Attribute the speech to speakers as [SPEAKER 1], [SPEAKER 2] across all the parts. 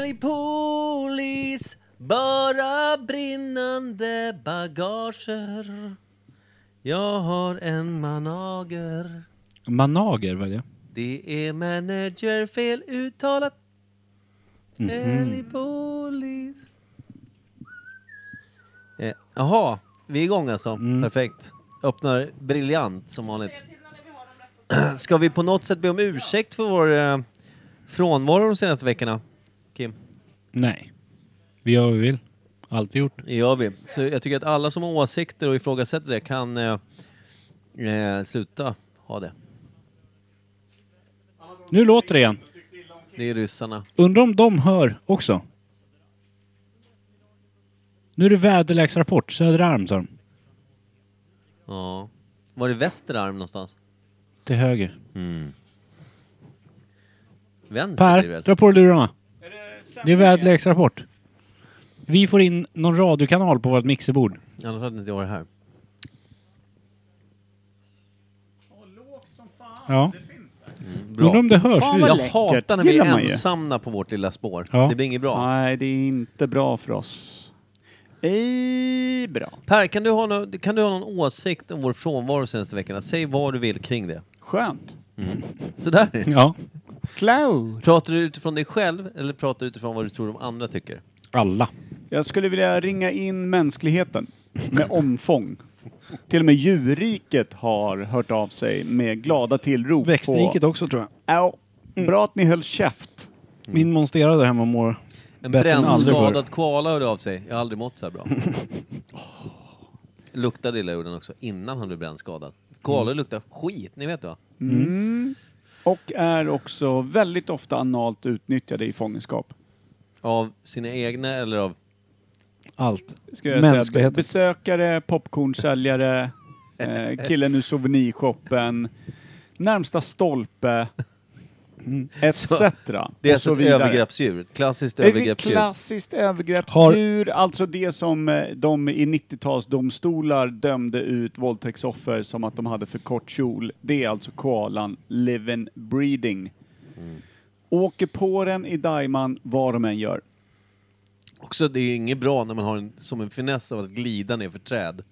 [SPEAKER 1] bli polis bara brinnande bagager Jag har en manager
[SPEAKER 2] Manager, vad är det?
[SPEAKER 1] Det är manager fel uttalat mm polis Eh, Jaha, vi är igång alltså. Perfekt. Öppnar briljant som vanligt. Ska vi på något sätt be om ursäkt för vår eh, frånvaro de senaste veckorna? Kim?
[SPEAKER 2] Nej. Vi gör vad vi vill. Alltid gjort.
[SPEAKER 1] Det gör vi. Så jag tycker att alla som har åsikter och ifrågasätter det kan eh, eh, sluta ha det.
[SPEAKER 2] Nu låter det igen.
[SPEAKER 1] Det är ryssarna.
[SPEAKER 2] Undrar om de hör också. Nu är det väderleksrapport, Söderarm sa de.
[SPEAKER 1] Ja. Var det Västerarm någonstans?
[SPEAKER 2] Till höger.
[SPEAKER 1] Vänster blir det
[SPEAKER 2] Per,
[SPEAKER 1] väl?
[SPEAKER 2] dra på dig lurarna. Det är väderleksrapport. Vi får in någon radiokanal på vårt mixerbord.
[SPEAKER 1] Annars hade inte jag varit här.
[SPEAKER 2] Ja.
[SPEAKER 1] Bra.
[SPEAKER 2] Undrar om det hörs.
[SPEAKER 3] Fan, vad
[SPEAKER 1] Jag
[SPEAKER 2] ut.
[SPEAKER 3] lätt. Läckert.
[SPEAKER 1] hatar när vi
[SPEAKER 3] Gillar
[SPEAKER 1] är
[SPEAKER 3] man ju.
[SPEAKER 1] ensamma på vårt lilla spår.
[SPEAKER 2] Ja.
[SPEAKER 1] Det blir inget bra.
[SPEAKER 3] Nej, det är inte bra för oss. Ej bra.
[SPEAKER 1] Per, kan du, ha nå kan du ha någon åsikt om vår frånvaro de senaste veckorna? Säg vad du vill kring det.
[SPEAKER 3] Skönt.
[SPEAKER 1] Sådär.
[SPEAKER 2] Ja.
[SPEAKER 3] Cloud.
[SPEAKER 1] Pratar du utifrån dig själv eller pratar du utifrån vad du tror de andra tycker?
[SPEAKER 2] Alla.
[SPEAKER 3] Jag skulle vilja ringa in mänskligheten med omfång. Till och med djurriket har hört av sig med glada tillrop.
[SPEAKER 4] Växtriket
[SPEAKER 3] på,
[SPEAKER 4] också tror jag.
[SPEAKER 3] Au,
[SPEAKER 2] Mm.
[SPEAKER 3] Bra att ni höll käft.
[SPEAKER 4] Min monstera där hemma och mår
[SPEAKER 1] En
[SPEAKER 4] bättre än aldrig förr.
[SPEAKER 1] brännskadad koala hörde av sig. Jag har aldrig mått så här bra. Luktade illa gjorde han också, innan han blev brännskadad. Koalor
[SPEAKER 3] Mm.
[SPEAKER 1] luktar skit, ni vet va?
[SPEAKER 2] Mm.
[SPEAKER 3] Och är också väldigt ofta analt utnyttjade i fångenskap.
[SPEAKER 1] Av sina egna eller av...
[SPEAKER 4] Allt.
[SPEAKER 3] Ska jag säga. Be-
[SPEAKER 4] Mänskligheten.
[SPEAKER 3] Besökare, popcornsäljare, eh, killen ur souvenirshoppen, närmsta stolpe, etc.
[SPEAKER 1] Mm. Det är
[SPEAKER 3] Och så
[SPEAKER 1] alltså ett
[SPEAKER 3] vidare.
[SPEAKER 1] övergreppsdjur. Ett klassiskt
[SPEAKER 3] Det är ett
[SPEAKER 1] övergreppsdjur.
[SPEAKER 3] klassiskt övergreppsdjur, alltså det som eh, de i 90-talsdomstolar dömde ut våldtäktsoffer som att de hade för kort kjol. Det är alltså koalan living breeding.
[SPEAKER 1] Mm.
[SPEAKER 3] Åker på den i Daiman vad de än gör.
[SPEAKER 1] Också, det är inget bra när man har en, som en finess av att glida ner för träd.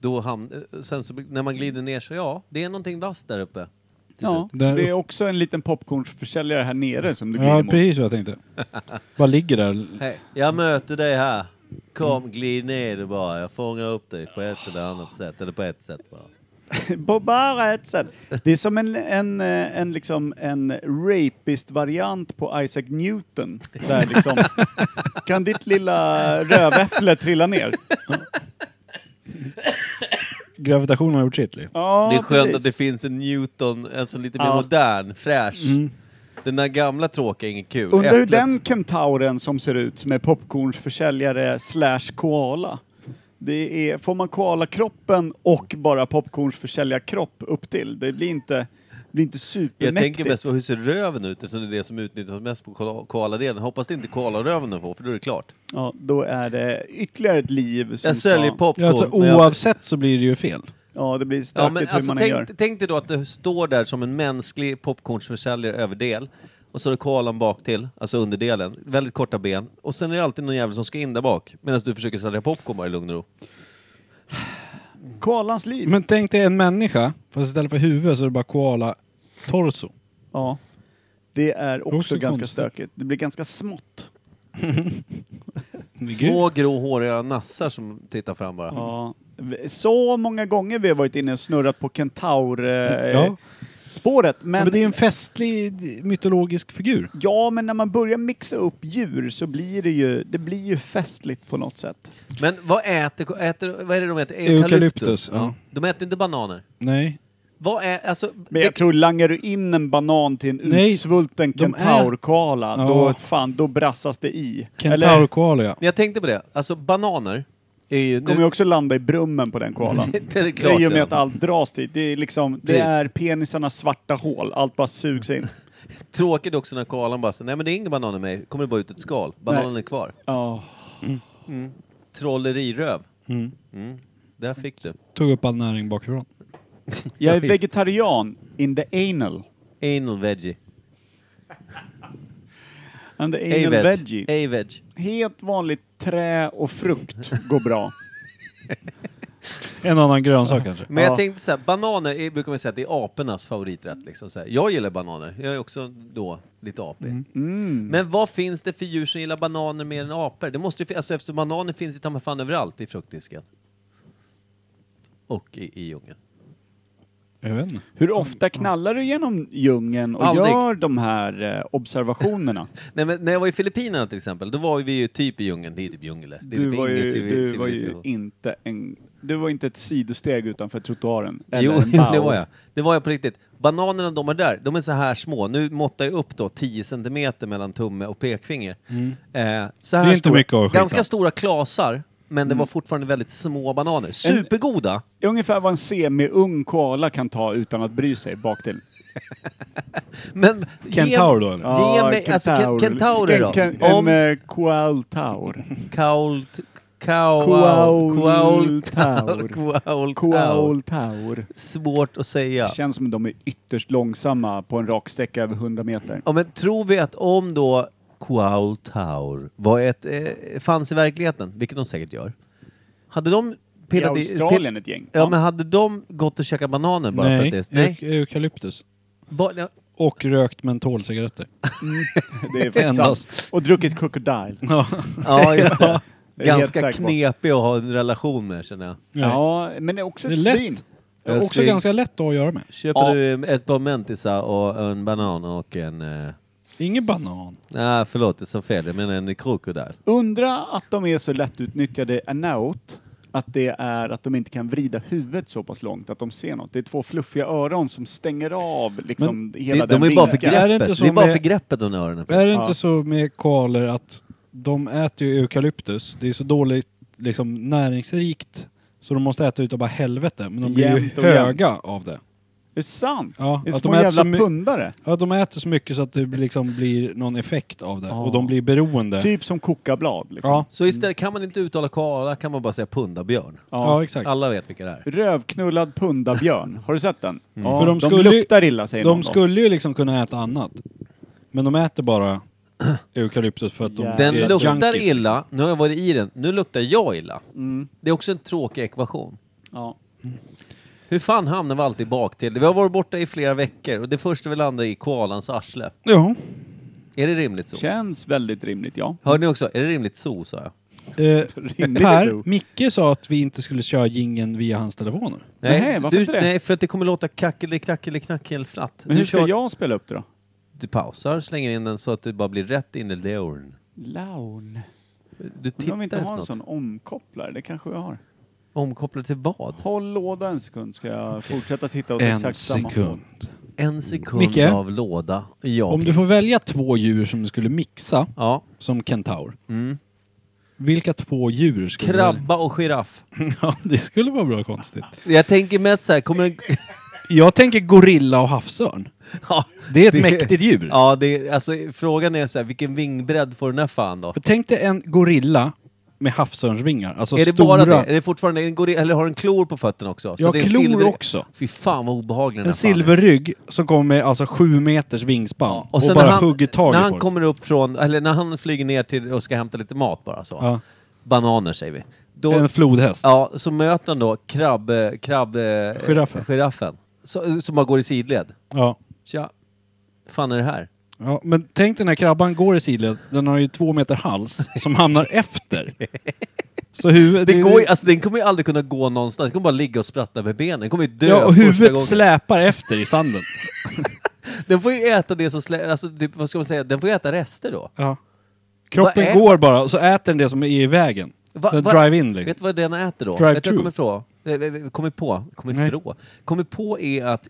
[SPEAKER 1] Då ham- eh, sen så, när man glider ner så, ja, det är någonting vasst där uppe. till
[SPEAKER 3] Ja,
[SPEAKER 1] slut.
[SPEAKER 2] Där
[SPEAKER 3] det är
[SPEAKER 2] upp-
[SPEAKER 3] också en liten popcornsförsäljare här nere som du glider
[SPEAKER 2] Ja,
[SPEAKER 3] mot.
[SPEAKER 2] precis vad jag tänkte. Bara ligger där.
[SPEAKER 1] Hej, jag möter dig här. Kom, glid ner du bara. Jag fångar upp dig på ett eller annat sätt. Eller på ett sätt bara.
[SPEAKER 3] På bara ett sätt. Det är som en, en, eh, en, liksom, en rapist-variant på Isaac Newton. Där liksom, kan ditt lilla röväpple trilla ner?
[SPEAKER 2] Gravitationen har gjort sitt. Liv.
[SPEAKER 3] Ja,
[SPEAKER 1] det är skönt
[SPEAKER 3] precis.
[SPEAKER 1] att det finns en Newton, alltså lite mer
[SPEAKER 3] Ja. Mm.
[SPEAKER 1] modern, fräsch. Den där gamla tråkiga är ingen kul.
[SPEAKER 3] Undrar hur
[SPEAKER 1] Äpplet-
[SPEAKER 3] den kentauren som ser ut som är popcornsförsäljare slash koala. Det är, får man koalakroppen och bara popcornsförsäljarkropp upp till. Det blir inte, blir inte
[SPEAKER 1] Jag
[SPEAKER 3] supermäktigt.
[SPEAKER 1] tänker mest på hur ser röven ut eftersom det är det som utnyttjas mest på koala- koaladelen. Hoppas det inte är koalaröven du får, för då är det klart.
[SPEAKER 3] ja, då är det ytterligare ett liv som
[SPEAKER 1] Jag säljer
[SPEAKER 3] ska-
[SPEAKER 1] popcorn.
[SPEAKER 2] Ja, alltså,
[SPEAKER 1] men jag-
[SPEAKER 2] oavsett så blir det ju fel.
[SPEAKER 3] Ja, det blir stökigt
[SPEAKER 1] Ja, men
[SPEAKER 3] hur
[SPEAKER 1] alltså,
[SPEAKER 3] man än gör.
[SPEAKER 1] tänk, tänk dig då att du står där som en mänsklig popcornsförsäljare överdel och så är det koalan bak till, alltså underdelen, väldigt korta ben och sen är det alltid någon jävel som ska in där bak medan du försöker sälja popcorn bara i lugn och ro.
[SPEAKER 3] Koalans liv.
[SPEAKER 2] Men tänk dig en människa, fast istället för huvud så är det bara koala torso.
[SPEAKER 3] Ja. Det är också,
[SPEAKER 2] Också
[SPEAKER 3] ganska
[SPEAKER 2] konstigt.
[SPEAKER 3] stökigt. Det blir ganska smått.
[SPEAKER 1] Små gråhåriga nassar som tittar fram bara.
[SPEAKER 3] Ja. V- Så många gånger vi har varit inne och snurrat på kentaur-spåret. Eh,
[SPEAKER 2] Ja.
[SPEAKER 3] spåret, men,
[SPEAKER 2] Men, det är en festlig mytologisk figur.
[SPEAKER 3] ja, men när man börjar mixa upp djur så blir det ju, det blir ju festligt på något sätt.
[SPEAKER 1] Men vad äter, ko- äter, vad är det de äter? Eukalyptus?
[SPEAKER 2] Eukalyptus, ja.
[SPEAKER 1] De äter inte bananer.
[SPEAKER 2] Nej.
[SPEAKER 1] Vad är, alltså,
[SPEAKER 3] Men jag tror, langar du in en banan till en
[SPEAKER 2] Nej,
[SPEAKER 3] utsvulten
[SPEAKER 2] de är-
[SPEAKER 3] kentaurkoala,
[SPEAKER 2] Ja.
[SPEAKER 3] då, fan, då brassas det i. Eller
[SPEAKER 2] Kentaurkoala ja.
[SPEAKER 1] det- jag tänkte på det, alltså bananer är ju... nu-
[SPEAKER 3] kommer ju också landa i brummen på den koalan.
[SPEAKER 1] det är
[SPEAKER 3] Det är
[SPEAKER 1] klart.
[SPEAKER 3] ju med att
[SPEAKER 1] redan.
[SPEAKER 3] allt dras dit. Det är, liksom, det
[SPEAKER 1] Precis.
[SPEAKER 3] är penisarnas svarta hål. Allt bara sugs in.
[SPEAKER 1] Tråkigt också när koalan bara säger nej men det är ingen banan i mig, kommer det bara ut ett skal. Bananen är kvar.
[SPEAKER 3] Ja.
[SPEAKER 1] Trolleriröv. Mm. Där fick du.
[SPEAKER 2] Tog upp all näring bakifrån.
[SPEAKER 3] Jag är
[SPEAKER 1] visst.
[SPEAKER 3] vegetarian in the anal.
[SPEAKER 1] Anal veggie.
[SPEAKER 3] and the anal
[SPEAKER 1] A-veg.
[SPEAKER 3] veggie.
[SPEAKER 1] A-veg.
[SPEAKER 3] Helt vanligt trä och frukt går bra.
[SPEAKER 5] En annan grönsak kanske.
[SPEAKER 1] Men
[SPEAKER 3] Ja.
[SPEAKER 1] jag tänkte så här, bananer är, brukar man säga att det är apornas favoriträtt. Liksom, så här. Jag gillar bananer, jag är också då lite apig.
[SPEAKER 3] Mm.
[SPEAKER 1] Men vad finns det för djur som gillar bananer mer än apor? Det måste ju, fin- alltså, eftersom bananer finns ju ta mig fan överallt i fruktdisken. Och i, i djungeln.
[SPEAKER 5] Jag vet inte.
[SPEAKER 3] Hur ofta knallar du genom djungeln och
[SPEAKER 1] Aldrig.
[SPEAKER 3] gör de här eh, observationerna?
[SPEAKER 1] Nej, men när jag var i Filippinerna till exempel, då var vi ju typ i djungeln. Det är typ djungel. där. Det är
[SPEAKER 3] Du
[SPEAKER 1] typ
[SPEAKER 3] var
[SPEAKER 1] ingen
[SPEAKER 3] ju,
[SPEAKER 1] civil-
[SPEAKER 3] du var ju
[SPEAKER 1] civilisation.
[SPEAKER 3] inte en... Du var inte ett sidosteg utanför trottoaren. eller
[SPEAKER 1] Jo,
[SPEAKER 3] en
[SPEAKER 1] jo, det
[SPEAKER 3] bow.
[SPEAKER 1] var jag. Det var jag på riktigt. Bananerna de är där, de är så här små. Nu måttar jag upp då 10 centimeter mellan tumme och pekfinger. Eh, så här
[SPEAKER 5] Mm. Det är inte
[SPEAKER 1] stora,
[SPEAKER 5] mycket att skita. Mm.
[SPEAKER 1] Ganska stora klasar, men det var fortfarande väldigt små bananer. Supergoda!
[SPEAKER 3] Ungefär vad en semi-ung koala kan ta utan att bry sig bak till.
[SPEAKER 1] Men
[SPEAKER 5] Kentaur då,
[SPEAKER 1] Ge,
[SPEAKER 5] eller?
[SPEAKER 1] ge mig, alltså ke- kentaurer då.
[SPEAKER 3] En,
[SPEAKER 1] Om
[SPEAKER 3] en, en eh, koaltaur.
[SPEAKER 1] kault... Kaul...
[SPEAKER 3] Koaul-
[SPEAKER 1] Kaul...
[SPEAKER 3] taur.
[SPEAKER 1] Kaul... Kaul...
[SPEAKER 3] Koaltaur.
[SPEAKER 1] Svårt att säga.
[SPEAKER 3] Känns som att de är ytterst långsamma på en rak sträcka över 100 meter.
[SPEAKER 1] Ja, men tror vi att om då Kuau Tower var ett, eh, fanns i verkligheten, vilket de säkert gör, hade de
[SPEAKER 3] I
[SPEAKER 1] petat
[SPEAKER 3] Australien
[SPEAKER 1] pe-
[SPEAKER 3] ett gäng.
[SPEAKER 1] Ja, men hade de gått och käkat bananer bara för
[SPEAKER 2] Nej,
[SPEAKER 1] att det är... Nej.
[SPEAKER 2] euk- eukalyptus.
[SPEAKER 1] Ba, ja,
[SPEAKER 2] Och rökt mentolcigaretter.
[SPEAKER 3] det är faktiskt
[SPEAKER 2] endast.
[SPEAKER 3] sant. Och druckit crocodile.
[SPEAKER 1] ja, just det.
[SPEAKER 3] Jag är helt
[SPEAKER 1] Ganska
[SPEAKER 3] säker på.
[SPEAKER 1] knepig att ha en relation med känner jag.
[SPEAKER 3] Ja, men det är också
[SPEAKER 2] Det är
[SPEAKER 3] ett
[SPEAKER 2] lätt.
[SPEAKER 3] svin.
[SPEAKER 1] Jag
[SPEAKER 2] Också
[SPEAKER 1] skulle-
[SPEAKER 2] ganska lätt att göra med.
[SPEAKER 1] Köper
[SPEAKER 3] Ja.
[SPEAKER 1] du ett par mentisa och en banan och en... Eh,
[SPEAKER 2] Ingen banan.
[SPEAKER 1] nej, förlåt, det sa fel. Jag menar en krokodil.
[SPEAKER 3] Undra att de är så lättutnyttjade anaut att det är att de inte kan vrida huvudet så pass långt att de ser något. Det är två fluffiga öron som stänger av liksom hela
[SPEAKER 1] De, de
[SPEAKER 3] den
[SPEAKER 1] är bara för
[SPEAKER 3] vinkeln.
[SPEAKER 2] Är det
[SPEAKER 1] greppet.
[SPEAKER 2] inte
[SPEAKER 1] Det,
[SPEAKER 2] så
[SPEAKER 1] är bara
[SPEAKER 2] med-
[SPEAKER 1] för greppet de öronen.
[SPEAKER 2] Är det
[SPEAKER 3] Ja.
[SPEAKER 2] inte så med koalor att de äter ju eukalyptus. Det är så dåligt liksom, näringsrikt så de måste äta utav bara helvete. Men de blir
[SPEAKER 3] Jämt och
[SPEAKER 2] ju höga av det.
[SPEAKER 3] Det är sant!
[SPEAKER 2] Ja,
[SPEAKER 3] det är
[SPEAKER 2] att
[SPEAKER 3] små
[SPEAKER 2] de äter
[SPEAKER 3] jävla
[SPEAKER 2] så my-
[SPEAKER 3] pundare.
[SPEAKER 2] Ja, de äter så mycket så att det blir- liksom blir någon effekt av det.
[SPEAKER 3] Ja.
[SPEAKER 2] Och de blir beroende.
[SPEAKER 3] Typ som kokablad. Liksom.
[SPEAKER 2] Ja.
[SPEAKER 1] Så istället kan man inte uttala koala kan man bara säga pundabjörn.
[SPEAKER 2] Ja, exakt.
[SPEAKER 1] Alla vet vilka det är.
[SPEAKER 3] Rövknullad pundabjörn. Har du sett den?
[SPEAKER 1] Mm.
[SPEAKER 3] Ja,
[SPEAKER 2] För
[SPEAKER 3] de,
[SPEAKER 2] de skulle-
[SPEAKER 3] luktar illa säger någon
[SPEAKER 2] De
[SPEAKER 3] då.
[SPEAKER 2] skulle ju liksom kunna äta annat. Men de äter bara eukalyptus för att de
[SPEAKER 1] Den
[SPEAKER 2] är
[SPEAKER 1] luktar
[SPEAKER 2] junkies.
[SPEAKER 1] illa,
[SPEAKER 3] liksom.
[SPEAKER 1] nu har jag varit i den, nu luktar jag illa.
[SPEAKER 3] Mm.
[SPEAKER 1] Det är också en tråkig ekvation.
[SPEAKER 3] Ja.
[SPEAKER 1] Hur fan hamnar vi alltid bak till? Vi har varit borta i flera veckor och det första vi landar i är koalans arsle.
[SPEAKER 2] liksom. Ja.
[SPEAKER 1] Är det rimligt så?
[SPEAKER 3] Känns väldigt rimligt, ja.
[SPEAKER 1] Hörde ni också? Är det rimligt så, sa jag.
[SPEAKER 2] Eh,
[SPEAKER 3] Rimligt så.
[SPEAKER 2] per, Micke sa att vi inte skulle köra gingen via hans telefoner.
[SPEAKER 3] Nej, varför inte det?
[SPEAKER 1] Nej, för att det kommer låta kackeli knackeli knackelflatt.
[SPEAKER 3] Men
[SPEAKER 1] Du
[SPEAKER 3] hur ska
[SPEAKER 1] kör-
[SPEAKER 3] jag spela upp det då?
[SPEAKER 1] Du pausar, slänger in den så att det bara blir rätt in i leuren.
[SPEAKER 3] Laun.
[SPEAKER 1] Du
[SPEAKER 3] Undrar om
[SPEAKER 1] tittar
[SPEAKER 3] vi inte
[SPEAKER 1] efter
[SPEAKER 3] har en
[SPEAKER 1] något.
[SPEAKER 3] sån omkopplare. Det kanske vi har.
[SPEAKER 1] Omkopplad till vad?
[SPEAKER 3] Håll låda en sekund ska jag fortsätta titta åt
[SPEAKER 2] En
[SPEAKER 3] exakt samma håll.
[SPEAKER 2] sekund.
[SPEAKER 1] En sekund
[SPEAKER 2] Micke?
[SPEAKER 1] av låda. Jag.
[SPEAKER 2] Om du får välja två djur som du skulle mixa
[SPEAKER 1] Ja.
[SPEAKER 2] som kentaur.
[SPEAKER 1] Mm.
[SPEAKER 2] Vilka två djur skulle du välja?
[SPEAKER 1] Krabba och giraff.
[SPEAKER 2] Ja, det skulle vara bra konstigt.
[SPEAKER 1] Jag tänker mest så här, kommer en...
[SPEAKER 2] Jag tänker gorilla och havsörn.
[SPEAKER 1] Ja,
[SPEAKER 2] Det är ett mäktigt djur.
[SPEAKER 1] Ja, det är, alltså, frågan är så här, vilken vingbredd får den här fan då?
[SPEAKER 2] Tänk dig en gorilla med havsörnsvingar. Alltså
[SPEAKER 1] är det
[SPEAKER 2] stora...
[SPEAKER 1] bara det? Är det fortfarande en gorilla, eller har den klor på fötterna också?
[SPEAKER 2] Ja,
[SPEAKER 1] det är en
[SPEAKER 2] klor också.
[SPEAKER 1] Fy fan vad obehaglig den
[SPEAKER 2] En
[SPEAKER 1] här fan är.
[SPEAKER 2] silverrygg som kommer med alltså sju meters vingspann och,
[SPEAKER 1] sen
[SPEAKER 2] bara
[SPEAKER 1] när han,
[SPEAKER 2] hugger tag i
[SPEAKER 1] När han
[SPEAKER 2] folk.
[SPEAKER 1] kommer upp från, eller när han flyger ner till och ska hämta lite mat bara så.
[SPEAKER 2] Ja.
[SPEAKER 1] Bananer säger vi. Då,
[SPEAKER 2] En flodhäst.
[SPEAKER 1] ja, så möter han då krabb... krabb eh,
[SPEAKER 2] Giraffen.
[SPEAKER 1] giraffen. Så, som bara går i sidled.
[SPEAKER 2] Ja.
[SPEAKER 1] Tja, fan är det här?
[SPEAKER 2] Ja, men tänk den här krabban går i sidled, den har ju två meter hals som hamnar efter. Så huvudet...
[SPEAKER 1] Det går, ju- alltså, den kommer ju aldrig kunna gå någonstans, den kommer bara ligga och sprattla med benen, den kommer ju dö
[SPEAKER 2] ja, och
[SPEAKER 1] första
[SPEAKER 2] huvudet
[SPEAKER 1] gången.
[SPEAKER 2] släpar efter i sanden.
[SPEAKER 1] Den får ju äta det som slä... Alltså, typ, vad ska man säga? Den får ju äta rester då.
[SPEAKER 2] Ja.
[SPEAKER 1] Vad
[SPEAKER 2] Kroppen
[SPEAKER 1] är-
[SPEAKER 2] går bara och så äter den det som är i vägen.
[SPEAKER 1] Va-
[SPEAKER 2] så
[SPEAKER 1] va-
[SPEAKER 2] drive-in liksom.
[SPEAKER 1] Vet du vad den äter då?
[SPEAKER 2] Drive
[SPEAKER 1] vet du vad jag
[SPEAKER 2] through.
[SPEAKER 1] kommer ifrån? Eh, eh, Kommer på, kommer ifrån. Kommer på är att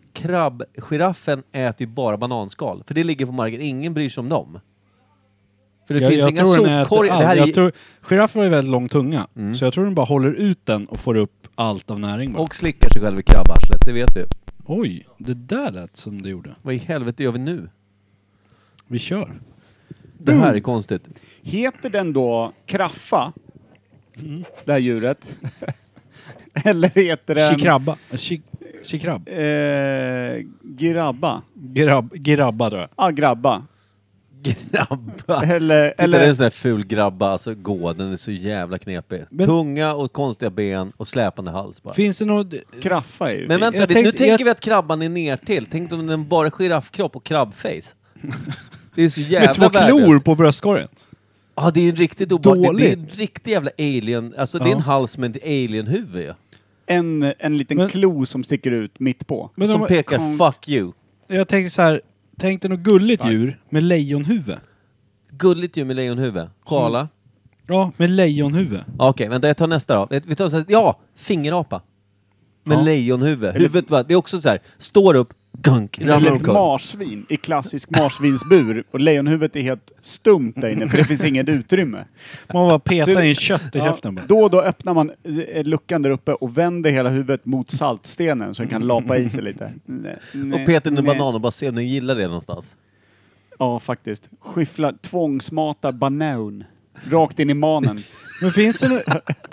[SPEAKER 1] krabbgiraffen äter ju bara bananskal. För det ligger på marken, ingen bryr sig om dem. För det
[SPEAKER 2] jag,
[SPEAKER 1] finns
[SPEAKER 2] jag
[SPEAKER 1] inga
[SPEAKER 2] tror den äter
[SPEAKER 1] sopkorgar. Det
[SPEAKER 2] allt.
[SPEAKER 1] här
[SPEAKER 2] Jag
[SPEAKER 1] är... Mm.
[SPEAKER 2] tror, giraffer har ju väldigt lång tunga, så jag tror den bara håller ut den och får upp allt av näring bara.
[SPEAKER 1] Och slickar sig själv i krabbarslet, det vet vi.
[SPEAKER 2] Oj, det där lät som det gjorde.
[SPEAKER 1] Vad i helvete gör vi nu?
[SPEAKER 2] Vi kör.
[SPEAKER 1] Det
[SPEAKER 2] Mm.
[SPEAKER 1] här är konstigt.
[SPEAKER 3] Heter den då kraffa? Det här djuret. Eller heter den...
[SPEAKER 2] Chikrabba. Chi- Chikrabb.
[SPEAKER 3] Eh, grabba.
[SPEAKER 2] Grabb, grabba tror jag.
[SPEAKER 3] Ja, grabba.
[SPEAKER 1] Grabba.
[SPEAKER 3] Eller,
[SPEAKER 1] Eller... Det är en
[SPEAKER 3] eller
[SPEAKER 1] sån där ful grabba, alltså gå, den är så jävla knepig.
[SPEAKER 2] Men-
[SPEAKER 1] Tunga och konstiga ben och släpande hals bara.
[SPEAKER 2] Finns det något...
[SPEAKER 3] kraffa är ju
[SPEAKER 1] Men
[SPEAKER 3] fint.
[SPEAKER 1] vänta,
[SPEAKER 2] Jag
[SPEAKER 1] det, nu
[SPEAKER 2] tänkte-
[SPEAKER 1] tänker
[SPEAKER 2] jag-
[SPEAKER 1] vi att krabban är ner till. Tänk om den bara är giraffkropp och krabbface. Det är så
[SPEAKER 2] Med
[SPEAKER 1] jävla
[SPEAKER 2] två klor
[SPEAKER 1] värdelöst.
[SPEAKER 2] på bröstkorgen?
[SPEAKER 1] Ja, det är en riktigt obehaglig... Det är en
[SPEAKER 2] Dåligt.
[SPEAKER 1] riktig jävla alien... Alltså det är
[SPEAKER 2] Ja.
[SPEAKER 1] en hals med ett alienhuvud ju.
[SPEAKER 3] En, en liten
[SPEAKER 2] Men-
[SPEAKER 3] klo som sticker ut mitt på.
[SPEAKER 2] Men
[SPEAKER 1] Som
[SPEAKER 2] om-
[SPEAKER 1] pekar
[SPEAKER 3] kom-
[SPEAKER 1] 'fuck you'.
[SPEAKER 2] Jag tänkte så här, tänk dig något gulligt djur med lejonhuvud.
[SPEAKER 1] Gulligt ju med lejonhuvud. Koala.
[SPEAKER 2] Mm. Ja, med lejonhuvud.
[SPEAKER 1] Ja, Okej, vänta jag tar nästa då. Vi tar så här, ja, fingerapa. Med
[SPEAKER 2] Ja.
[SPEAKER 1] lejonhuvud. Huvudet va, det är också så här, står upp, gunk, ramlar
[SPEAKER 3] Eller ett
[SPEAKER 1] omkull.
[SPEAKER 3] marsvin i klassisk marsvinsbur och lejonhuvudet är helt stumt där inne för det finns inget utrymme.
[SPEAKER 2] Man bara petar
[SPEAKER 3] Så-
[SPEAKER 2] in kött i käften bara.
[SPEAKER 3] Då och då öppnar man eh, luckan där uppe och vänder hela huvudet mot saltstenen så den kan lapa i sig lite.
[SPEAKER 1] Och petar in en
[SPEAKER 3] Nej.
[SPEAKER 1] banan och bara ser om den gillar det någonstans.
[SPEAKER 3] Ja, faktiskt. Skyffla, tvångsmata banan. Rakt in i manen.
[SPEAKER 2] Men finns det något...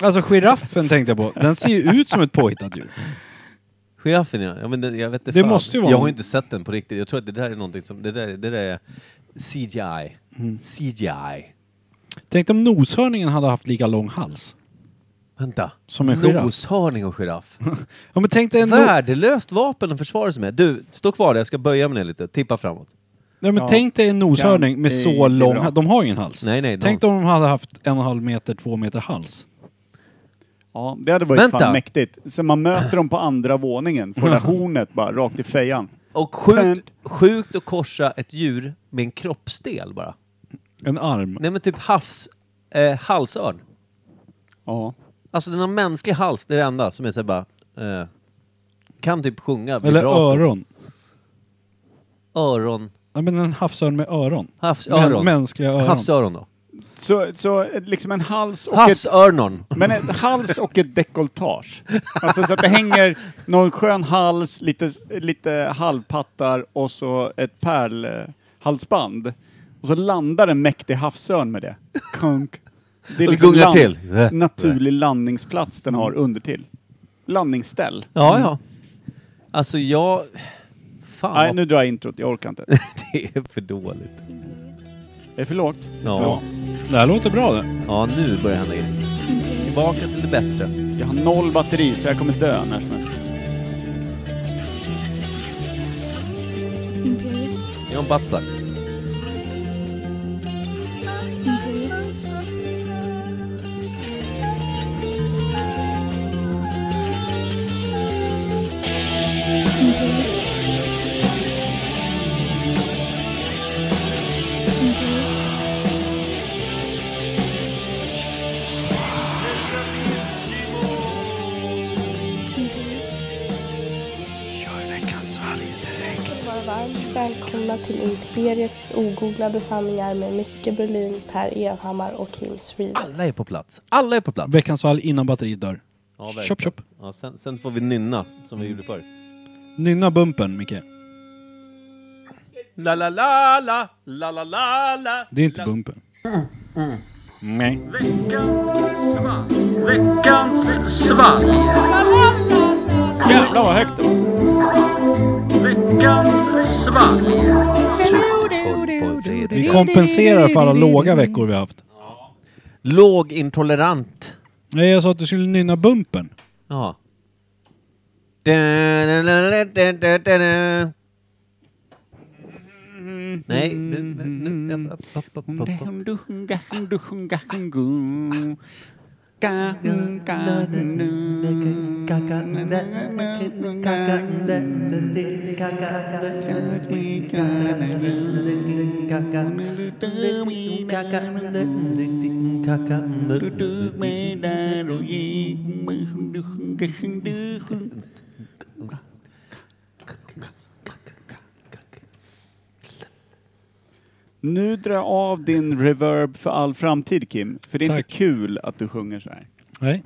[SPEAKER 2] Alltså giraffen tänkte jag på. Den ser ju ut som ett påhittat djur.
[SPEAKER 1] Giraffen ja, ja men det, jag vet inte
[SPEAKER 2] Det
[SPEAKER 1] fan.
[SPEAKER 2] måste ju vara
[SPEAKER 1] Jag har
[SPEAKER 2] någon-
[SPEAKER 1] inte sett den på riktigt. Jag tror att det där är någonting som, det där, det där är CGI.
[SPEAKER 2] Mm.
[SPEAKER 1] CGI.
[SPEAKER 2] Tänk om noshörningen hade haft lika lång hals.
[SPEAKER 1] Vänta.
[SPEAKER 2] Som en giraff.
[SPEAKER 1] Noshörning och giraff.
[SPEAKER 2] Ja men tänk dig en, no...
[SPEAKER 1] Värdelöst vapen att försvara sig med. Du, stå kvar där, jag ska böja mig ner lite. Tippa framåt.
[SPEAKER 2] Nej, men
[SPEAKER 3] Ja.
[SPEAKER 2] tänk dig en noshörning med
[SPEAKER 3] Kan-
[SPEAKER 2] så
[SPEAKER 3] det är
[SPEAKER 2] lång
[SPEAKER 3] bra.
[SPEAKER 2] hals. De har ju ingen hals.
[SPEAKER 1] Nej, nej,
[SPEAKER 2] tänk
[SPEAKER 1] de-
[SPEAKER 2] dig om de hade haft en och en halv meter, två meter hals.
[SPEAKER 3] Ja, det hade varit
[SPEAKER 1] Vänta.
[SPEAKER 3] fan mäktigt. Så man möter dem på andra våningen, får det där hornet bara rakt i fejan.
[SPEAKER 1] Och sjukt,
[SPEAKER 3] Tänd.
[SPEAKER 1] sjukt att korsa ett djur med en kroppsdel bara.
[SPEAKER 2] En arm.
[SPEAKER 1] Nej men typ havs, eh, halsörn.
[SPEAKER 3] Ja.
[SPEAKER 1] Alltså den har mänsklig hals, det är det enda som är såhär bara... Eh, kan typ sjunga.
[SPEAKER 2] Eller
[SPEAKER 1] vibrato.
[SPEAKER 2] öron.
[SPEAKER 1] Öron.
[SPEAKER 2] Ja men en havsörn med öron.
[SPEAKER 1] Havsöron.
[SPEAKER 2] Men- mänskliga öron.
[SPEAKER 1] Havsöron då.
[SPEAKER 3] Så, så eh, liksom en hals och ett
[SPEAKER 1] Havsörnon.
[SPEAKER 3] Men en hals och ett dekolletage. Alltså så att det hänger någon skön hals, lite, lite halvpattar och så ett pärlhalsband. Och så landar en mäktig havsörn med det. Kunk. Det liksom
[SPEAKER 1] Och gunglar till. Mm.
[SPEAKER 3] naturlig landningsplats den har under till. Landningsställ.
[SPEAKER 1] Ja, ja.
[SPEAKER 2] Mm.
[SPEAKER 1] Alltså jag... Fan
[SPEAKER 3] Nej,
[SPEAKER 1] vad
[SPEAKER 3] nu drar jag introt. Jag orkar inte.
[SPEAKER 1] det är för dåligt.
[SPEAKER 3] Är det för lågt?
[SPEAKER 1] Ja,
[SPEAKER 2] Det här låter bra det.
[SPEAKER 1] ja nu börjar hända grejer. Tillbaka till det bättre.
[SPEAKER 3] Jag har noll batteri så jag kommer dö när som helst.
[SPEAKER 6] Imperial.
[SPEAKER 1] John Butler.
[SPEAKER 6] Imperial. Imperial. Imperial.
[SPEAKER 7] vara varmt välkomna till Imperiet ogooglade sanningar med Micke Berlin, Per Evhammar och Kim Sweden.
[SPEAKER 1] Alla är på plats. Alla är på plats.
[SPEAKER 2] Veckans fall innan batteriet dör.
[SPEAKER 1] Ja, verkligen.
[SPEAKER 2] Chop, chop.
[SPEAKER 1] Ja, sen, sen får vi nynna som vi gjorde förr.
[SPEAKER 2] Nynna bumpen Micke.
[SPEAKER 1] La la la la, la la la la.
[SPEAKER 2] Det är inte bumpen. Nej.
[SPEAKER 3] Jävlar vad högt det var.
[SPEAKER 2] Vi kompenserar för alla låga veckor vi har haft.
[SPEAKER 1] Lågintolerant.
[SPEAKER 2] Nej, jag sa att du skulle nynna bumpen.
[SPEAKER 1] Ja. Nej.
[SPEAKER 3] Nu drar jag av din reverb för all framtid Kim, för det är
[SPEAKER 2] Tack.
[SPEAKER 3] inte kul att du sjunger så här.
[SPEAKER 2] Nej.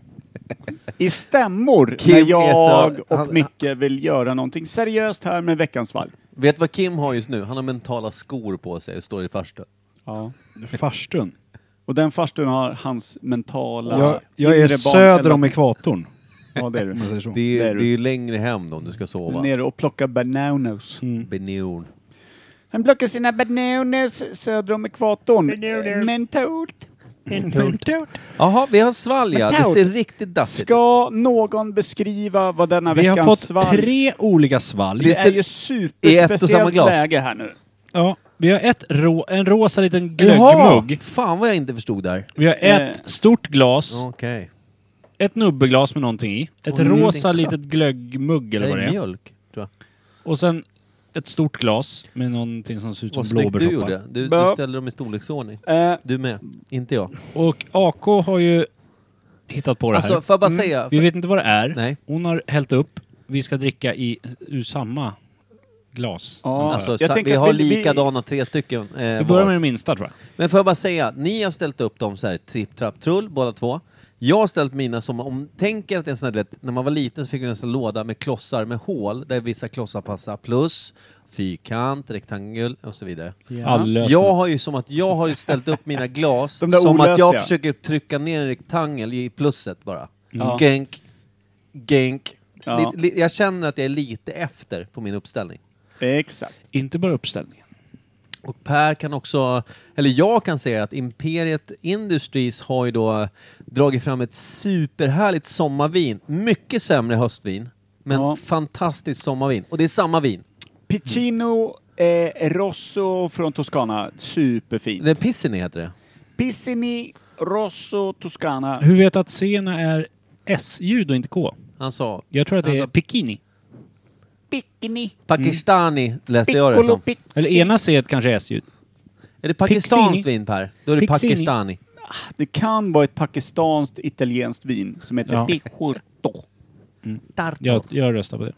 [SPEAKER 3] I stämmor
[SPEAKER 1] Kim är
[SPEAKER 3] när jag
[SPEAKER 1] så-
[SPEAKER 3] och
[SPEAKER 1] han-
[SPEAKER 3] Micke vill göra någonting seriöst här med veckans valg.
[SPEAKER 1] Vet vad Kim har just nu? Han har mentala skor på sig och står i farstun.
[SPEAKER 3] Ja.
[SPEAKER 2] Farstun.
[SPEAKER 3] Och den farstun har hans mentala...
[SPEAKER 2] Jag, jag är
[SPEAKER 3] inre barn-
[SPEAKER 2] söder
[SPEAKER 3] eller-
[SPEAKER 2] om ekvatorn.
[SPEAKER 3] Ja, det är
[SPEAKER 2] Om man
[SPEAKER 3] du.
[SPEAKER 2] säger så.
[SPEAKER 1] Det är,
[SPEAKER 3] Där.
[SPEAKER 1] det är ju längre hem då om du ska sova. Mm.
[SPEAKER 3] Nere och plocka bananas.
[SPEAKER 1] Benjon.
[SPEAKER 3] Han plockar sina bananas söder om ekvatorn. Mentort. Mentort.
[SPEAKER 1] Jaha, vi har svalg ja. Det
[SPEAKER 3] Mentol.
[SPEAKER 1] ser riktigt dassigt ut.
[SPEAKER 3] Ska någon beskriva vad denna
[SPEAKER 4] Vi har
[SPEAKER 3] veckans
[SPEAKER 4] fått
[SPEAKER 3] svalg...
[SPEAKER 4] tre olika svalg.
[SPEAKER 3] Det är ju
[SPEAKER 1] samma
[SPEAKER 3] superspeciellt
[SPEAKER 1] glas.
[SPEAKER 3] läge här nu.
[SPEAKER 4] Ja.
[SPEAKER 2] Vi har ett rå, en rosa liten
[SPEAKER 1] Jaha!
[SPEAKER 2] glöggmugg.
[SPEAKER 1] Fan vad jag inte förstod där.
[SPEAKER 2] Vi har ett
[SPEAKER 3] Eh.
[SPEAKER 2] stort glas,
[SPEAKER 1] Okej.
[SPEAKER 2] ett nubbeglas med någonting i. Ett
[SPEAKER 1] Och en
[SPEAKER 2] rosa
[SPEAKER 1] liten
[SPEAKER 2] litet glöggmugg eller
[SPEAKER 1] Det
[SPEAKER 2] vad det
[SPEAKER 1] är
[SPEAKER 2] är.
[SPEAKER 1] mjölk, tror jag.
[SPEAKER 2] Och sen ett stort glas med någonting som ser ut som
[SPEAKER 1] Vad snyggt du
[SPEAKER 2] blåbärssoppa.
[SPEAKER 1] gjorde. Du, du
[SPEAKER 3] Ja.
[SPEAKER 1] ställde dem i storleksordning.
[SPEAKER 3] Eh,
[SPEAKER 1] Du med. Inte jag.
[SPEAKER 2] Och AK har ju hittat på det här.
[SPEAKER 1] Alltså, får jag bara säga?
[SPEAKER 2] Vi vet inte vad det är.
[SPEAKER 1] Nej.
[SPEAKER 2] Hon har hällt upp. Vi ska dricka i, ur samma glas.
[SPEAKER 3] ja,
[SPEAKER 1] Alltså,
[SPEAKER 3] jag
[SPEAKER 1] sa,
[SPEAKER 3] tänker
[SPEAKER 1] vi
[SPEAKER 3] att
[SPEAKER 1] har
[SPEAKER 3] vi-
[SPEAKER 1] likadana tre stycken. Eh,
[SPEAKER 2] Vi börjar
[SPEAKER 1] var.
[SPEAKER 2] med det minsta tror jag.
[SPEAKER 1] Men får jag bara säga, ni har ställt upp dem så här tripp, trapp, trull, båda två. Jag har ställt mina som, om tänker att det är en sån här, du vet, när man var liten så fick man en sån låda med klossar med hål, där vissa klossar passar plus, fyrkant, rektangel och så vidare.
[SPEAKER 2] All lösning.
[SPEAKER 1] Jag har ju som att jag har ju ställt upp mina glas
[SPEAKER 3] De där
[SPEAKER 1] som att jag
[SPEAKER 3] olösliga.
[SPEAKER 1] försöker trycka ner en rektangel i plusset bara.
[SPEAKER 3] Ja.
[SPEAKER 1] Genk, genk.
[SPEAKER 3] Ja.
[SPEAKER 1] Lite- li- jag känner att jag är lite efter på min uppställning.
[SPEAKER 3] Eh, Exakt.
[SPEAKER 2] Inte bara uppställningen.
[SPEAKER 1] Och Per kan också, eller jag kan säga att Imperiet Industries har ju då dragit fram ett superhärligt sommarvin. Mycket sämre höstvin, men
[SPEAKER 3] Ja.
[SPEAKER 1] fantastiskt sommarvin. Och det är samma vin.
[SPEAKER 3] Piccino eh, Rosso från Toscana. Superfint.
[SPEAKER 1] Det är Pissini heter det.
[SPEAKER 3] Pissini Rosso Toscana.
[SPEAKER 2] Hur vet du att C-erna är S-ljud och inte K?
[SPEAKER 1] Han sa
[SPEAKER 2] Jag tror att det är
[SPEAKER 1] Alltså-
[SPEAKER 2] Pikini.
[SPEAKER 3] Piccini.
[SPEAKER 1] Pakistani läste jag det
[SPEAKER 3] Piccolo
[SPEAKER 1] som.
[SPEAKER 3] pic...
[SPEAKER 2] Eller ena C kanske är S-ljud.
[SPEAKER 1] Är det pakistanskt
[SPEAKER 2] Pixini.
[SPEAKER 1] vin Per? Då är det
[SPEAKER 2] Pixini.
[SPEAKER 1] pakistani.
[SPEAKER 3] Det kan vara ett pakistanskt italienskt vin som heter
[SPEAKER 2] Ja.
[SPEAKER 3] Picciotto.
[SPEAKER 2] Jag, jag röstar på det.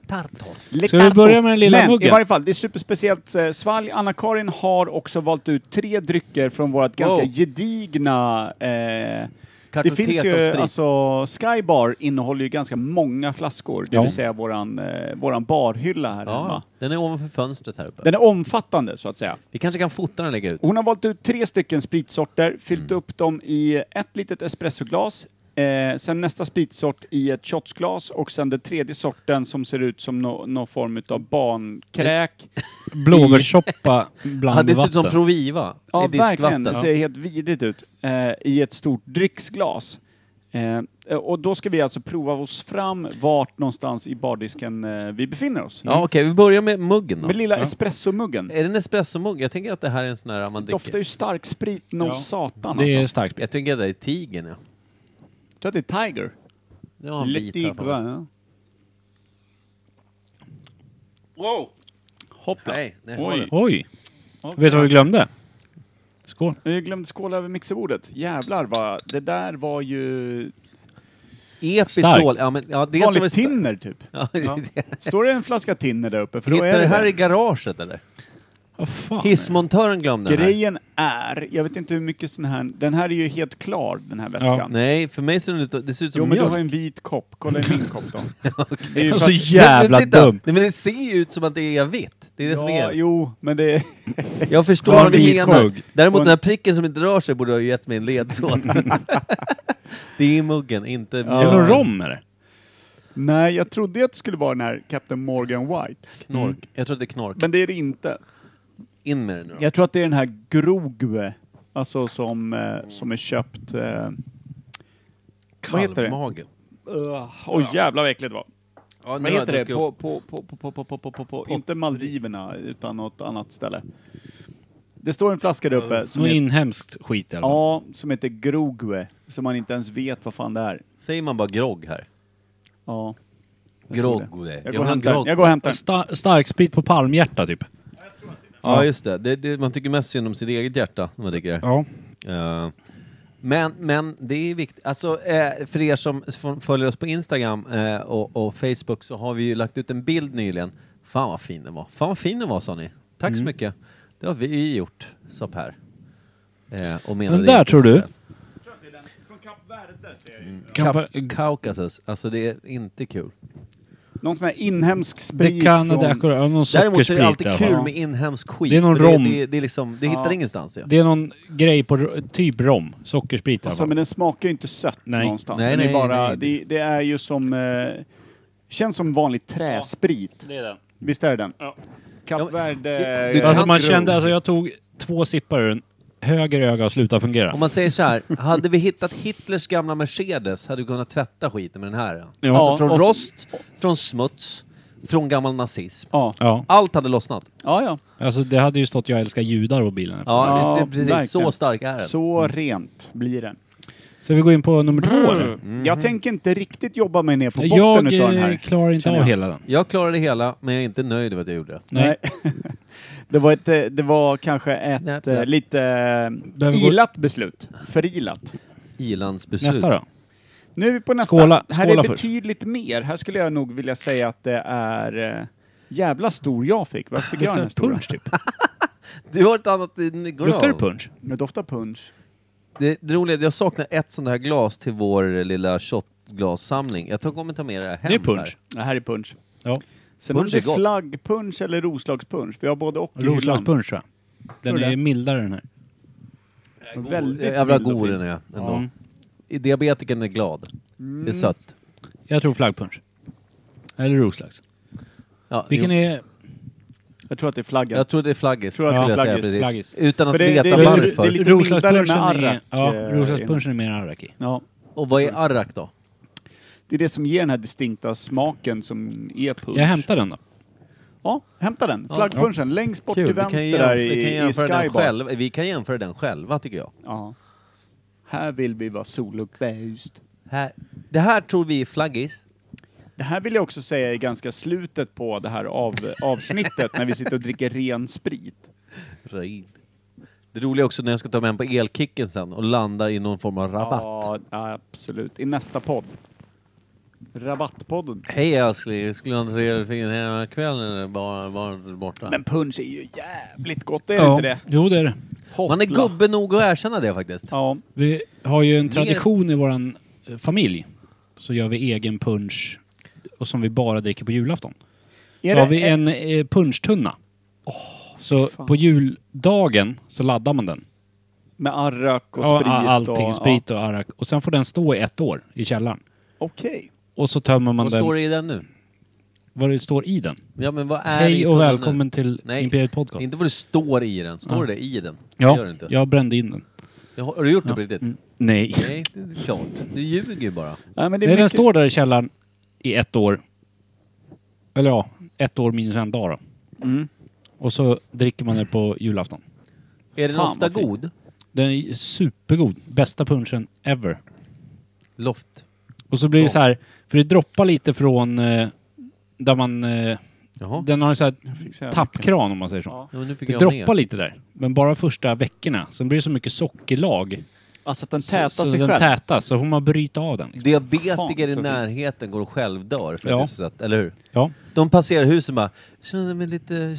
[SPEAKER 3] Le
[SPEAKER 2] Ska vi
[SPEAKER 3] Tartare.
[SPEAKER 2] börja med den lilla
[SPEAKER 3] Men
[SPEAKER 2] muggen?
[SPEAKER 3] i varje fall, det är superspeciellt eh, svalg. Anna-Karin har också valt ut tre drycker från vårt ganska gedigna... Eh, det
[SPEAKER 1] Kartotek
[SPEAKER 3] finns
[SPEAKER 1] av
[SPEAKER 3] ju,
[SPEAKER 1] sprit.
[SPEAKER 3] alltså, Skybar innehåller ju ganska många flaskor, det
[SPEAKER 2] Ja.
[SPEAKER 3] vill säga våran, eh, våran barhylla här
[SPEAKER 1] Ja,
[SPEAKER 3] hemma.
[SPEAKER 1] den är ovanför fönstret här uppe.
[SPEAKER 3] Den Oh, är omfattande, så att säga.
[SPEAKER 1] Vi kanske kan fota den och lägga ut.
[SPEAKER 3] Hon har valt ut tre stycken spritsorter, fyllt upp dem i ett litet espressoglas, eh, sen nästa spritsort i ett shotsglas och sen den tredje sorten som ser ut som nå- någon form av barnkräk.
[SPEAKER 2] Blåbärssoppa
[SPEAKER 1] Ja,
[SPEAKER 2] bland
[SPEAKER 1] det ser ut
[SPEAKER 2] vatten.
[SPEAKER 1] som Proviva
[SPEAKER 3] Ja,
[SPEAKER 1] i diskvatten.
[SPEAKER 3] verkligen. Det ser helt vidrigt ut. Eh, I ett stort drycksglas. Eh, och då ska vi alltså prova oss fram vart någonstans i bardisken eh, vi befinner oss.
[SPEAKER 1] Ja, okej, vi börjar med muggen då.
[SPEAKER 3] Med lilla espressomuggen.
[SPEAKER 1] Är det en espressomugg? Jag tänker att det här är en sån här man
[SPEAKER 3] Doftar
[SPEAKER 1] dricker.
[SPEAKER 3] ju stark sprit, no
[SPEAKER 2] Ja.
[SPEAKER 3] satan
[SPEAKER 2] Det
[SPEAKER 3] alltså.
[SPEAKER 2] är starkt.
[SPEAKER 1] Jag tänker att det är tigern, ja.
[SPEAKER 3] Jag tror att det är Tiger.
[SPEAKER 1] Jag har en
[SPEAKER 3] Le
[SPEAKER 1] bit här på mig.
[SPEAKER 3] Tigre. Wow! Hoppla.
[SPEAKER 1] Nej, nej,
[SPEAKER 3] Oj.
[SPEAKER 1] har den.
[SPEAKER 2] Oj! Vet du vad vi glömde? Skål.
[SPEAKER 3] Jag glömde skåla över mixerbordet. Jävlar vad... Det där var ju
[SPEAKER 1] Episkt
[SPEAKER 2] Starkt.
[SPEAKER 1] stål. Ja, men, ja, det är som är
[SPEAKER 3] vanligt
[SPEAKER 1] sta-
[SPEAKER 3] tinner typ.
[SPEAKER 1] Ja, det-
[SPEAKER 3] Står det en flaska tinner där uppe? För då är
[SPEAKER 1] Hittade
[SPEAKER 3] det
[SPEAKER 1] det här
[SPEAKER 3] det.
[SPEAKER 1] i garaget eller?
[SPEAKER 2] Vad fan.
[SPEAKER 1] Hissmontören glömde den här.
[SPEAKER 3] Grejen är, jag vet inte hur mycket sån här, den här är ju helt klar den här vätskan.
[SPEAKER 1] Nej, för mig ser den ut att- det ser ut som
[SPEAKER 3] jo men du
[SPEAKER 1] mjölk.
[SPEAKER 3] har ju en vit kopp, kolla i min kopp då. Det är
[SPEAKER 2] Jag
[SPEAKER 3] ju
[SPEAKER 2] är
[SPEAKER 3] för att-
[SPEAKER 2] så jävla
[SPEAKER 1] men, men, titta.
[SPEAKER 2] dum.
[SPEAKER 1] Nej, men det ser ju ut som att det är vitt. Det är det som är
[SPEAKER 3] ja, jo, men det är...
[SPEAKER 1] Jag förstår
[SPEAKER 3] Har
[SPEAKER 1] vad du
[SPEAKER 3] vi hit
[SPEAKER 1] menar.
[SPEAKER 3] mugg?
[SPEAKER 1] Däremot
[SPEAKER 3] Och en-
[SPEAKER 1] den här pricken som inte rör sig borde ha gett mig en ledtråd. det är muggen, inte
[SPEAKER 2] Är det
[SPEAKER 1] mjölk.
[SPEAKER 2] någon rom eller?
[SPEAKER 3] Nej, jag trodde att det skulle vara den här Captain Morgan White.
[SPEAKER 1] Knork. Jag tror att det är knork.
[SPEAKER 3] Mm. Men det är det inte.
[SPEAKER 1] In med det nu då.
[SPEAKER 3] Jag tror att det är den här Grogwe, alltså som, eh, som är köpt... Eh, vad heter det?
[SPEAKER 1] Kalvmage.
[SPEAKER 3] Oj jävlar vad äckligt det var.
[SPEAKER 1] Ja, nu
[SPEAKER 3] Vad
[SPEAKER 1] har jag
[SPEAKER 3] heter det?
[SPEAKER 1] druckit
[SPEAKER 3] På,
[SPEAKER 1] upp.
[SPEAKER 3] på, på, på, på, på, på, på, på, på, inte Maldiverna, utan något annat ställe. Det står en flaska där uppe som
[SPEAKER 2] Någon
[SPEAKER 3] heter-
[SPEAKER 2] inhemskt skit eller?
[SPEAKER 3] Ja, som heter Grogwe, som man inte ens vet vad fan det är.
[SPEAKER 1] Säger man bara grogg här?
[SPEAKER 3] Ja. Jag tror det.
[SPEAKER 1] Grogg.
[SPEAKER 3] Jag går och hämtar den. Jag går och hämtar den.
[SPEAKER 2] Sta- starksprit på palmhjärta typ.
[SPEAKER 1] Ja, just det. Det, det. Man tycker mest synd om sitt eget hjärta när man dricker det.
[SPEAKER 4] Ja.
[SPEAKER 1] Eh, men, men det är viktigt. Alltså, eh, för er som s- f- följer oss på Instagram eh, och, och Facebook så har vi ju lagt ut en bild nyligen. Fan vad fin den var. Fan vad fin den var sa ni. Tack
[SPEAKER 3] Mm.
[SPEAKER 1] så mycket. Det har vi ju gjort, sa Per. Eh, och menade
[SPEAKER 2] Den där,
[SPEAKER 1] inte
[SPEAKER 2] tror
[SPEAKER 1] sig
[SPEAKER 2] du?
[SPEAKER 1] själv.
[SPEAKER 2] Kan-
[SPEAKER 1] Kap- Kaukasus. Alltså det är inte kul.
[SPEAKER 3] Någon sån här inhemsk sprit
[SPEAKER 2] Det kan
[SPEAKER 3] från...
[SPEAKER 2] det är någon
[SPEAKER 1] Däremot så är
[SPEAKER 2] sockersprit
[SPEAKER 1] det
[SPEAKER 2] i
[SPEAKER 1] alltid
[SPEAKER 2] alla fall.
[SPEAKER 1] kul med inhemsk skit.
[SPEAKER 2] Det är någon
[SPEAKER 1] för
[SPEAKER 2] rom.
[SPEAKER 1] Det, det, är liksom, det hittar
[SPEAKER 3] Ja.
[SPEAKER 1] ingenstans. Ja.
[SPEAKER 2] Det är någon grej på r- typ rom, sockersprit i alla
[SPEAKER 3] Alltså,
[SPEAKER 2] fall.
[SPEAKER 3] men den smakar ju inte sött
[SPEAKER 2] Nej.
[SPEAKER 3] någonstans.
[SPEAKER 1] Nej,
[SPEAKER 3] den
[SPEAKER 1] nej,
[SPEAKER 3] är bara,
[SPEAKER 1] nej.
[SPEAKER 3] Det, det är ju som... Eh, känns som vanlig träsprit.
[SPEAKER 2] Det är den.
[SPEAKER 3] Visst är det den?
[SPEAKER 2] Ja.
[SPEAKER 3] Kap Verde...
[SPEAKER 1] du
[SPEAKER 3] eh,
[SPEAKER 2] Alltså
[SPEAKER 1] kan
[SPEAKER 2] man
[SPEAKER 1] tro.
[SPEAKER 2] kände, alltså jag tog två sippar ur den. Höger öga och slutade fungera.
[SPEAKER 1] Om man säger så här, hade vi hittat Hitlers gamla Mercedes hade vi kunnat tvätta skiten med den här.
[SPEAKER 2] Ja.
[SPEAKER 1] Alltså
[SPEAKER 3] och-
[SPEAKER 1] från rost, från smuts, från gammal nazism.
[SPEAKER 3] Ja,
[SPEAKER 2] Ja,
[SPEAKER 1] Allt hade lossnat.
[SPEAKER 3] ja. ja.
[SPEAKER 2] alltså det hade ju stått jag älskar judar på bilen. efter.
[SPEAKER 1] Ja,
[SPEAKER 3] Ja,
[SPEAKER 1] det, det, precis.
[SPEAKER 3] verkligen.
[SPEAKER 1] Så stark är den. Mm.
[SPEAKER 3] Så rent blir den.
[SPEAKER 2] Så vi går in på nummer två eller?
[SPEAKER 1] Mm.
[SPEAKER 3] Jag tänker inte riktigt jobba mig ner på botten
[SPEAKER 2] Jag
[SPEAKER 3] utav den
[SPEAKER 2] eh,
[SPEAKER 3] här.
[SPEAKER 2] klarar inte
[SPEAKER 3] känner
[SPEAKER 2] av
[SPEAKER 3] jag.
[SPEAKER 2] hela den.
[SPEAKER 1] Jag klarade det hela, men jag är inte nöjd över att jag gjorde det.
[SPEAKER 2] Nej.
[SPEAKER 3] det, var ett, eh, det var kanske ett
[SPEAKER 1] Nej,
[SPEAKER 3] eh,
[SPEAKER 1] nej.
[SPEAKER 3] lite eh,
[SPEAKER 2] Behöver gå-
[SPEAKER 3] ilat beslut. Förilat.
[SPEAKER 1] Ilandsbeslut.
[SPEAKER 2] Nästa då.
[SPEAKER 3] Nu är vi på nästa.
[SPEAKER 2] Skåla-
[SPEAKER 3] här är
[SPEAKER 2] skåla
[SPEAKER 3] det
[SPEAKER 2] först.
[SPEAKER 3] betydligt mer. Här skulle jag nog vilja säga att det är... Eh, jävla stor jag fick. Varför fick jag den här stora?
[SPEAKER 2] punch typ.
[SPEAKER 1] Du har ett annat i gran.
[SPEAKER 2] Luktar det punch?
[SPEAKER 3] Det doftar punch.
[SPEAKER 1] Det, det roliga är att jag saknar ett sånt här glas till vår lilla shotglassamling. Jag tar- kommer ta med det här hem.
[SPEAKER 2] Det är punch.
[SPEAKER 1] Här.
[SPEAKER 3] Det här är punch.
[SPEAKER 2] Ja.
[SPEAKER 3] Sen
[SPEAKER 1] Punch
[SPEAKER 3] om det
[SPEAKER 1] är
[SPEAKER 3] är
[SPEAKER 1] gott.
[SPEAKER 3] flaggpunch eller roslagspunch. Vi har både och i hyllan.
[SPEAKER 2] Roslagspunsch tror jag. Den
[SPEAKER 3] Tror
[SPEAKER 2] är
[SPEAKER 3] det?
[SPEAKER 2] mildare den här.
[SPEAKER 3] Väldigt
[SPEAKER 1] Jävla
[SPEAKER 3] mild och
[SPEAKER 1] god
[SPEAKER 3] fin.
[SPEAKER 1] den är ändå.
[SPEAKER 2] Ja.
[SPEAKER 1] I Diabetikern är glad.
[SPEAKER 3] Mm.
[SPEAKER 1] Det är sött.
[SPEAKER 2] Jag tror flaggpunsch. Eller Roslags.
[SPEAKER 1] Ja,
[SPEAKER 2] Vilken
[SPEAKER 1] jo.
[SPEAKER 2] är...
[SPEAKER 3] Jag tror att det är flaggan.
[SPEAKER 1] Jag tror det är flaggis.
[SPEAKER 3] Tror att
[SPEAKER 1] skulle
[SPEAKER 3] det är
[SPEAKER 1] jag säga
[SPEAKER 3] flaggis.
[SPEAKER 1] precis.
[SPEAKER 2] Flaggis.
[SPEAKER 1] Utan
[SPEAKER 3] För
[SPEAKER 1] att
[SPEAKER 3] det-
[SPEAKER 1] veta
[SPEAKER 3] det- det-
[SPEAKER 1] varför.
[SPEAKER 3] det är lite
[SPEAKER 2] Roslagspunschen
[SPEAKER 3] mildare med
[SPEAKER 2] är...
[SPEAKER 3] arrak,
[SPEAKER 2] Ja,
[SPEAKER 3] eh,
[SPEAKER 2] Roslagspunschen är mer arrak i.
[SPEAKER 3] Ja.
[SPEAKER 1] Och vad är arrak då?
[SPEAKER 3] Det är det som ger den här distinkta smaken som är punch.
[SPEAKER 2] Jag hämtar den då.
[SPEAKER 3] Ja, hämta den. Flaggpunchen längst bort till
[SPEAKER 1] Vi kan,
[SPEAKER 3] vänster
[SPEAKER 1] jämf-
[SPEAKER 3] där
[SPEAKER 1] vi, kan
[SPEAKER 3] i, i
[SPEAKER 1] jämföra den
[SPEAKER 3] skybar.
[SPEAKER 1] själv. vi kan jämföra den själva tycker jag.
[SPEAKER 3] Ja. Här vill vi vara solokväst.
[SPEAKER 1] Här. Det här tror vi är flaggis.
[SPEAKER 3] Det här vill jag också säga är ganska slutet på det här av, avsnittet när vi sitter och dricker ren sprit.
[SPEAKER 1] Röjd. Det roliga är också när jag ska ta med en på elkicken sen och landar i någon form av rabatt.
[SPEAKER 3] Ja, absolut. I nästa podd. Rabattpodden.
[SPEAKER 1] Hej älskling, jag skulle ha en trevlig fin här kväll när det bara var borta.
[SPEAKER 3] Men punch är ju jävligt gott, är det
[SPEAKER 2] ja.
[SPEAKER 3] inte det?
[SPEAKER 2] Jo, det är det.
[SPEAKER 1] Man är
[SPEAKER 3] Hoppla.
[SPEAKER 1] gubbe nog att erkänna det faktiskt.
[SPEAKER 3] Ja,
[SPEAKER 2] Vi har ju en tradition i våran eh, familj. Så gör vi egen punsch och som vi bara dricker på julafton.
[SPEAKER 3] Är
[SPEAKER 2] så har
[SPEAKER 3] det-
[SPEAKER 2] vi en eh, punschtunna. så
[SPEAKER 3] fan.
[SPEAKER 2] på juldagen så laddar man den.
[SPEAKER 3] med arrak och
[SPEAKER 2] Ja,
[SPEAKER 3] sprit.
[SPEAKER 2] allting.
[SPEAKER 3] och,
[SPEAKER 2] sprit och arrak. Och sen får den stå i ett år i källaren.
[SPEAKER 3] Ja. Okej.
[SPEAKER 2] Och så tömmer man
[SPEAKER 1] Vad
[SPEAKER 2] den,
[SPEAKER 1] står det i den nu?
[SPEAKER 2] vad det står i den.
[SPEAKER 1] Ja men vad är det i
[SPEAKER 2] Hej och
[SPEAKER 1] tunnan
[SPEAKER 2] välkommen
[SPEAKER 1] nu?
[SPEAKER 2] till
[SPEAKER 1] Nej,
[SPEAKER 2] Imperiet Podcast.
[SPEAKER 1] Inte vad det står i den. Står det i den? Det gör det
[SPEAKER 2] ja,
[SPEAKER 1] inte.
[SPEAKER 2] jag brände in den.
[SPEAKER 1] Jag Har har du gjort det på
[SPEAKER 2] Ja.
[SPEAKER 1] riktigt?
[SPEAKER 2] Mm. Nej.
[SPEAKER 1] Nej, det är klart. Du ljuger ju bara.
[SPEAKER 3] Ja, men det
[SPEAKER 2] Nej,
[SPEAKER 3] är
[SPEAKER 2] den
[SPEAKER 3] mycket-
[SPEAKER 2] står där i källaren i ett år. Eller ja, ett år minus en dag då.
[SPEAKER 3] Mm.
[SPEAKER 2] Och så dricker man den på julafton.
[SPEAKER 1] Är den
[SPEAKER 3] Fan,
[SPEAKER 1] ofta
[SPEAKER 3] vad fint.
[SPEAKER 1] god?
[SPEAKER 2] Den är supergod. Bästa punchen ever.
[SPEAKER 1] Loft.
[SPEAKER 2] Och så blir det
[SPEAKER 1] Ja.
[SPEAKER 2] så här, för det droppar lite från eh, där man... Eh,
[SPEAKER 1] Jaha.
[SPEAKER 2] den har en så här
[SPEAKER 3] fick säga
[SPEAKER 2] tappkran om man säger så.
[SPEAKER 3] Ja.
[SPEAKER 1] Ja, men nu fick
[SPEAKER 2] Det
[SPEAKER 1] jag
[SPEAKER 2] droppar
[SPEAKER 1] ner.
[SPEAKER 2] lite där. Men bara första veckorna. Sen blir det så mycket sockerlag.
[SPEAKER 3] Alltså att den
[SPEAKER 2] så-
[SPEAKER 3] tätar
[SPEAKER 2] så
[SPEAKER 3] sig
[SPEAKER 2] den
[SPEAKER 3] själv.
[SPEAKER 2] tätas. Så får man bryta av den. Liksom.
[SPEAKER 1] Diabetiker
[SPEAKER 3] Fan,
[SPEAKER 1] i
[SPEAKER 3] så fint.
[SPEAKER 1] närheten går och självdör för
[SPEAKER 2] Ja.
[SPEAKER 1] att det är så sött, eller hur?
[SPEAKER 2] Ja.
[SPEAKER 1] De passerar huset och bara känner mig lite...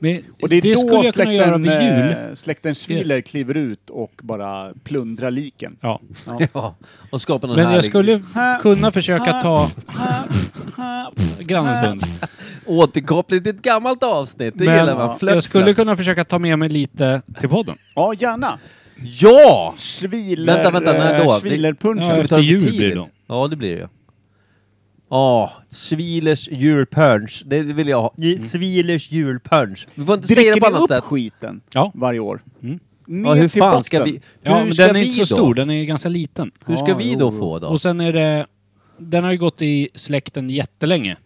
[SPEAKER 2] Men
[SPEAKER 3] och det är då
[SPEAKER 2] skulle jag kunna
[SPEAKER 3] släkten,
[SPEAKER 2] göra vid jul.
[SPEAKER 3] eh, släkten Schwiler kliver ut och bara plundrar liken.
[SPEAKER 2] Ja.
[SPEAKER 1] Ja, och skapar någon
[SPEAKER 2] Men jag
[SPEAKER 1] härlig-
[SPEAKER 2] skulle kunna försöka ta grannens hund.
[SPEAKER 1] Återkoppling till ett gammalt avsnitt, det
[SPEAKER 2] Men
[SPEAKER 1] gillar man. Flört,
[SPEAKER 2] jag skulle
[SPEAKER 1] flört.
[SPEAKER 2] kunna försöka ta med mig lite till podden.
[SPEAKER 3] Ja, gärna.
[SPEAKER 1] Ja!
[SPEAKER 3] Schwiler,
[SPEAKER 1] Vänta, vänta, när
[SPEAKER 3] eh,
[SPEAKER 1] då?
[SPEAKER 3] Schwilerpunsch.
[SPEAKER 2] Ja,
[SPEAKER 1] Ska vi
[SPEAKER 2] efter
[SPEAKER 1] ta det
[SPEAKER 2] jul
[SPEAKER 1] tidigt?
[SPEAKER 2] blir det då.
[SPEAKER 1] Ja, det blir det ju. Ja, Svilers julpunch. Det vill jag ha. Svilers julpunch. Vi får inte säga
[SPEAKER 3] Dricker
[SPEAKER 1] det på
[SPEAKER 3] ni
[SPEAKER 1] annat
[SPEAKER 3] upp
[SPEAKER 1] sätt.
[SPEAKER 3] skiten
[SPEAKER 2] Ja.
[SPEAKER 3] varje år?
[SPEAKER 2] Mm.
[SPEAKER 1] Ja,
[SPEAKER 3] Ner
[SPEAKER 1] hur
[SPEAKER 3] till
[SPEAKER 1] fan ska
[SPEAKER 3] botten.
[SPEAKER 1] vi...
[SPEAKER 2] Ja,
[SPEAKER 1] hur
[SPEAKER 2] men
[SPEAKER 1] ska
[SPEAKER 2] den är
[SPEAKER 1] vi
[SPEAKER 2] inte så
[SPEAKER 1] då?
[SPEAKER 2] stor, den är ganska liten.
[SPEAKER 1] Hur ska
[SPEAKER 3] Ja,
[SPEAKER 1] vi
[SPEAKER 3] jo,
[SPEAKER 1] då
[SPEAKER 3] jo.
[SPEAKER 1] få då?
[SPEAKER 2] Och sen är det... Den har ju gått i släkten jättelänge.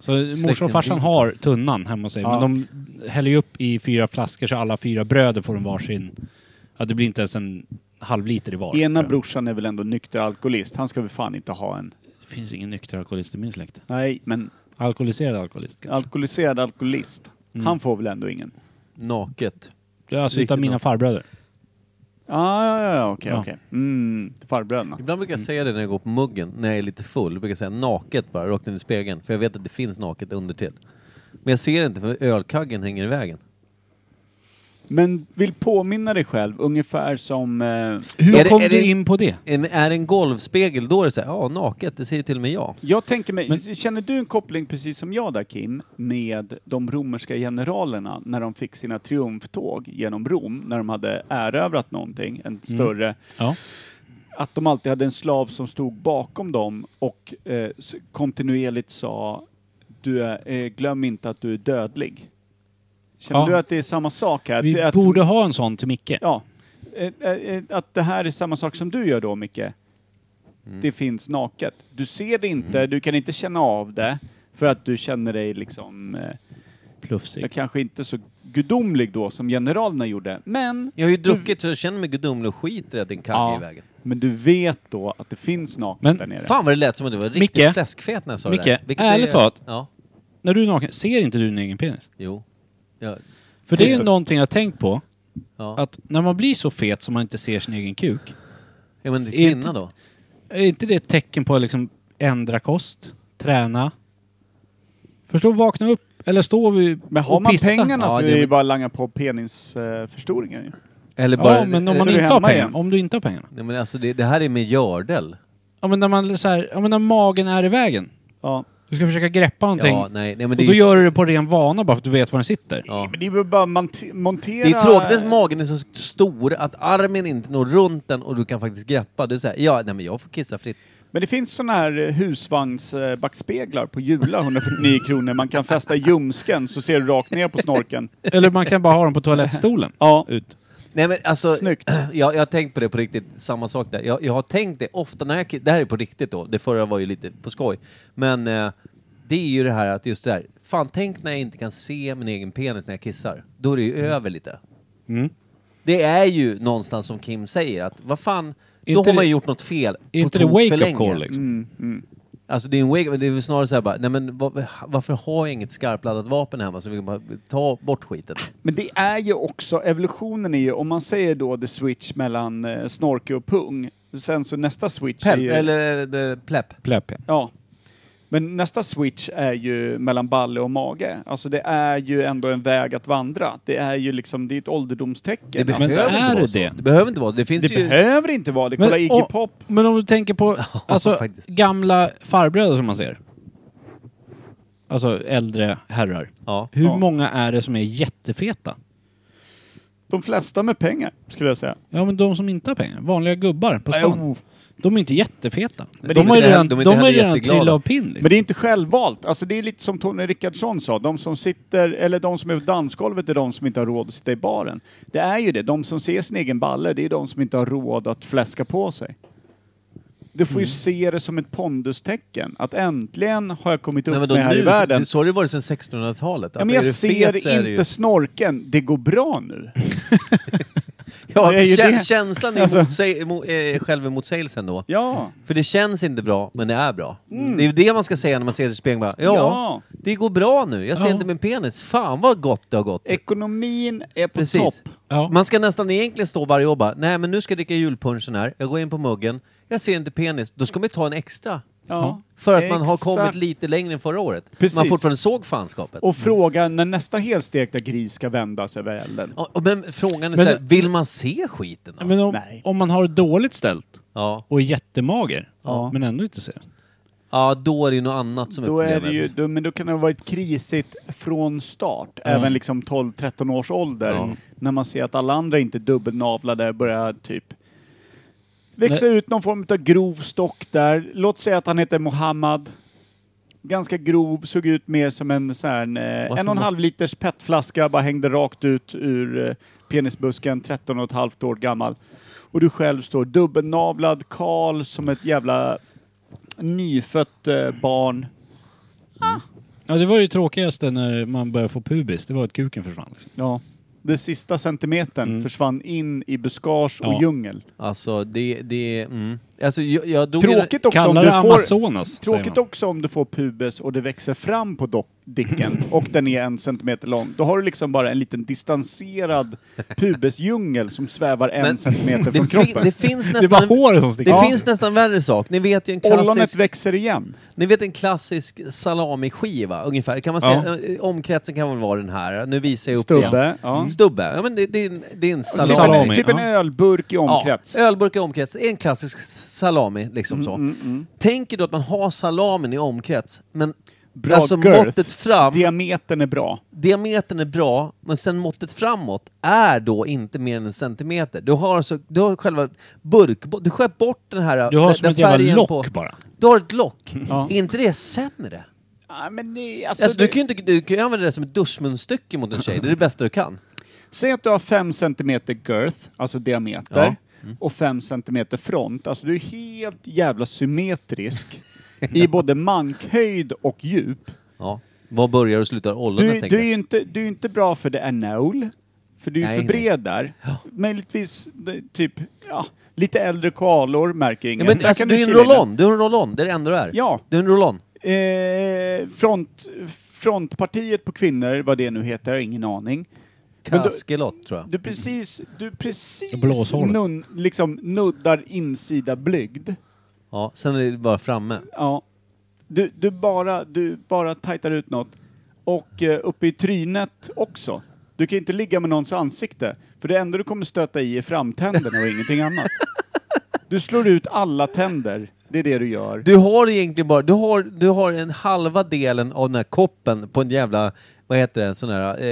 [SPEAKER 2] Så morsan och farsan
[SPEAKER 1] Släkten.
[SPEAKER 2] har tunnan hemma hos sig.
[SPEAKER 3] Ja.
[SPEAKER 2] Men de häller ju upp i fyra flaskor så alla fyra bröder får en varsin. Ja, det blir inte ens en halv liter i var.
[SPEAKER 3] Ena
[SPEAKER 2] tror jag.
[SPEAKER 3] brorsan är väl ändå nykter alkoholist. Han ska väl fan inte ha en...
[SPEAKER 2] Det finns ingen nykter alkoholist i min släkt.
[SPEAKER 3] Nej, men
[SPEAKER 2] Alkoholiserad alkoholist kanske.
[SPEAKER 3] alkoholiserad alkoholist.
[SPEAKER 1] Mm.
[SPEAKER 3] Han får väl ändå ingen?
[SPEAKER 1] Naket.
[SPEAKER 2] Det är alltså utav
[SPEAKER 1] Riktigt
[SPEAKER 2] mina
[SPEAKER 1] nog.
[SPEAKER 2] farbröder.
[SPEAKER 3] Ah, ja, ja, ja, okej,
[SPEAKER 2] Ja.
[SPEAKER 3] okej. Mm, farbröderna.
[SPEAKER 1] Ibland brukar jag säga det när jag går på muggen, när jag är lite full. Jag brukar säga naket bara, rakt in i spegeln. För jag vet att det finns naket under till. Men jag ser det inte för ölkaggen hänger i vägen.
[SPEAKER 3] Men vill påminna dig själv, ungefär som... Eh,
[SPEAKER 2] Hur
[SPEAKER 1] Är det-
[SPEAKER 2] kom
[SPEAKER 1] är
[SPEAKER 2] du
[SPEAKER 1] det-
[SPEAKER 2] in på det?
[SPEAKER 1] En, är det en golvspegel, då är det så här, ja naket, det ser ju till och med jag.
[SPEAKER 3] jag tänker mig, känner du en koppling precis som jag där Kim, med de romerska generalerna när de fick sina triumftåg genom Rom, när de hade erövrat någonting,
[SPEAKER 2] Mm.
[SPEAKER 3] en större...
[SPEAKER 2] Ja.
[SPEAKER 3] Att de alltid hade en slav som stod bakom dem och eh, s- kontinuerligt sa du är, eh, glöm inte att du är dödlig. Känner
[SPEAKER 2] Ja.
[SPEAKER 3] du att det är samma sak här?
[SPEAKER 2] Vi
[SPEAKER 3] att,
[SPEAKER 2] borde ha en sån till Micke.
[SPEAKER 3] Ja. Eh, eh, eh, Att det här är samma sak som du gör då, Micke. Det finns naket. Du ser det inte, du kan inte känna av det, för att du känner dig liksom... Eh,
[SPEAKER 2] Plufsig.
[SPEAKER 3] jag kanske inte så gudomlig då som generalerna gjorde, men...
[SPEAKER 1] Jag har ju druckit så jag känner mig gudomlig och skiter i att det är en kagge
[SPEAKER 3] Ja.
[SPEAKER 1] i vägen.
[SPEAKER 3] Men du vet då att det finns naket
[SPEAKER 2] Men
[SPEAKER 3] där nere.
[SPEAKER 1] Fan vad det lät som att du var riktigt
[SPEAKER 2] Micke?
[SPEAKER 1] fläskfet när jag sa
[SPEAKER 2] Micke,
[SPEAKER 1] det där. Vilket
[SPEAKER 2] ärligt talat.
[SPEAKER 1] Ja,
[SPEAKER 2] När du är naken, ser inte du din egen penis?
[SPEAKER 1] jo. Ja,
[SPEAKER 2] För det är ju
[SPEAKER 3] Typ.
[SPEAKER 2] någonting jag har tänkt på.
[SPEAKER 1] ja.
[SPEAKER 2] Att när man blir så fet som man inte ser sin egen kuk.
[SPEAKER 1] ja men
[SPEAKER 2] är
[SPEAKER 1] kvinna
[SPEAKER 2] inte-
[SPEAKER 1] då?
[SPEAKER 2] Är inte det ett tecken på att liksom ändra kost? Träna? Förstå, vakna upp eller stå vid
[SPEAKER 3] Men har
[SPEAKER 2] och
[SPEAKER 3] man
[SPEAKER 2] pissa.
[SPEAKER 3] pengarna
[SPEAKER 1] Ja,
[SPEAKER 3] så
[SPEAKER 1] det-
[SPEAKER 3] är det ju bara att langa på penisförstoringar ju.
[SPEAKER 1] Eller bara...
[SPEAKER 2] Ja, men om
[SPEAKER 1] eller-
[SPEAKER 2] man
[SPEAKER 3] så är du
[SPEAKER 2] inte har
[SPEAKER 3] hemma
[SPEAKER 2] pengarna.
[SPEAKER 3] igen.
[SPEAKER 2] Om du inte har pengarna.
[SPEAKER 1] Nej men alltså det, det här är med gördel.
[SPEAKER 2] Ja men när man så här, ja men när magen är i vägen.
[SPEAKER 3] Ja.
[SPEAKER 2] Du ska försöka greppa någonting.
[SPEAKER 1] Ja, nej, nej men
[SPEAKER 2] och
[SPEAKER 1] det
[SPEAKER 2] då
[SPEAKER 1] är ju-
[SPEAKER 2] gör du det på ren vana bara för att du vet var den sitter.
[SPEAKER 1] Ja.
[SPEAKER 3] Men det är väl bara att monte- montera...
[SPEAKER 1] Det är tråkigt att magen är så stor att armen inte når runt den och du kan faktiskt greppa. Du säger ja, nej men jag får kissa fritt.
[SPEAKER 3] Men det finns sådana här eh, husvagnsbackspeglar på Jula, 149 kronor. Man kan fästa i ljumsken så ser du rakt ner på snorken.
[SPEAKER 2] Eller man kan bara ha den på toalettstolen.
[SPEAKER 3] Ja.
[SPEAKER 2] Ut.
[SPEAKER 1] Nej men alltså,
[SPEAKER 3] Snyggt.
[SPEAKER 1] Jag, jag har tänkt på det på riktigt, samma sak där. Jag, jag har tänkt det ofta när jag, ki- det här är på riktigt då, det förra var ju lite på skoj. Men eh, det är ju det här att just det här, fan tänk när jag inte kan se min egen penis när jag kissar. Då är det ju över lite.
[SPEAKER 2] Mm.
[SPEAKER 1] Det är ju någonstans som Kim säger att vad fan, då
[SPEAKER 2] Inte
[SPEAKER 1] har man
[SPEAKER 2] det-
[SPEAKER 1] ju gjort något fel.
[SPEAKER 2] Är
[SPEAKER 1] på
[SPEAKER 2] inte det
[SPEAKER 1] tok för
[SPEAKER 2] wake-up
[SPEAKER 1] länge.
[SPEAKER 2] call liksom?
[SPEAKER 3] Mm, mm.
[SPEAKER 1] Alltså det är en wake men det är väl snarare såhär bara, nej men va- varför har jag inget skarpladdat vapen hemma så vi kan bara ta bort skiten?
[SPEAKER 3] Men det är ju också, evolutionen är ju, om man säger då the switch mellan eh, snorke och pung, sen så nästa switch är
[SPEAKER 1] Pelp,
[SPEAKER 3] ju...
[SPEAKER 1] eller eh, plepp.
[SPEAKER 2] Pläpp, ja.
[SPEAKER 3] Ja. Men nästa switch är ju mellan balle och mage. Alltså det är ju ändå en väg att vandra. Det är ju liksom, det är ett ålderdomstecken.
[SPEAKER 1] Det
[SPEAKER 2] Men så
[SPEAKER 1] behöver inte
[SPEAKER 2] är
[SPEAKER 1] vara
[SPEAKER 2] det
[SPEAKER 1] så.
[SPEAKER 2] det.
[SPEAKER 1] Det behöver inte vara så. Det finns
[SPEAKER 3] Det
[SPEAKER 1] ju...
[SPEAKER 3] behöver inte vara det. Kolla
[SPEAKER 2] Men,
[SPEAKER 3] Iggy
[SPEAKER 2] och-
[SPEAKER 3] Pop.
[SPEAKER 2] Men om du tänker på alltså,
[SPEAKER 1] faktiskt.
[SPEAKER 2] gamla farbröder som man ser. Alltså äldre herrar.
[SPEAKER 1] Ja.
[SPEAKER 2] Hur
[SPEAKER 3] Ja.
[SPEAKER 2] många är det som är jättefeta?
[SPEAKER 3] De flesta med pengar, skulle jag säga.
[SPEAKER 2] Ja men de som inte har pengar. Vanliga gubbar på stan.
[SPEAKER 3] Jo.
[SPEAKER 2] De är inte jättefeta.
[SPEAKER 1] Men
[SPEAKER 2] de
[SPEAKER 1] inte
[SPEAKER 2] har ju
[SPEAKER 1] heller-
[SPEAKER 2] redan,
[SPEAKER 1] de är
[SPEAKER 2] de
[SPEAKER 1] inte
[SPEAKER 2] har ju
[SPEAKER 1] heller
[SPEAKER 2] redan
[SPEAKER 1] jätteglada.
[SPEAKER 2] trillat av pinn. Liksom.
[SPEAKER 3] Men det är inte självvalt. Alltså det är lite som Tony Rickardsson sa, de som sitter, eller de som är på dansgolvet är de som inte har råd att sitta i baren. Det är ju det, de som ser sin egen balle, det är de som inte har råd att fläska på sig. Du
[SPEAKER 1] Mm.
[SPEAKER 3] får ju se det som ett pondustecken, att äntligen har jag kommit upp
[SPEAKER 1] Nej, men då,
[SPEAKER 3] med här i
[SPEAKER 1] nu,
[SPEAKER 3] världen.
[SPEAKER 1] så, så har det varit sedan 1600-talet.
[SPEAKER 3] ja, men jag ser
[SPEAKER 1] så är
[SPEAKER 3] inte
[SPEAKER 1] det ju-
[SPEAKER 3] snorken, det går bra nu.
[SPEAKER 1] Ja,
[SPEAKER 3] det är ju
[SPEAKER 1] kä-
[SPEAKER 3] det.
[SPEAKER 1] Känslan är
[SPEAKER 3] Alltså.
[SPEAKER 1] motsäg- mo- eh, självemotsägelsen då.
[SPEAKER 3] Ja. Mm.
[SPEAKER 1] För det känns inte bra, men det är bra. Det är ju det man ska säga när man ser sig i spegeln. Bara, ja,
[SPEAKER 3] Ja.
[SPEAKER 1] det går bra nu. Jag ser
[SPEAKER 2] Ja.
[SPEAKER 1] inte min penis. Fan vad gott det har gått.
[SPEAKER 3] Ekonomin är på
[SPEAKER 1] Precis.
[SPEAKER 3] topp.
[SPEAKER 2] Ja.
[SPEAKER 1] Man ska nästan egentligen stå varje år bara, nej men nu ska jag dricka julpunschen här, jag går in på muggen, jag ser inte penis, då ska man ju ta en extra.
[SPEAKER 3] Ja.
[SPEAKER 1] För att man har
[SPEAKER 3] Exakt.
[SPEAKER 1] kommit lite längre än förra året.
[SPEAKER 3] Precis.
[SPEAKER 1] Man fortfarande såg fanskapet.
[SPEAKER 3] Och fråga när nästa helstekta gris ska vändas över elden.
[SPEAKER 1] Ja, och men frågan är
[SPEAKER 2] Men-
[SPEAKER 1] så här, vill man se skiten då?
[SPEAKER 2] Men om,
[SPEAKER 3] Nej.
[SPEAKER 2] om man har det dåligt ställt
[SPEAKER 1] Ja.
[SPEAKER 2] och är jättemager,
[SPEAKER 3] Ja.
[SPEAKER 2] men ändå inte ser.
[SPEAKER 1] ja, då är det ju något annat som
[SPEAKER 3] Då
[SPEAKER 1] är
[SPEAKER 3] är
[SPEAKER 1] problemet.
[SPEAKER 3] det ju, då, men då kan det ha varit krisigt från start, även liksom 12-13 års ålder.
[SPEAKER 1] Ja.
[SPEAKER 3] När man ser att alla andra inte är dubbelnavlade börjar typ växa ut någon form av grov stock där. Låt säga att han heter Mohammed. Ganska grov, såg ut mer som en så här, en, eh, en och en
[SPEAKER 1] Mo-
[SPEAKER 3] halv liters petflaska, bara hängde rakt ut ur eh, penisbusken, 13 och ett halvt år gammal. Och du själv står dubbelnavlad, kal som ett jävla nyfött eh, barn.
[SPEAKER 2] Ja, det var ju tråkigaste när man började få pubis. Det var att kuken försvann. Liksom.
[SPEAKER 3] Ja. Den sista centimetern
[SPEAKER 2] Mm.
[SPEAKER 3] försvann in i buskage och
[SPEAKER 2] Ja.
[SPEAKER 3] djungel.
[SPEAKER 1] Alltså, det... det mm. alltså, jag, jag drog En...
[SPEAKER 3] Tråkigt också, om
[SPEAKER 2] Kallar
[SPEAKER 3] du
[SPEAKER 2] det
[SPEAKER 3] får,
[SPEAKER 2] Amazonas,
[SPEAKER 3] tråkigt
[SPEAKER 2] säger man.
[SPEAKER 3] också om du får pubes och det växer fram på dopp, dicken och den är en centimeter lång. Då har du liksom bara en liten distanserad pubesdjungel som svävar en
[SPEAKER 1] Men-
[SPEAKER 3] centimeter
[SPEAKER 1] Det,
[SPEAKER 3] från
[SPEAKER 1] fin-
[SPEAKER 3] kroppen.
[SPEAKER 1] det finns
[SPEAKER 2] Det var
[SPEAKER 1] nästan...
[SPEAKER 2] håret som
[SPEAKER 1] Det
[SPEAKER 2] sticker ut.
[SPEAKER 1] finns nästan värre sak. Ni vet ju en klassisk...
[SPEAKER 3] Ollonet växer igen.
[SPEAKER 1] Ni vet en klassisk salamiskiva ungefär, kan man säga, eh, omkretsen kan väl vara den här, nu visar jag upp igen.
[SPEAKER 3] Stubbe. Ja.
[SPEAKER 1] Stubbe. Ja men det, det, är en, det är en salami.
[SPEAKER 3] Typ, en,
[SPEAKER 2] Salami,
[SPEAKER 3] typ en
[SPEAKER 2] ja.
[SPEAKER 3] ölburk i omkrets. Mm,
[SPEAKER 1] Ja, ölburk i omkrets, det är en klassisk salami liksom så. Tänk er då att man har salamin i omkrets, men
[SPEAKER 3] Bra
[SPEAKER 1] alltså
[SPEAKER 3] girth.
[SPEAKER 1] måttet fram,
[SPEAKER 3] Diametern är bra.
[SPEAKER 1] diametern är bra, men sen måttet framåt är då inte mer än en centimeter. Du har alltså, du har själva burk, du skär bort den här
[SPEAKER 2] Du har
[SPEAKER 1] den-
[SPEAKER 2] som
[SPEAKER 1] den
[SPEAKER 2] ett jävla
[SPEAKER 1] färgen
[SPEAKER 2] lock Mm.
[SPEAKER 1] på-
[SPEAKER 2] bara.
[SPEAKER 1] Du har ett lock.
[SPEAKER 3] Ja.
[SPEAKER 1] Är inte det sämre?
[SPEAKER 3] Ja, men det, alltså,
[SPEAKER 1] Alltså, du
[SPEAKER 3] det-
[SPEAKER 1] kan ju inte, du kan ju använda det som ett duschmunstycke mot en tjej, det är det bästa du kan.
[SPEAKER 3] Säg att du har 5 centimeter girth, alltså diameter,
[SPEAKER 1] Mm.
[SPEAKER 3] och 5 centimeter front. Alltså du är helt jävla symmetrisk i både mankhöjd och djup.
[SPEAKER 1] Ja. Var börjar och slutar ollonet
[SPEAKER 3] Du,
[SPEAKER 1] tänker
[SPEAKER 3] du är
[SPEAKER 1] jag.
[SPEAKER 3] ju inte, du är inte bra för det anal, för du är
[SPEAKER 1] Nej,
[SPEAKER 3] för
[SPEAKER 1] nej.
[SPEAKER 3] bred där. Möjligtvis det- typ, ja, lite äldre koalor märker
[SPEAKER 1] Ja,
[SPEAKER 3] ingen.
[SPEAKER 1] men,
[SPEAKER 3] Där
[SPEAKER 1] alltså,
[SPEAKER 3] kan
[SPEAKER 1] du är en
[SPEAKER 3] kila in den.
[SPEAKER 1] roll-on, du är en roll-on, det är det enda du är.
[SPEAKER 3] Ja.
[SPEAKER 1] Du är en roll-on.
[SPEAKER 3] Eh, front, frontpartiet på kvinnor, vad det nu heter, jag har ingen aning. Men då-
[SPEAKER 1] Kaskelot tror jag.
[SPEAKER 3] Du precis, du precis
[SPEAKER 2] Blåshålet.
[SPEAKER 3] nun, liksom nuddar insida blygd.
[SPEAKER 1] Ja, sen är det bara framme.
[SPEAKER 3] Ja. Du, du, bara, du bara tajtar ut något. Och eh, uppe i trynet också. Du kan ju inte ligga med någons ansikte. För det enda du kommer stöta i är framtänderna och ingenting annat. Du slår ut alla tänder. Det är det du gör.
[SPEAKER 1] Du har egentligen bara, du har, du har en halva delen av den här koppen på en jävla, vad heter det, en sån här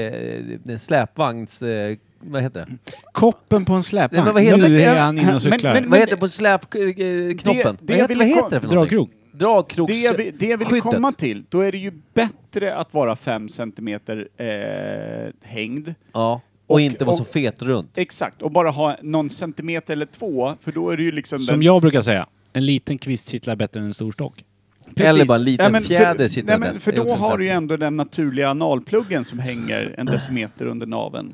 [SPEAKER 1] eh, släpvagns, eh, vad heter
[SPEAKER 3] Mm.
[SPEAKER 1] det?
[SPEAKER 2] Koppen på en släpvagn.
[SPEAKER 1] Nej, men vad heter-
[SPEAKER 2] nu är
[SPEAKER 3] men-
[SPEAKER 2] han inne och cyklar.
[SPEAKER 3] men-
[SPEAKER 1] vad heter det på släpknoppen?
[SPEAKER 3] det
[SPEAKER 1] Vad
[SPEAKER 3] jag
[SPEAKER 1] heter,
[SPEAKER 3] ville
[SPEAKER 1] vad heter
[SPEAKER 3] kom-
[SPEAKER 1] det för
[SPEAKER 2] Dragkrok.
[SPEAKER 1] Dragkroks...
[SPEAKER 3] det jag, vi- det jag ville
[SPEAKER 1] skyddet.
[SPEAKER 3] komma till, då är det ju bättre att vara 5 centimeter eh, hängd.
[SPEAKER 1] Ja, och,
[SPEAKER 3] Och-
[SPEAKER 1] inte vara så
[SPEAKER 3] och- Eh,
[SPEAKER 1] fet runt.
[SPEAKER 3] Exakt, och bara ha någon centimeter eller två, för då är det ju liksom
[SPEAKER 2] Som
[SPEAKER 3] den-
[SPEAKER 2] jag brukar säga, en liten kvist kittlar bättre än en stor stock.
[SPEAKER 3] Precis.
[SPEAKER 1] Eller bara en liten
[SPEAKER 3] Nej, men för-
[SPEAKER 1] fjäder sitter
[SPEAKER 3] nej, men
[SPEAKER 1] bäst.
[SPEAKER 3] För
[SPEAKER 1] Det är
[SPEAKER 3] då
[SPEAKER 1] också
[SPEAKER 3] har du ju
[SPEAKER 1] fantastiskt.
[SPEAKER 3] ändå den naturliga analpluggen som hänger en decimeter under naveln.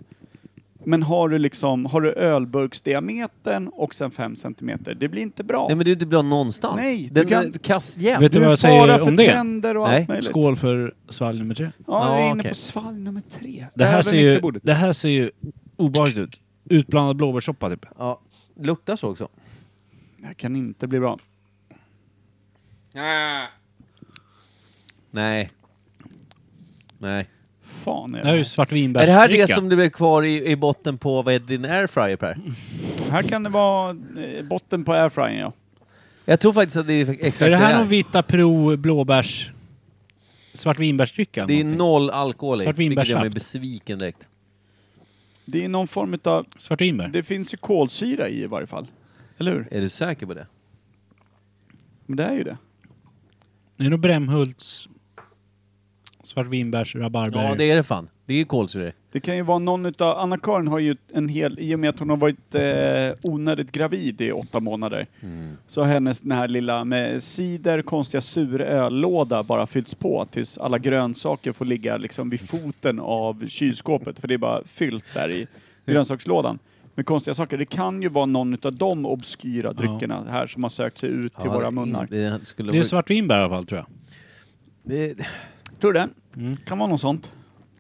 [SPEAKER 3] Men har du liksom, har du ölburksdiametern och sen 5 centimeter, det blir inte bra.
[SPEAKER 1] Nej men du är inte bra någonstans.
[SPEAKER 3] Nej, du
[SPEAKER 1] Den eh,
[SPEAKER 3] kan-
[SPEAKER 1] är kassjävn.
[SPEAKER 2] Vet du
[SPEAKER 3] är
[SPEAKER 2] vad jag säger
[SPEAKER 3] fara för
[SPEAKER 2] om det?
[SPEAKER 3] tänder och
[SPEAKER 1] Nej.
[SPEAKER 3] allt möjligt.
[SPEAKER 2] Skål för svalg nummer tre.
[SPEAKER 3] Ja, vi är
[SPEAKER 1] Ja,
[SPEAKER 3] inne
[SPEAKER 1] okej.
[SPEAKER 3] på svalg nummer tre.
[SPEAKER 2] Det här,
[SPEAKER 3] Över
[SPEAKER 2] ser ju,
[SPEAKER 3] mixerbordet.
[SPEAKER 2] det här ser ju obehagligt ut. Utblandad blåbärssoppa typ.
[SPEAKER 1] Ja, luktar så också.
[SPEAKER 3] Det här kan inte bli bra.
[SPEAKER 1] Nej. Nej.
[SPEAKER 3] Fan är
[SPEAKER 2] Det här är ju
[SPEAKER 3] det.
[SPEAKER 2] svartvinbärsdricka.
[SPEAKER 1] Är det här det som det blev kvar i, i botten på, vad heter din airfryer Per?
[SPEAKER 3] Här, här kan det vara eh, botten på airfryern ja.
[SPEAKER 1] Jag tror faktiskt att det är exakt
[SPEAKER 2] Är det här
[SPEAKER 1] är.
[SPEAKER 2] någon Vita Pro blåbärs... Svartvinbärsdricka?
[SPEAKER 1] Det är
[SPEAKER 2] någonting?
[SPEAKER 1] noll alkohol i,
[SPEAKER 2] Svart
[SPEAKER 1] vilket gör mig
[SPEAKER 2] vinbärssaft.
[SPEAKER 1] besviken direkt.
[SPEAKER 3] Det är någon form utav,
[SPEAKER 2] Svartvinbär?
[SPEAKER 3] det finns ju kolsyra i i varje fall. Eller hur?
[SPEAKER 1] Är du säker på det?
[SPEAKER 3] Men det är ju det.
[SPEAKER 2] Det är nog Brämhults svartvinbärs rabarber.
[SPEAKER 1] Ja, det är det fan. Det är kolsyra
[SPEAKER 3] Det kan ju vara någon utav, Anna-Karin har ju en hel, i och med att hon har varit eh, onödigt gravid i åtta månader,
[SPEAKER 1] Mm.
[SPEAKER 3] så har hennes den här lilla med cider, konstiga suröllåda bara fyllts på tills alla grönsaker får ligga liksom vid foten av kylskåpet, för det är bara fyllt där i grönsakslådan. Med konstiga saker. Det kan ju vara någon utav de obskyra dryckerna här som har sökt sig ut till
[SPEAKER 1] Ja,
[SPEAKER 3] våra
[SPEAKER 1] det-
[SPEAKER 3] munnar.
[SPEAKER 1] Det skulle
[SPEAKER 2] Det är
[SPEAKER 1] vara...
[SPEAKER 2] svartvinbär i alla fall tror jag.
[SPEAKER 1] det
[SPEAKER 3] Tror du det?
[SPEAKER 1] Mm.
[SPEAKER 3] Kan vara något sånt.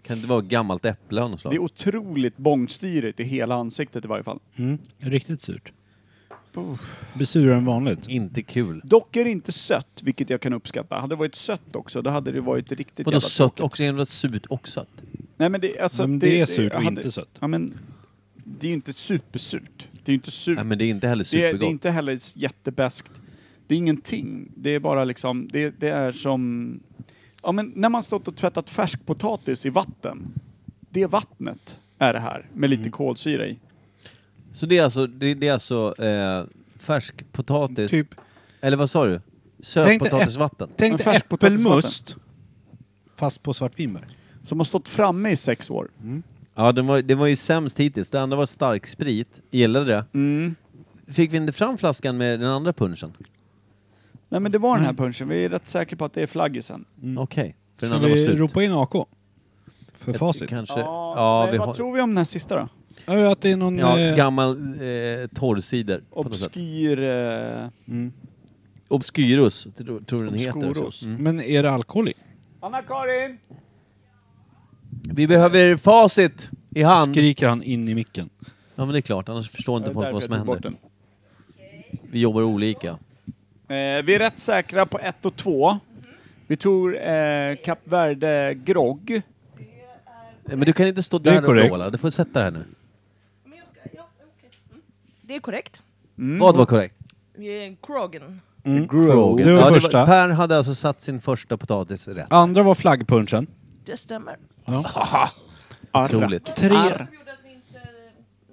[SPEAKER 1] kan inte vara gammalt äpple av något slag.
[SPEAKER 3] Det är otroligt bångstyrigt i hela ansiktet i varje fall.
[SPEAKER 2] Mm. Riktigt surt. Blir surare än vanligt.
[SPEAKER 1] Inte kul.
[SPEAKER 3] Dock är det inte sött, vilket jag kan uppskatta. Hade det varit sött också, då hade det varit riktigt
[SPEAKER 1] Vadå
[SPEAKER 3] jävla
[SPEAKER 1] sött
[SPEAKER 3] tråkigt.
[SPEAKER 1] också? Är det något surt och sött?
[SPEAKER 3] Nej men det, alltså,
[SPEAKER 4] Men det är surt och inte sött.
[SPEAKER 3] Ja men, det är ju inte supersurt. Det är ju inte surt.
[SPEAKER 1] Nej men det är inte heller
[SPEAKER 3] det, är,
[SPEAKER 1] supergott.
[SPEAKER 3] det är inte heller jättebäskt. Det är ingenting. Det är bara liksom, det, det är som... Ja men när man stått och tvättat färskpotatis i vatten. Det vattnet är det här, med
[SPEAKER 1] Mm.
[SPEAKER 3] lite kolsyra i.
[SPEAKER 1] Så det är alltså, det, det är alltså eh, färskpotatis...
[SPEAKER 4] Typ.
[SPEAKER 1] Eller vad sa du?
[SPEAKER 4] Tänk dig
[SPEAKER 1] Sötpotatisvatten?
[SPEAKER 4] Tänk
[SPEAKER 3] Men
[SPEAKER 4] dig
[SPEAKER 3] färskpotatisvatten.
[SPEAKER 4] äppelmust fast på svartvinbär.
[SPEAKER 3] Som har stått framme i sex år.
[SPEAKER 1] Ja, den var, det var ju sämst hittills. Det andra var stark sprit. Gillade det.
[SPEAKER 3] Mm.
[SPEAKER 1] Fick vi inte fram flaskan med den andra punchen?
[SPEAKER 3] Nej men det var den
[SPEAKER 1] Mm.
[SPEAKER 3] här punchen. Vi är rätt säkra på att det är flaggisen.
[SPEAKER 1] Okej.
[SPEAKER 4] Mm. Ska
[SPEAKER 1] För den andra var
[SPEAKER 4] vi
[SPEAKER 1] slut.
[SPEAKER 4] ropa in AK? För
[SPEAKER 1] Ett-
[SPEAKER 4] facit?
[SPEAKER 1] Kanske. Ja,
[SPEAKER 3] nej,
[SPEAKER 1] vi
[SPEAKER 3] vad
[SPEAKER 1] har...
[SPEAKER 3] tror vi om den här sista då?
[SPEAKER 4] Ja, att det är någon...
[SPEAKER 1] Ja,
[SPEAKER 4] eh,
[SPEAKER 1] gammal eh, torrsider på något sätt.
[SPEAKER 3] Obskyr... Eh...
[SPEAKER 1] Obscurus, tror, tror den heter.
[SPEAKER 3] Obscurus.
[SPEAKER 1] också. Mm.
[SPEAKER 4] men är det alkohol i?
[SPEAKER 3] Anna-Karin!
[SPEAKER 1] Vi behöver facit i hand.
[SPEAKER 4] Skriker han in i micken.
[SPEAKER 1] Ja men det är klart, annars förstår inte folk vad som händer.
[SPEAKER 3] den.
[SPEAKER 1] Vi jobbar olika.
[SPEAKER 3] Eh, vi är rätt säkra på 1 och 2. Vi tror eh, Kap Verde Grogg.
[SPEAKER 1] Eh, Men du kan inte stå
[SPEAKER 4] är
[SPEAKER 1] där och
[SPEAKER 4] korrekt.
[SPEAKER 1] vråla, du får sätta det här nu.
[SPEAKER 8] Men jag ska, ja, okej. Mm. Det är korrekt.
[SPEAKER 3] Mm.
[SPEAKER 1] Vad var korrekt?
[SPEAKER 8] Eh, Krogen.
[SPEAKER 4] Mm.
[SPEAKER 1] Kroger.
[SPEAKER 4] Det var
[SPEAKER 1] Ja,
[SPEAKER 4] första.
[SPEAKER 1] per hade alltså satt sin första potatis rätt.
[SPEAKER 4] Andra var flaggpunchen.
[SPEAKER 8] Det stämmer.
[SPEAKER 1] Otroligt.
[SPEAKER 4] Tre,
[SPEAKER 8] Som gjorde att, vi eh, inte,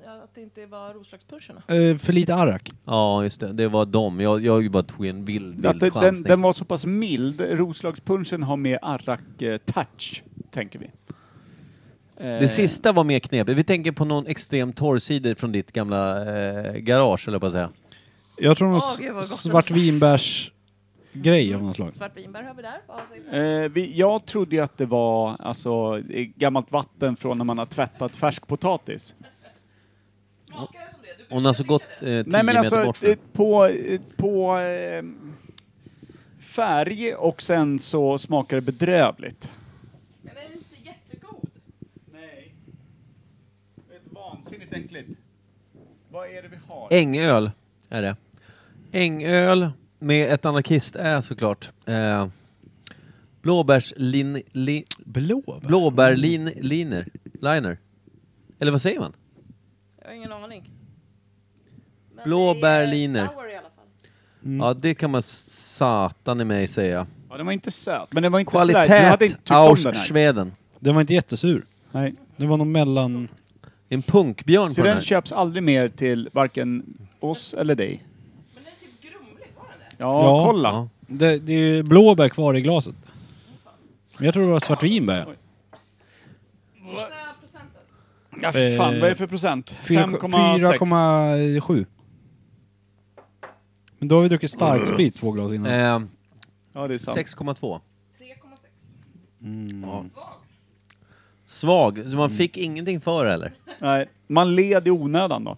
[SPEAKER 8] ja, att det inte var Roslagspurserna.
[SPEAKER 4] eh, för lite arrak.
[SPEAKER 1] Ja, just det. Det var dem. Jag, jag bara tog en bild,
[SPEAKER 3] Att
[SPEAKER 1] bild
[SPEAKER 3] det, den,
[SPEAKER 1] chansning.
[SPEAKER 3] den var så pass mild. Roslagspunchen har mer arrak-touch, tänker vi. Eh,
[SPEAKER 1] Det sista var mer knepigt. Vi tänker på någon extrem torrsider från ditt gamla eh, garage, eller på att säga.
[SPEAKER 4] Jag tror någon
[SPEAKER 8] Åh, gud, vad gott.
[SPEAKER 4] s- svartvinbärsgrej av något slag.
[SPEAKER 8] Svartvinbär har vi där. Vad säger du?
[SPEAKER 3] Eh, vi, jag trodde ju att det var alltså, eh, gammalt vatten från när man har tvättat färsk potatis.
[SPEAKER 8] Smakar det som det? Du
[SPEAKER 1] Hon har så gått eh, 10
[SPEAKER 3] Nej men
[SPEAKER 1] meter
[SPEAKER 3] alltså
[SPEAKER 1] bort.
[SPEAKER 3] eh, på, eh, på eh, färg och sen så smakar det bedrövligt.
[SPEAKER 8] Den är inte jättegod.
[SPEAKER 3] Nej. Det är vansinnigt äckligt. Vad är det vi har?
[SPEAKER 1] Eh, Ängöl är det. Ängöl med ett anarkist är såklart. Eh, Blåbärslin... Li,
[SPEAKER 4] Blåbär?
[SPEAKER 1] blåbärlin... Liner. Liner. Eller vad säger man?
[SPEAKER 8] Jag har ingen aning. Men
[SPEAKER 1] Blåbärliner.
[SPEAKER 8] det är sour i alla fall.
[SPEAKER 1] Ja, det kan man satan i mig säga.
[SPEAKER 3] Ja, den var Mm. inte söt, men den var inte sådär... Jag hade
[SPEAKER 1] Kvalitet
[SPEAKER 3] inte tyckt om den
[SPEAKER 1] aus
[SPEAKER 3] här.
[SPEAKER 1] Schweden.
[SPEAKER 4] Den var inte jättesur.
[SPEAKER 3] Nej.
[SPEAKER 4] Det var någon mellan...
[SPEAKER 1] En punkbjörn
[SPEAKER 3] Så
[SPEAKER 1] på den
[SPEAKER 3] den
[SPEAKER 1] här.
[SPEAKER 3] köps aldrig mer till varken oss eller dig.
[SPEAKER 8] Men den är typ grumlig, var den det?
[SPEAKER 3] Ja,
[SPEAKER 4] Ja.
[SPEAKER 3] kolla.
[SPEAKER 1] Ja.
[SPEAKER 4] Det, det är ju blåbär kvar i glaset. Men jag tror det var svartvinbär.
[SPEAKER 8] Gissa procenten.
[SPEAKER 3] Ja, för fan,
[SPEAKER 4] Eh,
[SPEAKER 3] vad är det för procent? 5,6.
[SPEAKER 4] 4,7. Men då har vi druckit starksprit två glas innan.
[SPEAKER 1] Eh,
[SPEAKER 3] Ja, det är Mm. sant.
[SPEAKER 1] 6,2.
[SPEAKER 8] 3,6.
[SPEAKER 4] Mm.
[SPEAKER 1] Ja.
[SPEAKER 8] Svag.
[SPEAKER 1] Svag, så man fick ingenting för heller.
[SPEAKER 3] Nej, man led i onödan då.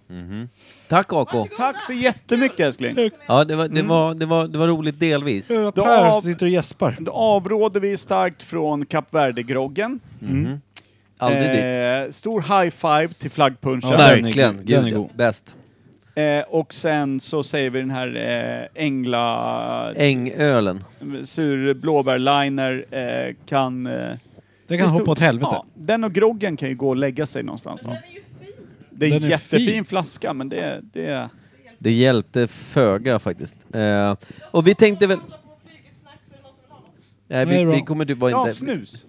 [SPEAKER 1] Tack AK!
[SPEAKER 3] Tack så jättemycket älskling.
[SPEAKER 1] Ja, det var, det,
[SPEAKER 3] Mm.
[SPEAKER 1] var, det, var, det var roligt delvis.
[SPEAKER 4] Hör att
[SPEAKER 3] Då-
[SPEAKER 4] Per sitter och gäspar.
[SPEAKER 3] Då avråder vi starkt från Kap Verde-groggen.
[SPEAKER 1] Aldrig ditt.
[SPEAKER 3] Eh, stor high five till flaggpunchen.
[SPEAKER 4] Ja, den är
[SPEAKER 1] Verkligen,
[SPEAKER 4] god. Den är
[SPEAKER 1] gud ja.
[SPEAKER 4] god.
[SPEAKER 1] Bäst.
[SPEAKER 3] Eh, och sen så säger vi den här eh, ängla...
[SPEAKER 1] Eh. Ängölen.
[SPEAKER 3] sur blåbärliner eh, kan... Eh,
[SPEAKER 4] Det kan
[SPEAKER 3] stod-
[SPEAKER 4] hoppa åt helvete.
[SPEAKER 3] Ja, den och groggen kan ju gå och lägga sig någonstans då.
[SPEAKER 8] Den är ju fin.
[SPEAKER 3] Det är
[SPEAKER 4] Den
[SPEAKER 3] en
[SPEAKER 4] är
[SPEAKER 3] jättefin
[SPEAKER 4] fin.
[SPEAKER 3] flaska men det, det...
[SPEAKER 1] Det hjälpte föga faktiskt. Eh, och vi tänkte väl... Nej,
[SPEAKER 4] Nej,
[SPEAKER 1] vi,
[SPEAKER 4] bra.
[SPEAKER 1] vi kommer typ vara
[SPEAKER 3] Ja,
[SPEAKER 1] inte...
[SPEAKER 3] snus!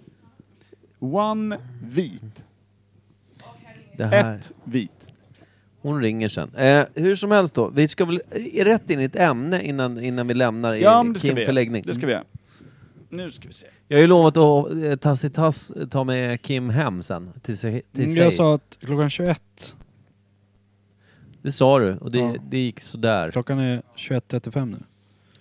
[SPEAKER 3] One vit.
[SPEAKER 1] Det här.
[SPEAKER 3] Ett vit.
[SPEAKER 1] Hon ringer sen. Eh, hur som helst då, vi ska väl eh, rätt in i ett ämne innan, innan vi lämnar i
[SPEAKER 3] Ja, men det ska
[SPEAKER 1] Kim
[SPEAKER 3] vi göra.
[SPEAKER 1] förläggning.
[SPEAKER 3] Det ska vi göra. Nu ska vi se.
[SPEAKER 1] Jag har ju lovat att eh, tass i tass ta med Kim hem sen. Till, sig- till sig.
[SPEAKER 4] Mm, Jag sa att klockan 21.
[SPEAKER 1] Det sa du och det,
[SPEAKER 4] Ja.
[SPEAKER 1] det gick sådär.
[SPEAKER 4] Klockan är 21.35 nu.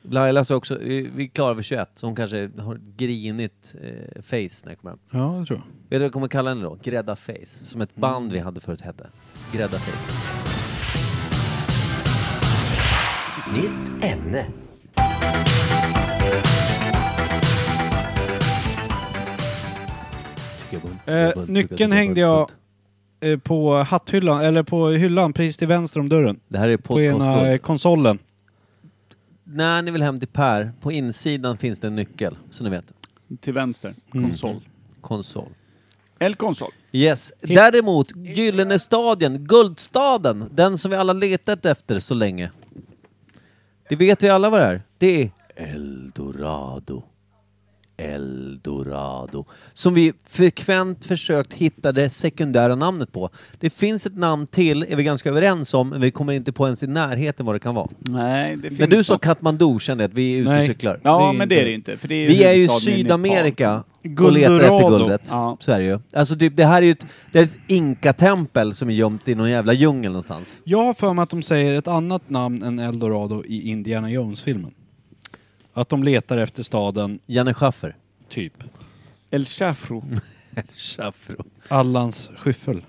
[SPEAKER 1] Laila sa också, vi vi är klara vid 21, så hon kanske har ett grinigt eh, face när jag kommer hem.
[SPEAKER 4] Ja, det tror jag.
[SPEAKER 1] Vet du vad jag kommer kalla henne då? Grädda face. Som ett
[SPEAKER 4] Mm.
[SPEAKER 1] band vi hade förut hette. Grädda face.
[SPEAKER 9] Nytt ämne.
[SPEAKER 4] Eh, nyckeln hängde jag eh, på hatthyllan, eller på hyllan precis till vänster om dörren.
[SPEAKER 1] Det här är
[SPEAKER 4] På ena eh,
[SPEAKER 1] podcast.
[SPEAKER 4] konsolen.
[SPEAKER 1] När ni vill hem till Per, på insidan finns det en nyckel. Så ni vet.
[SPEAKER 3] Till vänster.
[SPEAKER 4] Mm.
[SPEAKER 3] Konsol.
[SPEAKER 1] Konsol.
[SPEAKER 3] Eller konsol.
[SPEAKER 1] Yes. Däremot, Gyllene stadien, Guldstaden. Den som vi alla letat efter så länge. Det vet vi alla vad det är. Det är Eldorado. Eldorado. Som vi frekvent försökt hitta det sekundära namnet på. Det finns ett namn till, är vi ganska överens om, men vi kommer inte på ens i närheten vad det kan vara.
[SPEAKER 3] Nej, det finns
[SPEAKER 1] När du sa
[SPEAKER 3] något.
[SPEAKER 1] Katmandu kände jag att vi är ute och
[SPEAKER 4] Nej.
[SPEAKER 1] cyklar.
[SPEAKER 3] Ja,
[SPEAKER 4] det är
[SPEAKER 3] men det
[SPEAKER 4] inte-
[SPEAKER 3] är det ju inte. För det är
[SPEAKER 1] Vi är ju
[SPEAKER 3] huvudstaden i
[SPEAKER 1] Sydamerika och
[SPEAKER 4] Guldorado.
[SPEAKER 1] letar efter guldet.
[SPEAKER 3] Ja.
[SPEAKER 1] Så är det ju. Alltså typ, det här är ju ett, det är ett inkatempel som är gömt i någon jävla djungel någonstans.
[SPEAKER 4] Jag har för mig att de säger ett annat namn än Eldorado i Indiana Jones-filmen. Att de letar efter staden,
[SPEAKER 1] Janne Schaffer.
[SPEAKER 4] typ.
[SPEAKER 3] Nepal. El Chafro.
[SPEAKER 1] Schaffro.
[SPEAKER 4] Allans skyffel.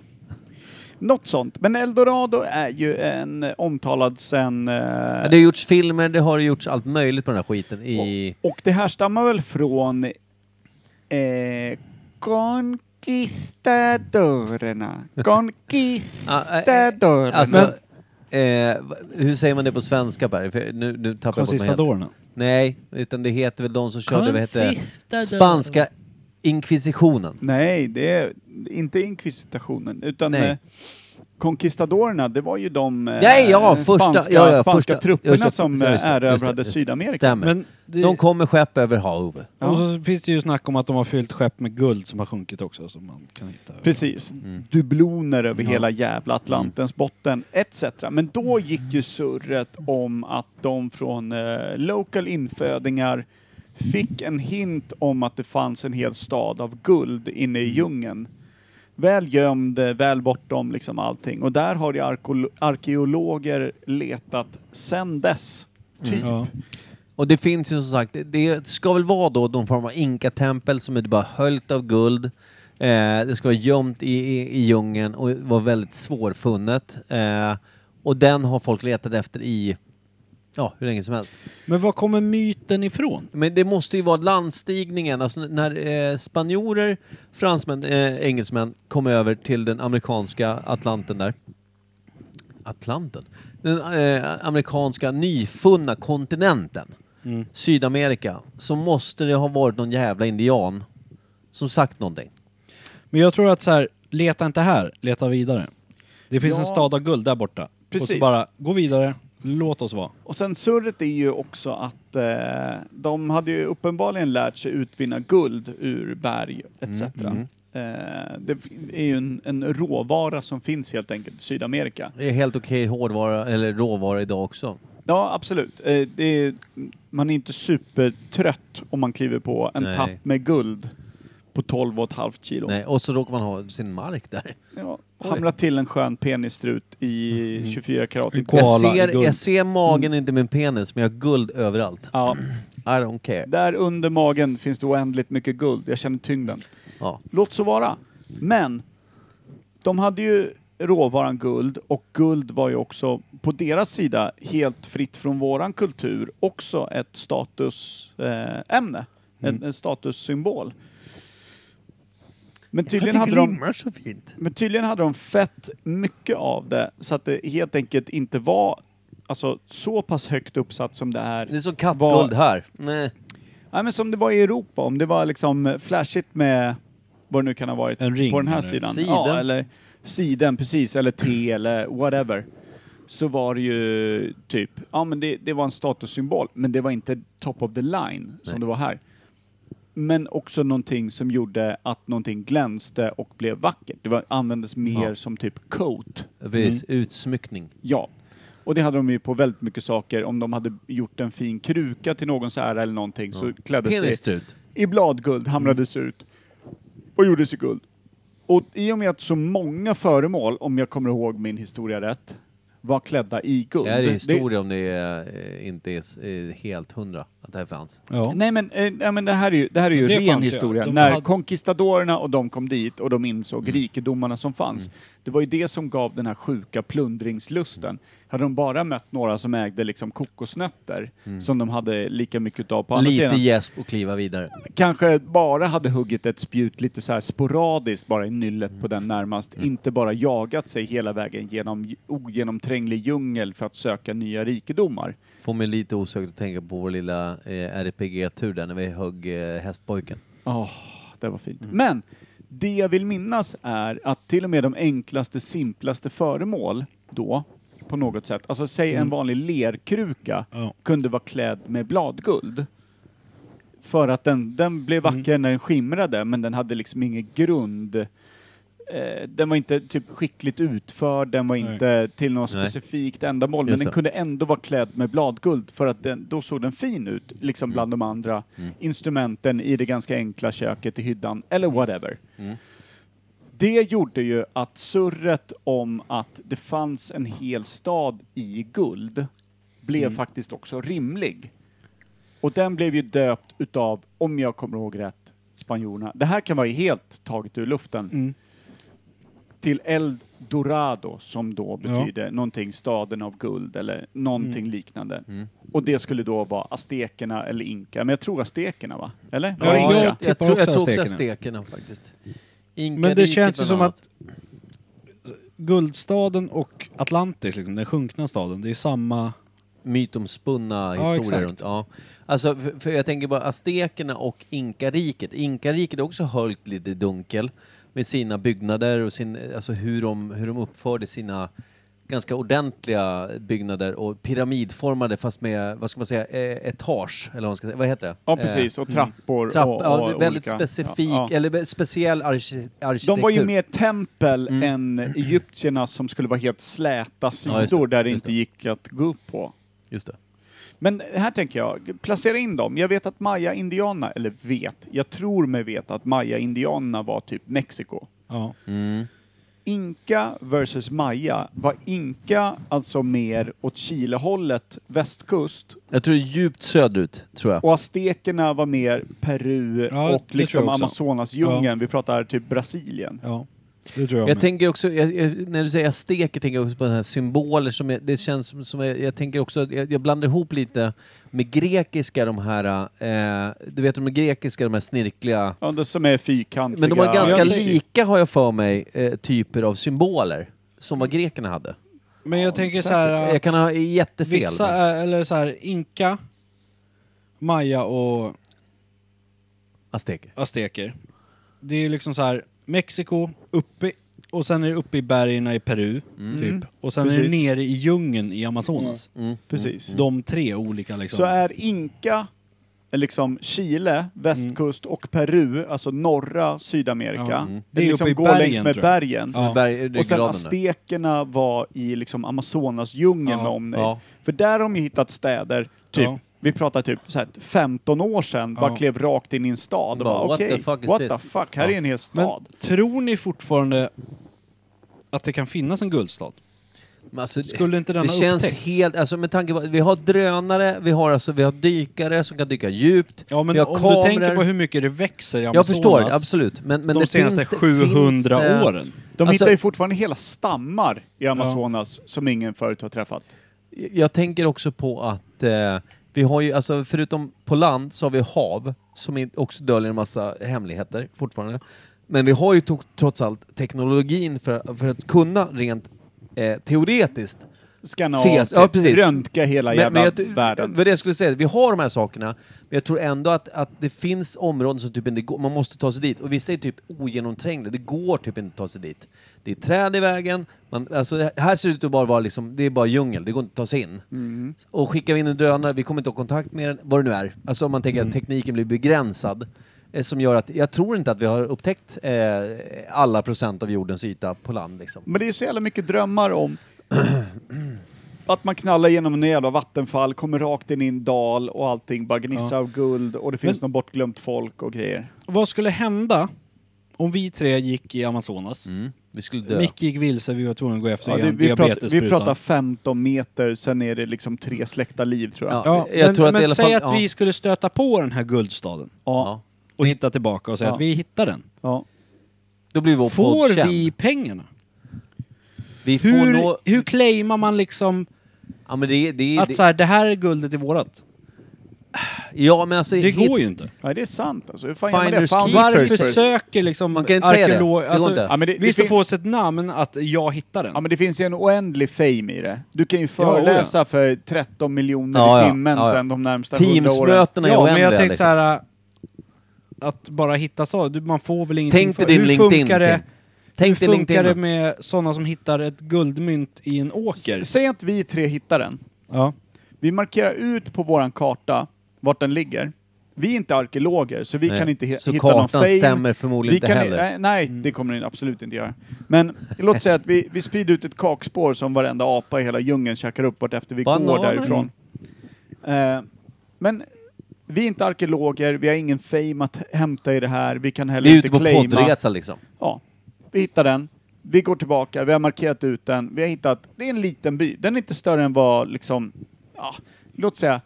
[SPEAKER 3] Något sånt. Men Eldorado är ju en eh, omtalad sen... eh,
[SPEAKER 1] Det har gjorts filmer, det har gjorts allt möjligt på den här skiten i...
[SPEAKER 3] Och det här stammar väl från... Eh, Conquistadorerna. Conquistadorerna.
[SPEAKER 1] eh, Alltså, eh, va- hur säger man det på svenska Per? För Nu, nu tappar jag bort vad de heter.
[SPEAKER 4] Consistadorerna.
[SPEAKER 1] Nej, utan det heter väl de som körde, vad heter det? Spanska inkvisitionen.
[SPEAKER 3] Nej, det är inte inkvisitationen utan
[SPEAKER 1] Nej.
[SPEAKER 3] eh, Conquistadorerna, det var ju de eh,
[SPEAKER 1] Nej, ja, första-
[SPEAKER 3] spanska,
[SPEAKER 1] ja, ja,
[SPEAKER 3] spanska
[SPEAKER 1] första-
[SPEAKER 3] trupperna
[SPEAKER 1] just det,
[SPEAKER 3] som
[SPEAKER 1] just det, just
[SPEAKER 3] eh,
[SPEAKER 1] det, just det,
[SPEAKER 3] erövrade
[SPEAKER 1] just det.
[SPEAKER 3] Sydamerika.
[SPEAKER 1] Stämmer.
[SPEAKER 4] Men det,
[SPEAKER 1] De kommer skepp över hav.
[SPEAKER 4] och så finns det ju snack om att de har fyllt skepp med guld som har sjunkit också som man kan hitta.
[SPEAKER 3] Precis. Dubloner över hela jävla Atlantens botten etc. Men då gick ju surret om att de från eh, local infödingar fick en hint om att det fanns en hel stad av guld inne i djungeln. Väl gömd, eh, väl bortom liksom allting. Och där har ju arko- arkeologer letat sedan dess.
[SPEAKER 2] Mm.
[SPEAKER 3] Typ.
[SPEAKER 4] Ja.
[SPEAKER 1] Och det finns ju som sagt, det- det ska väl vara då någon form av inkatempel som är bara höljt av guld. Eh, det ska vara gömt i, i, i djungeln och vara väldigt svårfunnet. Eh, och den har folk letat efter i, ja, hur länge som helst.
[SPEAKER 4] Men var kommer myten ifrån?
[SPEAKER 1] Men det måste ju vara landstigningen, alltså när eh, spanjorer, fransmän, eh, engelsmän kom över till den amerikanska Atlanten där. Atlanten? Den eh, amerikanska nyfunna kontinenten,
[SPEAKER 2] Mm.
[SPEAKER 1] Sydamerika, så måste det ha varit någon jävla indian som sagt någonting.
[SPEAKER 4] Men jag tror att så här, leta inte här, leta vidare. Det finns
[SPEAKER 3] Ja.
[SPEAKER 4] en stad av guld där borta. Och
[SPEAKER 3] Precis.
[SPEAKER 4] så bara, gå vidare, låt oss vara.
[SPEAKER 3] Och sen surret är ju också att eh, de hade ju uppenbarligen lärt sig utvinna guld ur berg
[SPEAKER 4] Mm,
[SPEAKER 3] etc. Eh, det f- är ju en, en råvara som finns helt enkelt i Sydamerika.
[SPEAKER 1] Det är helt okej hårdvara, eller råvara idag också.
[SPEAKER 3] Ja, absolut. Eh, det är, man är inte supertrött om man kliver på en
[SPEAKER 1] Nej.
[SPEAKER 3] tapp med guld på 12,5 kilo.
[SPEAKER 1] Nej, och så råkar man ha sin mark där.
[SPEAKER 3] Ja, hamra till en skön penistrut i 24 karat.
[SPEAKER 4] Mm. En koala.
[SPEAKER 1] Jag
[SPEAKER 4] i
[SPEAKER 1] ser,
[SPEAKER 4] guld.
[SPEAKER 1] jag ser magen, inte min penis, men jag har guld överallt.
[SPEAKER 3] Ja,
[SPEAKER 1] I don't care.
[SPEAKER 3] där under magen finns det oändligt mycket guld. Jag känner tyngden.
[SPEAKER 1] Ja.
[SPEAKER 3] Låt så vara. Men de hade ju råvaran guld och guld var ju också på deras sida helt fritt från våran kultur också ett statusämne. Eh, ämne. en, en statussymbol. Men tydligen hade de
[SPEAKER 1] så fint.
[SPEAKER 3] men tydligen hade de fett mycket av det så att det helt enkelt inte var alltså, så pass högt uppsatt som det är.
[SPEAKER 1] Det är som kattguld här. Nej.
[SPEAKER 3] Nej, men som det var i Europa, om det var liksom flashigt med vad det nu kan ha varit
[SPEAKER 4] En ring
[SPEAKER 3] på den här
[SPEAKER 4] eller-
[SPEAKER 3] sidan.
[SPEAKER 1] Siden.
[SPEAKER 3] Ja, eller siden, precis, eller te eller whatever. Så var det ju typ, ja men det, det var en statussymbol, men det var inte top of the line som
[SPEAKER 1] Nej.
[SPEAKER 3] det var här. Men också någonting som gjorde att någonting glänste och blev vackert. Det var, användes mer
[SPEAKER 1] Ja.
[SPEAKER 3] som typ coat.
[SPEAKER 1] Precis, utsmyckning.
[SPEAKER 3] Ja. Och det hade de ju på väldigt mycket saker. Om de hade gjort en fin kruka till någons ära eller någonting så kläddes det
[SPEAKER 1] Penisstrut.
[SPEAKER 3] i bladguld hamrades ut och gjordes i guld. Och i och med att så många föremål, om jag kommer ihåg min historia rätt, var klädda i guld.
[SPEAKER 1] Det här är historia om det är, eh, inte är s- eh, helt hundra att det här fanns.
[SPEAKER 4] Ja.
[SPEAKER 3] Nej men, eh, nej men det här är ju, det här är ju
[SPEAKER 4] Det
[SPEAKER 3] ren
[SPEAKER 4] fanns ju.
[SPEAKER 3] historia.
[SPEAKER 4] De
[SPEAKER 3] När
[SPEAKER 4] hade-
[SPEAKER 3] conquistadorerna och de kom dit och de insåg rikedomarna som fanns. Det var ju det som gav den här sjuka plundringslusten. Hade de bara mött några som ägde liksom kokosnötter som de hade lika mycket utav på andra
[SPEAKER 1] Lite
[SPEAKER 3] sidan.
[SPEAKER 1] gäsp och kliva vidare.
[SPEAKER 3] kanske bara hade huggit ett spjut lite så här sporadiskt bara i nyllet på den närmast, inte bara jagat sig hela vägen genom j- ogenomtränglig djungel för att söka nya rikedomar.
[SPEAKER 1] Får mig lite osökt att tänka på vår lilla eh, RPG-tur där när vi högg eh, hästpojken.
[SPEAKER 3] Åh, det var fint. Men det jag vill minnas är att till och med de enklaste, simplaste föremål då, på något sätt, alltså säg en vanlig lerkruka,
[SPEAKER 4] Mm. Ja.
[SPEAKER 3] kunde vara klädd med bladguld. För att den, den blev
[SPEAKER 4] Mm.
[SPEAKER 3] vacker när den skimrade, men den hade liksom ingen grund. Eh, Den var inte typ skickligt utförd, den var
[SPEAKER 4] Nej.
[SPEAKER 3] inte till något
[SPEAKER 1] Nej.
[SPEAKER 3] specifikt ändamål, men
[SPEAKER 1] Just
[SPEAKER 3] den
[SPEAKER 1] det.
[SPEAKER 3] kunde ändå vara klädd med bladguld för att den, då såg den fin ut, liksom bland de
[SPEAKER 1] Mm.
[SPEAKER 3] andra instrumenten i det ganska enkla köket i hyddan, eller whatever.
[SPEAKER 1] Mm.
[SPEAKER 3] Det gjorde ju att surret om att det fanns en hel stad i guld blev
[SPEAKER 1] Mm.
[SPEAKER 3] faktiskt också rimlig. Och den blev ju döpt utav, om jag kommer ihåg rätt, spanjorerna. Det här kan vara helt taget ur luften.
[SPEAKER 1] Mm.
[SPEAKER 3] Till El Dorado som då betyder någonting staden av guld eller någonting
[SPEAKER 1] Mm.
[SPEAKER 3] liknande. Och det skulle då vara aztekerna eller inka. Men jag tror aztekerna va? Eller? Var det
[SPEAKER 4] Ja,
[SPEAKER 3] inka?
[SPEAKER 4] jag- tippar
[SPEAKER 1] jag, tror, jag
[SPEAKER 4] också
[SPEAKER 1] tog också
[SPEAKER 4] aztekerna.
[SPEAKER 1] aztekerna faktiskt.
[SPEAKER 4] Men det
[SPEAKER 1] Inkariket
[SPEAKER 4] känns ju
[SPEAKER 1] bland
[SPEAKER 4] som
[SPEAKER 1] annat.
[SPEAKER 4] att Guldstaden och Atlantis, liksom, den sjunkna staden, det är samma...
[SPEAKER 1] mytomspunna
[SPEAKER 4] Ja,
[SPEAKER 1] historier
[SPEAKER 4] exakt.
[SPEAKER 1] runt. Ja. Alltså, för, för jag tänker bara aztekerna och inkariket. Inkariket är också höljt lite i dunkel. med sina byggnader och sin, alltså hur, de, hur de uppförde sina ganska ordentliga byggnader och pyramidformade fast med, vad ska man säga, eh, etage, eller vad, man ska säga, vad heter det?
[SPEAKER 3] Ja, precis. Och trappor
[SPEAKER 1] Eh, trapp,
[SPEAKER 3] och, och
[SPEAKER 1] ja, väldigt
[SPEAKER 3] olika-
[SPEAKER 1] specifik,
[SPEAKER 3] ja, ja.
[SPEAKER 1] eller be- speciell arki- arkitektur. Mm.
[SPEAKER 3] De var ju mer tempel än egyptierna som skulle vara helt släta sidor
[SPEAKER 1] just det,
[SPEAKER 3] där det
[SPEAKER 1] just
[SPEAKER 3] inte gick att gå upp på.
[SPEAKER 1] Just det.
[SPEAKER 3] Men här tänker jag, placera in dem. Jag vet att maya-indianerna, eller vet, jag tror mig veta att maya-indianerna var typ Mexiko.
[SPEAKER 10] Ja.
[SPEAKER 2] Mm.
[SPEAKER 3] Inka versus maya, var Inka alltså mer åt Chilehållet, västkust,
[SPEAKER 1] Jag tror det är djupt söderut, tror jag.
[SPEAKER 3] och aztekerna var mer Peru
[SPEAKER 2] Ja, det
[SPEAKER 3] och liksom
[SPEAKER 2] tror jag också.
[SPEAKER 3] Amazonasdjungeln. Vi pratar typ Brasilien.
[SPEAKER 2] Ja, det tror jag,
[SPEAKER 1] Jag
[SPEAKER 2] med.
[SPEAKER 1] tänker också, jag, jag, när du säger azteker tänker jag också på den här symboler som är, det känns som, som jag, jag tänker också, jag, jag blandar ihop lite med grekiska de här, eh, du vet de är grekiska, de här snirkliga,
[SPEAKER 3] Ja, det som är fyrkantiga.
[SPEAKER 1] men de var ganska
[SPEAKER 3] Ja,
[SPEAKER 1] lika har jag för mig, eh, typer av symboler som vad grekerna hade.
[SPEAKER 2] Men jag tänker så här...
[SPEAKER 1] jag kan ha jättefel.
[SPEAKER 2] Vissa är, eller så här, inka, maya och
[SPEAKER 1] Azteker.
[SPEAKER 2] azteker. Det är ju liksom så här, Mexiko uppe och sen är det uppe i bergen i Peru,
[SPEAKER 4] Mm.
[SPEAKER 2] typ. Och sen är det
[SPEAKER 3] Precis.
[SPEAKER 2] nere i djungeln i Amazonas.
[SPEAKER 3] Precis.
[SPEAKER 2] De tre olika liksom.
[SPEAKER 3] Så är Inka, liksom Chile, västkust och Peru, alltså norra Sydamerika.
[SPEAKER 2] Ja, mm.
[SPEAKER 3] det
[SPEAKER 2] Det är ju uppe
[SPEAKER 3] liksom
[SPEAKER 2] i
[SPEAKER 3] går
[SPEAKER 2] bergen,
[SPEAKER 3] längs med
[SPEAKER 2] tror jag.
[SPEAKER 3] bergen.
[SPEAKER 1] Som är berg,
[SPEAKER 3] Och sen
[SPEAKER 1] ryggraden där.
[SPEAKER 3] aztekerna var i liksom Amazonasdjungeln
[SPEAKER 2] Ja,
[SPEAKER 3] med omnejd.
[SPEAKER 1] ja.
[SPEAKER 3] För där har de ju hittat städer, typ,
[SPEAKER 2] Ja.
[SPEAKER 3] vi pratar typ så här, 15 år sedan, bara
[SPEAKER 2] Ja.
[SPEAKER 3] klev rakt in i en stad
[SPEAKER 1] Bara,
[SPEAKER 3] och bara
[SPEAKER 1] what the
[SPEAKER 3] okej,
[SPEAKER 1] fuck is
[SPEAKER 3] what
[SPEAKER 1] this?
[SPEAKER 3] the fuck, här
[SPEAKER 1] Ja.
[SPEAKER 3] är en hel
[SPEAKER 2] Men
[SPEAKER 3] stad.
[SPEAKER 2] tror ni fortfarande att det kan finnas en guldstad?
[SPEAKER 1] Men alltså,
[SPEAKER 2] Skulle inte den
[SPEAKER 1] det
[SPEAKER 2] ha
[SPEAKER 1] känns
[SPEAKER 2] upptäckts?
[SPEAKER 1] helt, alltså med tanke på, vi har drönare, vi har alltså, vi har dykare som kan dyka djupt,
[SPEAKER 2] Ja men
[SPEAKER 1] vi har
[SPEAKER 2] om
[SPEAKER 1] kameror.
[SPEAKER 2] du tänker på hur mycket det växer i
[SPEAKER 1] Jag
[SPEAKER 2] Amazonas
[SPEAKER 1] förstår, absolut. Men, men
[SPEAKER 2] de
[SPEAKER 1] det
[SPEAKER 2] senaste
[SPEAKER 1] finns, det-
[SPEAKER 2] 700
[SPEAKER 1] finns det-
[SPEAKER 2] åren.
[SPEAKER 3] De
[SPEAKER 1] Alltså-
[SPEAKER 3] hittar ju fortfarande hela stammar i Amazonas som ingen förut har träffat.
[SPEAKER 1] Jag tänker också på att eh, vi har ju, alltså förutom på land så har vi hav som in- också döljer en massa hemligheter fortfarande. Men vi har ju to- trots allt teknologin för, för att kunna rent eh, teoretiskt
[SPEAKER 3] Skanna
[SPEAKER 1] Ses.
[SPEAKER 3] av,
[SPEAKER 1] Ja,
[SPEAKER 3] typ,
[SPEAKER 1] precis.
[SPEAKER 3] röntga hela jävla
[SPEAKER 1] jag,
[SPEAKER 3] världen.
[SPEAKER 1] Vad det jag skulle säga, vi har de här sakerna, men jag tror ändå att, att det finns områden som typ inte går, man måste ta sig dit. Och vissa är typ ogenomträngliga, det går typ inte att ta sig dit. Det är träd i vägen, man, alltså, det här ser det ut att bara vara liksom, det är bara djungel, det går inte att ta sig in.
[SPEAKER 3] Mm.
[SPEAKER 1] Och skickar vi in en drönare, vi kommer inte ha kontakt med den, vad det nu är. Alltså om man tänker
[SPEAKER 3] Mm.
[SPEAKER 1] att tekniken blir begränsad. eh, Som gör att, jag tror inte att vi har upptäckt eh, alla procent av jordens yta på land liksom.
[SPEAKER 3] Men det är så jävla mycket drömmar om att man knallar genom en jävla vattenfall, kommer rakt in i en dal och allting bara gnistrar av guld och det finns något bortglömt folk och grejer.
[SPEAKER 2] Vad skulle hända om vi tre gick i Amazonas?
[SPEAKER 1] Mm, Vi skulle dö.
[SPEAKER 2] Micke gick vilse, vi var tvungna att gå efter
[SPEAKER 3] Ja, det,
[SPEAKER 2] en
[SPEAKER 3] vi, pratar, vi
[SPEAKER 2] diabetesspruta.
[SPEAKER 3] pratar 15 meter, sen är det liksom tre släckta liv tror jag.
[SPEAKER 1] Mm. Ja.
[SPEAKER 2] Ja,
[SPEAKER 1] Jag
[SPEAKER 2] men
[SPEAKER 1] tror att i
[SPEAKER 2] men
[SPEAKER 1] alla
[SPEAKER 2] säg
[SPEAKER 1] fall-
[SPEAKER 2] att
[SPEAKER 1] ja.
[SPEAKER 2] vi skulle stöta på den här guldstaden
[SPEAKER 1] Ja.
[SPEAKER 2] och hitta tillbaka och säga
[SPEAKER 3] Ja.
[SPEAKER 2] att vi hittar den.
[SPEAKER 3] Ja.
[SPEAKER 1] Då blir vår podd
[SPEAKER 2] Får
[SPEAKER 1] känd.
[SPEAKER 2] vi pengarna?
[SPEAKER 1] Vi får
[SPEAKER 2] Hur,
[SPEAKER 1] nå-
[SPEAKER 2] hur claimar man liksom
[SPEAKER 1] Ja men det, det,
[SPEAKER 2] att
[SPEAKER 1] det,
[SPEAKER 2] så här, det här är guldet i vårat?
[SPEAKER 1] ja, men alltså,
[SPEAKER 2] Det
[SPEAKER 1] hit-
[SPEAKER 2] går ju inte.
[SPEAKER 3] Nej, det är sant alltså. Hur fan gör man det?
[SPEAKER 1] Finders
[SPEAKER 3] Fan,
[SPEAKER 1] keepers.
[SPEAKER 3] varför
[SPEAKER 2] Varför
[SPEAKER 1] precis.
[SPEAKER 3] sö-
[SPEAKER 2] söker liksom
[SPEAKER 1] Man kan inte säga det.
[SPEAKER 2] arkeolog-
[SPEAKER 1] Det går
[SPEAKER 2] Alltså,
[SPEAKER 1] inte.
[SPEAKER 3] Ja, men det-
[SPEAKER 2] visst,
[SPEAKER 3] det
[SPEAKER 2] det
[SPEAKER 3] fin-
[SPEAKER 2] får ett namn att jag hittar den.
[SPEAKER 3] Ja men det finns ju en oändlig fame i det. Du kan ju
[SPEAKER 2] Ja, oh ja.
[SPEAKER 3] föreläsa för 13 miljoner
[SPEAKER 1] Ja,
[SPEAKER 3] i
[SPEAKER 1] ja.
[SPEAKER 3] timmen
[SPEAKER 1] Ja, ja.
[SPEAKER 3] sen de närmsta 100 åren.
[SPEAKER 1] Teamsmötena är
[SPEAKER 2] ja,
[SPEAKER 1] oändliga.
[SPEAKER 2] men jag tänkte
[SPEAKER 1] liksom.
[SPEAKER 2] så här äh, att bara hitta så, du, man får väl ingenting
[SPEAKER 1] Tänk dig
[SPEAKER 2] för-
[SPEAKER 1] din
[SPEAKER 2] hur
[SPEAKER 1] LinkedIn.
[SPEAKER 2] funkar det,
[SPEAKER 1] Kim. Tänk
[SPEAKER 2] hur
[SPEAKER 1] dig
[SPEAKER 2] funkar
[SPEAKER 1] LinkedIn.
[SPEAKER 2] det med sådana som hittar ett guldmynt i en åker?
[SPEAKER 3] S- Säg att vi tre hittar den.
[SPEAKER 2] Ja.
[SPEAKER 3] Vi markerar ut på våran karta vart den ligger. Vi är inte arkeologer, så vi
[SPEAKER 1] Nej.
[SPEAKER 3] kan inte he-
[SPEAKER 1] Så
[SPEAKER 3] hitta någon
[SPEAKER 1] kartan
[SPEAKER 3] fame.
[SPEAKER 1] stämmer förmodligen
[SPEAKER 3] vi
[SPEAKER 1] inte
[SPEAKER 3] kan,
[SPEAKER 1] heller.
[SPEAKER 3] Nej, nej det kommer den absolut inte göra. Men låt säga att vi, vi sprider ut ett kakspår som varenda apa i hela djungeln käkar upp vartefter vi går
[SPEAKER 1] Bananer.
[SPEAKER 3] därifrån. Eh, men vi är inte arkeologer, vi har ingen fame att hämta i det här, vi kan heller
[SPEAKER 1] Vi är
[SPEAKER 3] inte
[SPEAKER 1] ute på
[SPEAKER 3] claima...
[SPEAKER 1] poddresa liksom.
[SPEAKER 3] Ja, vi hittar den. Vi går tillbaka, vi har markerat ut den, vi har hittat, det är en liten by. Den är inte större än vad liksom, ja, låt säga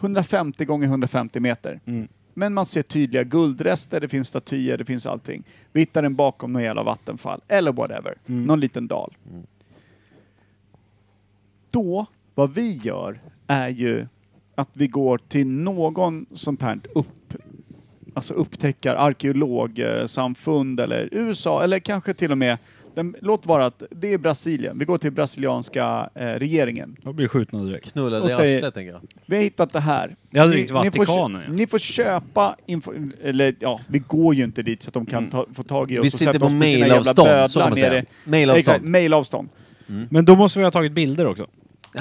[SPEAKER 3] 150 gånger 150 meter. Men man ser tydliga guldrester, det finns statyer, det finns allting. Vi hittar den bakom någon jävla vattenfall, eller whatever. Någon liten dal. Då, vad vi gör, är ju att vi går till någon sånt här upp, alltså upptäckar arkeologsamfund eller USA eller kanske till och med Den, låt vara att det är Brasilien. Vi går till brasilianska eh, regeringen.
[SPEAKER 2] Jag blir skjutna direkt.
[SPEAKER 1] Knullade
[SPEAKER 3] Och
[SPEAKER 1] i
[SPEAKER 3] säger-
[SPEAKER 1] arslet, tänker jag.
[SPEAKER 3] Vi har hittat det här.
[SPEAKER 11] Det hade
[SPEAKER 3] Ni-
[SPEAKER 11] ringt
[SPEAKER 3] Ni
[SPEAKER 11] Vatikanen,
[SPEAKER 3] får,
[SPEAKER 11] ja.
[SPEAKER 3] ni får köpa, info, eller ja, vi går ju inte dit så att de kan ta, få tag i oss
[SPEAKER 1] Mm. Vi
[SPEAKER 3] och
[SPEAKER 1] sitter
[SPEAKER 3] sätta
[SPEAKER 1] på
[SPEAKER 3] oss på sina jävla
[SPEAKER 1] mailavstånd, så kan
[SPEAKER 3] bödlar
[SPEAKER 1] man säga.
[SPEAKER 3] nere. Exakt,
[SPEAKER 1] Mailavstånd.
[SPEAKER 3] mailavstånd.
[SPEAKER 1] Mm.
[SPEAKER 2] Men då måste vi ha tagit bilder också.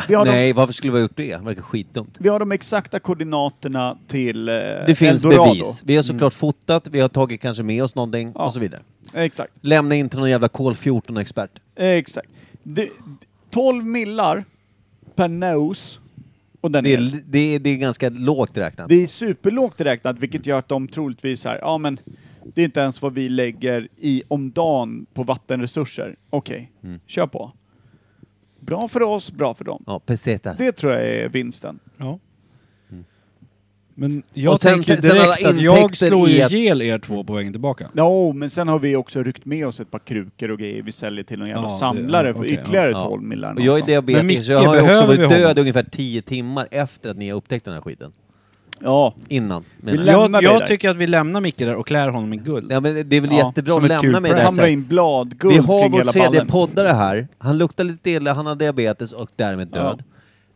[SPEAKER 3] Vi har, de,
[SPEAKER 1] Nej, varför skulle vi ha gjort det? Det verkar skitdumt.
[SPEAKER 3] vi har de exakta koordinaterna till eh,
[SPEAKER 1] Det finns
[SPEAKER 3] Eldorado.
[SPEAKER 1] bevis. Vi har såklart fotat, vi har tagit kanske med oss någonting
[SPEAKER 3] Ja.
[SPEAKER 1] och så vidare.
[SPEAKER 3] Exakt,
[SPEAKER 1] Lämna inte någon jävla kol 14 expert.
[SPEAKER 3] exakt. Det, 12 millar per nose och den
[SPEAKER 1] Det
[SPEAKER 3] är,
[SPEAKER 1] är, det är, det är ganska lågt räknat.
[SPEAKER 3] det är superlågt räknat vilket gör att de troligtvis här, ja men det är inte ens vad vi lägger i om dagen på vattenresurser. Okej,
[SPEAKER 1] Mm.
[SPEAKER 3] kör på. Bra för oss, bra för dem.
[SPEAKER 1] Ja, pesetas.
[SPEAKER 3] Det tror jag är vinsten.
[SPEAKER 2] Ja. Men jag
[SPEAKER 1] Mm. Och sen-
[SPEAKER 2] tänker
[SPEAKER 1] sen alla
[SPEAKER 2] direkt att jag
[SPEAKER 1] intäkter
[SPEAKER 2] slår
[SPEAKER 1] i att-
[SPEAKER 2] ihjäl er två på vägen tillbaka.
[SPEAKER 3] No, men sen har vi också ryckt med oss ett par krukor och grejer vi säljer till någon jävla
[SPEAKER 2] Ja, det-
[SPEAKER 3] samlare
[SPEAKER 2] ja,
[SPEAKER 3] för
[SPEAKER 2] okej,
[SPEAKER 3] ytterligare
[SPEAKER 1] ja.
[SPEAKER 3] 12 millar.
[SPEAKER 1] Och jag är
[SPEAKER 3] någonstans.
[SPEAKER 1] diabetiker,
[SPEAKER 2] Men Micke,
[SPEAKER 1] så jag har ju också
[SPEAKER 2] behöver vi
[SPEAKER 1] varit
[SPEAKER 2] honom?
[SPEAKER 1] död ungefär 10 timmar efter att ni har upptäckt den här skiten.
[SPEAKER 3] Ja,
[SPEAKER 1] Innan,
[SPEAKER 3] Vi
[SPEAKER 1] menar jag.
[SPEAKER 3] lämnar
[SPEAKER 2] Jag,
[SPEAKER 3] dig där.
[SPEAKER 2] jag tycker att vi lämnar Micke där och klär honom i guld.
[SPEAKER 1] Ja, men det är väl
[SPEAKER 3] Ja,
[SPEAKER 1] jättebra
[SPEAKER 2] som
[SPEAKER 1] att
[SPEAKER 2] ett kul
[SPEAKER 1] lämna mig
[SPEAKER 2] prank.
[SPEAKER 1] där. så
[SPEAKER 3] hamra
[SPEAKER 1] här.
[SPEAKER 3] in bladguld
[SPEAKER 1] Vi har
[SPEAKER 3] kring
[SPEAKER 1] vår
[SPEAKER 3] hela
[SPEAKER 1] tredje
[SPEAKER 3] ballen.
[SPEAKER 1] poddare här. Han luktar lite illa, han har diabetes och därmed död.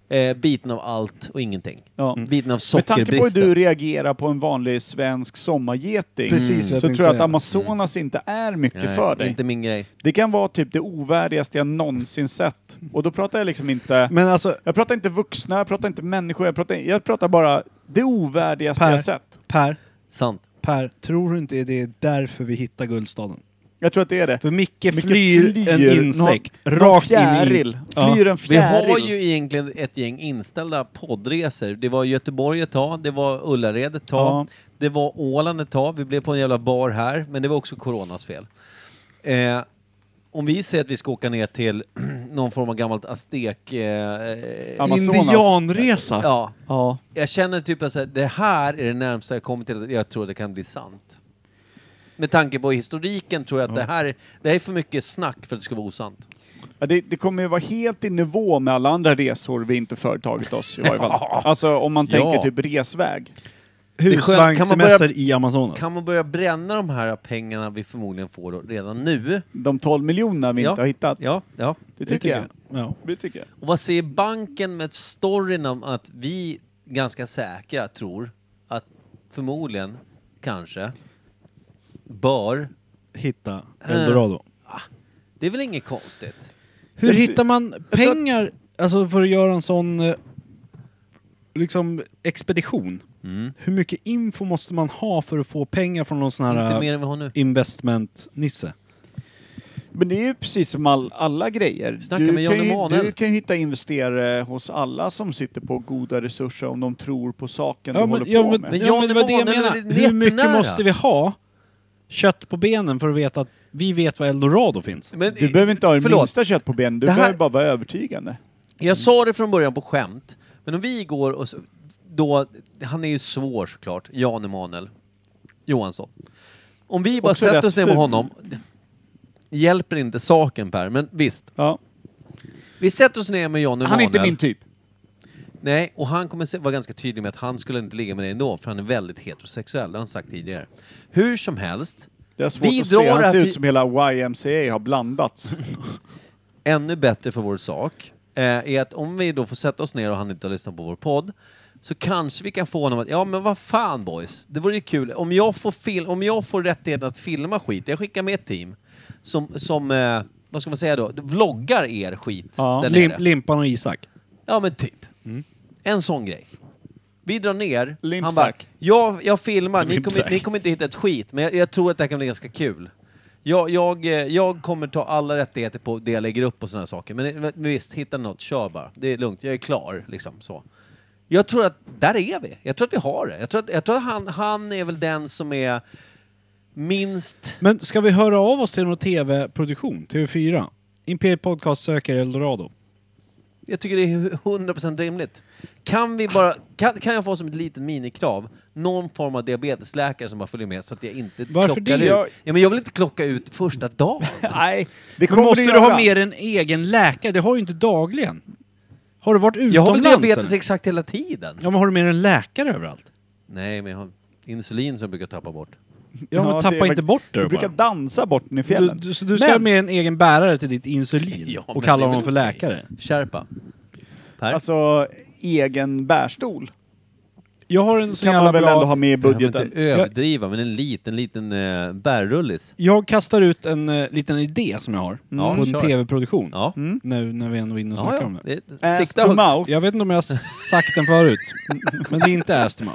[SPEAKER 1] Eh, biten av allt och ingenting.
[SPEAKER 3] Ja.
[SPEAKER 2] Mm.
[SPEAKER 1] Biten av
[SPEAKER 3] Med tanke på hur
[SPEAKER 1] sockerbristen.
[SPEAKER 3] du reagerar på en vanlig svensk sommargeting
[SPEAKER 2] Precis vad jag
[SPEAKER 3] så
[SPEAKER 2] tänkte
[SPEAKER 3] tror jag att
[SPEAKER 2] säga.
[SPEAKER 3] Amazonas inte är mycket
[SPEAKER 1] Nej,
[SPEAKER 3] för dig.
[SPEAKER 1] Inte min grej.
[SPEAKER 3] Det kan vara typ det ovärdigaste jag någonsin sett. Och då pratar jag liksom inte...
[SPEAKER 2] Men alltså,
[SPEAKER 3] Jag pratar inte vuxna, jag pratar inte människor, jag pratar, jag pratar bara det ovärdigaste
[SPEAKER 2] Per.
[SPEAKER 3] jag sett.
[SPEAKER 2] Per,
[SPEAKER 1] Sant.
[SPEAKER 2] Per, tror du inte det är därför vi hittar Guldstaden?
[SPEAKER 3] Jag tror att det är det.
[SPEAKER 2] För Micke,
[SPEAKER 3] Micke
[SPEAKER 2] flyr, en insekt
[SPEAKER 3] någon- någon
[SPEAKER 2] rakt in i...
[SPEAKER 3] fjäril. Flyr en
[SPEAKER 1] Vi
[SPEAKER 3] fjäril.
[SPEAKER 1] har ju egentligen ett gäng inställda poddresor. Det var Göteborg ett tag, det var Ullared ett tag,
[SPEAKER 3] Ja.
[SPEAKER 1] det var Åland ett tag, vi blev på en jävla bar här, men det var också coronas fel. Eh, om vi säger att vi ska åka ner till någon form av gammalt aztek... Eh, eh,
[SPEAKER 3] Amazonas.
[SPEAKER 2] Indianresa!
[SPEAKER 1] ja.
[SPEAKER 3] Ja.
[SPEAKER 1] Jag känner typ att så här, det här är det närmsta jag kommer till att jag tror att det kan bli sant. Med tanke på historiken tror jag att det, här, det här är för mycket snack för att det ska vara osant.
[SPEAKER 3] Ja, det, det kommer ju vara helt i nivå med alla andra resor vi inte företagit oss i varje fall. Alltså om man
[SPEAKER 1] Ja.
[SPEAKER 3] tänker typ resväg.
[SPEAKER 1] är skönt. Kan man börja-
[SPEAKER 2] Husvagnssemester i Amazonas.
[SPEAKER 1] Kan man börja bränna de här pengarna vi förmodligen får då, redan nu?
[SPEAKER 3] De 12 miljonerna vi
[SPEAKER 1] Ja.
[SPEAKER 3] inte har hittat.
[SPEAKER 1] Ja, ja.
[SPEAKER 3] Det tycker jag.
[SPEAKER 2] Ja.
[SPEAKER 3] Det tycker jag.
[SPEAKER 1] Och vad säger banken med storyn om att vi ganska säkra tror att förmodligen, kanske, bör...
[SPEAKER 2] Hitta Eldorado.
[SPEAKER 1] Det är väl inget konstigt?
[SPEAKER 2] Hur hittar man pengar alltså, för att göra en sån eh, liksom, expedition? Hur mycket info måste man ha för att få pengar från någon sån
[SPEAKER 1] Inte
[SPEAKER 2] här
[SPEAKER 1] mer
[SPEAKER 2] eh,
[SPEAKER 1] än vi har nu.
[SPEAKER 2] investment-nisse?
[SPEAKER 3] Men det är ju precis som all, alla grejer.
[SPEAKER 1] Snacka med Jan
[SPEAKER 3] kan ju,
[SPEAKER 1] Emanuel.
[SPEAKER 3] du kan ju hitta investerare hos alla som sitter på goda resurser om de tror på saken
[SPEAKER 2] Ja,
[SPEAKER 3] de
[SPEAKER 2] men,
[SPEAKER 3] håller
[SPEAKER 2] ja,
[SPEAKER 3] på
[SPEAKER 2] men,
[SPEAKER 3] med.
[SPEAKER 1] Men
[SPEAKER 2] ja,
[SPEAKER 1] Jan
[SPEAKER 2] men det var det jag
[SPEAKER 1] Emanuel är
[SPEAKER 2] menade.
[SPEAKER 1] lite
[SPEAKER 2] Hur mycket
[SPEAKER 1] nära.
[SPEAKER 2] måste vi ha kött på benen för att veta att vi vet var Eldorado finns?
[SPEAKER 1] Men,
[SPEAKER 3] Du behöver inte ha det
[SPEAKER 1] förlåt.
[SPEAKER 3] minsta kött på benen, du
[SPEAKER 1] Det här-
[SPEAKER 3] behöver bara vara övertygande.
[SPEAKER 1] Jag sa det från början på skämt, men om vi går och så, då, han är ju svår såklart, Jan Emanuel Johansson. Om vi bara
[SPEAKER 3] Också rätt
[SPEAKER 1] sätter oss ner med
[SPEAKER 3] ful.
[SPEAKER 1] honom, hjälper inte saken Per, men visst.
[SPEAKER 3] Ja.
[SPEAKER 1] Vi sätter oss ner med Jan Emanuel.
[SPEAKER 3] Han är inte min typ.
[SPEAKER 1] Nej, och han kommer se- vara ganska tydlig med att han skulle inte ligga med dig ändå, för han är väldigt heterosexuell, det har han sagt tidigare. Hur som helst,
[SPEAKER 3] Det är svårt
[SPEAKER 1] Vi
[SPEAKER 3] att se,
[SPEAKER 1] drar
[SPEAKER 3] han
[SPEAKER 1] att
[SPEAKER 3] ser
[SPEAKER 1] vi-
[SPEAKER 3] ut som hela YMCA har blandats.
[SPEAKER 1] ännu bättre för vår sak eh, är att om vi då får sätta oss ner och han inte har lyssnat på vår podd så kanske vi kan få honom att, ja men vad fan boys, det vore ju kul om jag får, fil- om jag får rättigheten att filma skit, jag skickar med ett team som, som eh, vad ska man säga då, vloggar er skit
[SPEAKER 3] Ja.
[SPEAKER 1] där
[SPEAKER 2] Lim,
[SPEAKER 1] nere.
[SPEAKER 2] Limpan och Isak.
[SPEAKER 1] Ja men typ. En sån grej. Vi drar ner, han bara,
[SPEAKER 3] Limpsack.
[SPEAKER 1] jag, jag filmar, ni kommer,
[SPEAKER 2] Limpsack.
[SPEAKER 1] ni kommer inte hitta ett skit, men jag, jag tror att det här kan bli ganska kul. Jag, jag, eh, jag kommer ta alla rättigheter på det jag lägger upp och sådana saker, men eh, visst, hitta något, kör bara. Det är lugnt, jag är klar, liksom så. Jag tror att, där är vi. Jag tror att vi har det. Jag tror att, jag tror att han, han är väl den som är minst...
[SPEAKER 2] Men ska vi höra av oss till någon tv-produktion? TV4? Imperiet Podcast söker Eldorado.
[SPEAKER 1] Jag tycker det är 100% rimligt. Kan vi bara, kan, kan jag få som ett litet minikrav, någon form av diabetesläkare som bara följer med så att jag inte
[SPEAKER 2] Varför
[SPEAKER 1] klockar
[SPEAKER 2] det?
[SPEAKER 1] ut? Ja, men jag vill inte klocka ut första dagen.
[SPEAKER 3] Nej, det
[SPEAKER 2] Men
[SPEAKER 3] kommer
[SPEAKER 2] måste du
[SPEAKER 3] göra.
[SPEAKER 2] ha med dig en egen läkare? Det har du ju inte dagligen. Har du varit
[SPEAKER 1] Jag har väl
[SPEAKER 2] utomlands?
[SPEAKER 1] diabetes
[SPEAKER 2] eller?
[SPEAKER 1] exakt hela tiden?
[SPEAKER 2] Ja, men har du med dig en läkare överallt?
[SPEAKER 1] Nej, men jag har insulin som jag brukar tappa bort.
[SPEAKER 2] Ja, men
[SPEAKER 3] Ja, det är
[SPEAKER 2] tappa inte
[SPEAKER 3] faktiskt-
[SPEAKER 2] bort det
[SPEAKER 3] Du
[SPEAKER 2] då
[SPEAKER 3] brukar
[SPEAKER 2] bara.
[SPEAKER 3] dansa bort den i
[SPEAKER 2] Du,
[SPEAKER 3] fjällen.
[SPEAKER 2] du, så du ska ha
[SPEAKER 3] Men-
[SPEAKER 2] med en egen bärare till ditt insulin
[SPEAKER 1] Ja, men
[SPEAKER 2] och kalla
[SPEAKER 1] det är
[SPEAKER 2] honom
[SPEAKER 1] väl
[SPEAKER 2] för
[SPEAKER 1] okej.
[SPEAKER 2] läkare.
[SPEAKER 1] Sherpa. Per?
[SPEAKER 3] Alltså, egen bärstol
[SPEAKER 2] Jag har en sån
[SPEAKER 3] kan
[SPEAKER 2] jävla
[SPEAKER 3] man väl
[SPEAKER 2] bra...
[SPEAKER 3] ändå ha med i
[SPEAKER 1] Jag
[SPEAKER 3] budgeten.
[SPEAKER 1] inte överdriva, men en liten, liten eh, bärrullis.
[SPEAKER 2] Jag kastar ut en eh, liten idé som jag har
[SPEAKER 1] Mm. Ja,
[SPEAKER 2] på en
[SPEAKER 1] kör.
[SPEAKER 2] tv-produktion.
[SPEAKER 1] Ja. Mm.
[SPEAKER 3] Mm?
[SPEAKER 2] Nu när Mm, vi ändå är inne och snackar
[SPEAKER 1] Ja,
[SPEAKER 2] om det. Äh,
[SPEAKER 1] ja. Det-
[SPEAKER 3] Ass
[SPEAKER 1] Sikta
[SPEAKER 3] to
[SPEAKER 1] högt.
[SPEAKER 3] mouth.
[SPEAKER 2] Jag vet inte om jag har sagt den förut, men det är inte astma.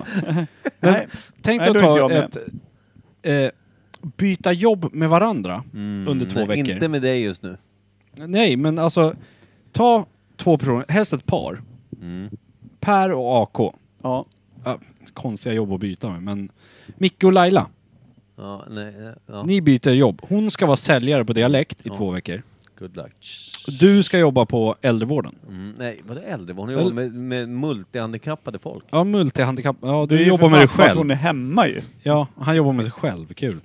[SPEAKER 3] Nej.
[SPEAKER 2] Tänk
[SPEAKER 3] Nej,
[SPEAKER 2] dig
[SPEAKER 3] då
[SPEAKER 2] att
[SPEAKER 3] är inte
[SPEAKER 2] ta
[SPEAKER 3] jag
[SPEAKER 2] ett, eh, byta jobb med varandra under två
[SPEAKER 1] Mm. nej,
[SPEAKER 2] veckor.
[SPEAKER 1] Inte med dig just nu.
[SPEAKER 2] Nej, men alltså ta två personer, helst ett par.
[SPEAKER 1] Mm.
[SPEAKER 2] Per och AK.
[SPEAKER 3] Ja.
[SPEAKER 2] Ja, konstiga jobb att byta med, men Micke och Laila,
[SPEAKER 1] Ja, nej, eh, ja.
[SPEAKER 2] ni byter jobb. Hon ska vara säljare på Dialekt i två veckor.
[SPEAKER 1] Good luck.
[SPEAKER 2] Du ska jobba på äldrevården.
[SPEAKER 1] Mm, nej, vadå äldre? Hon jobbar med, med multihandikappade folk.
[SPEAKER 2] Ja, multihandikapp. Ja,
[SPEAKER 3] Det är
[SPEAKER 2] du
[SPEAKER 3] ju för
[SPEAKER 2] jobbar med
[SPEAKER 3] fan
[SPEAKER 2] dig
[SPEAKER 3] som att
[SPEAKER 2] själv.
[SPEAKER 3] hon är hemma ju.
[SPEAKER 2] Ja, han jobbar med sig själv. Kul.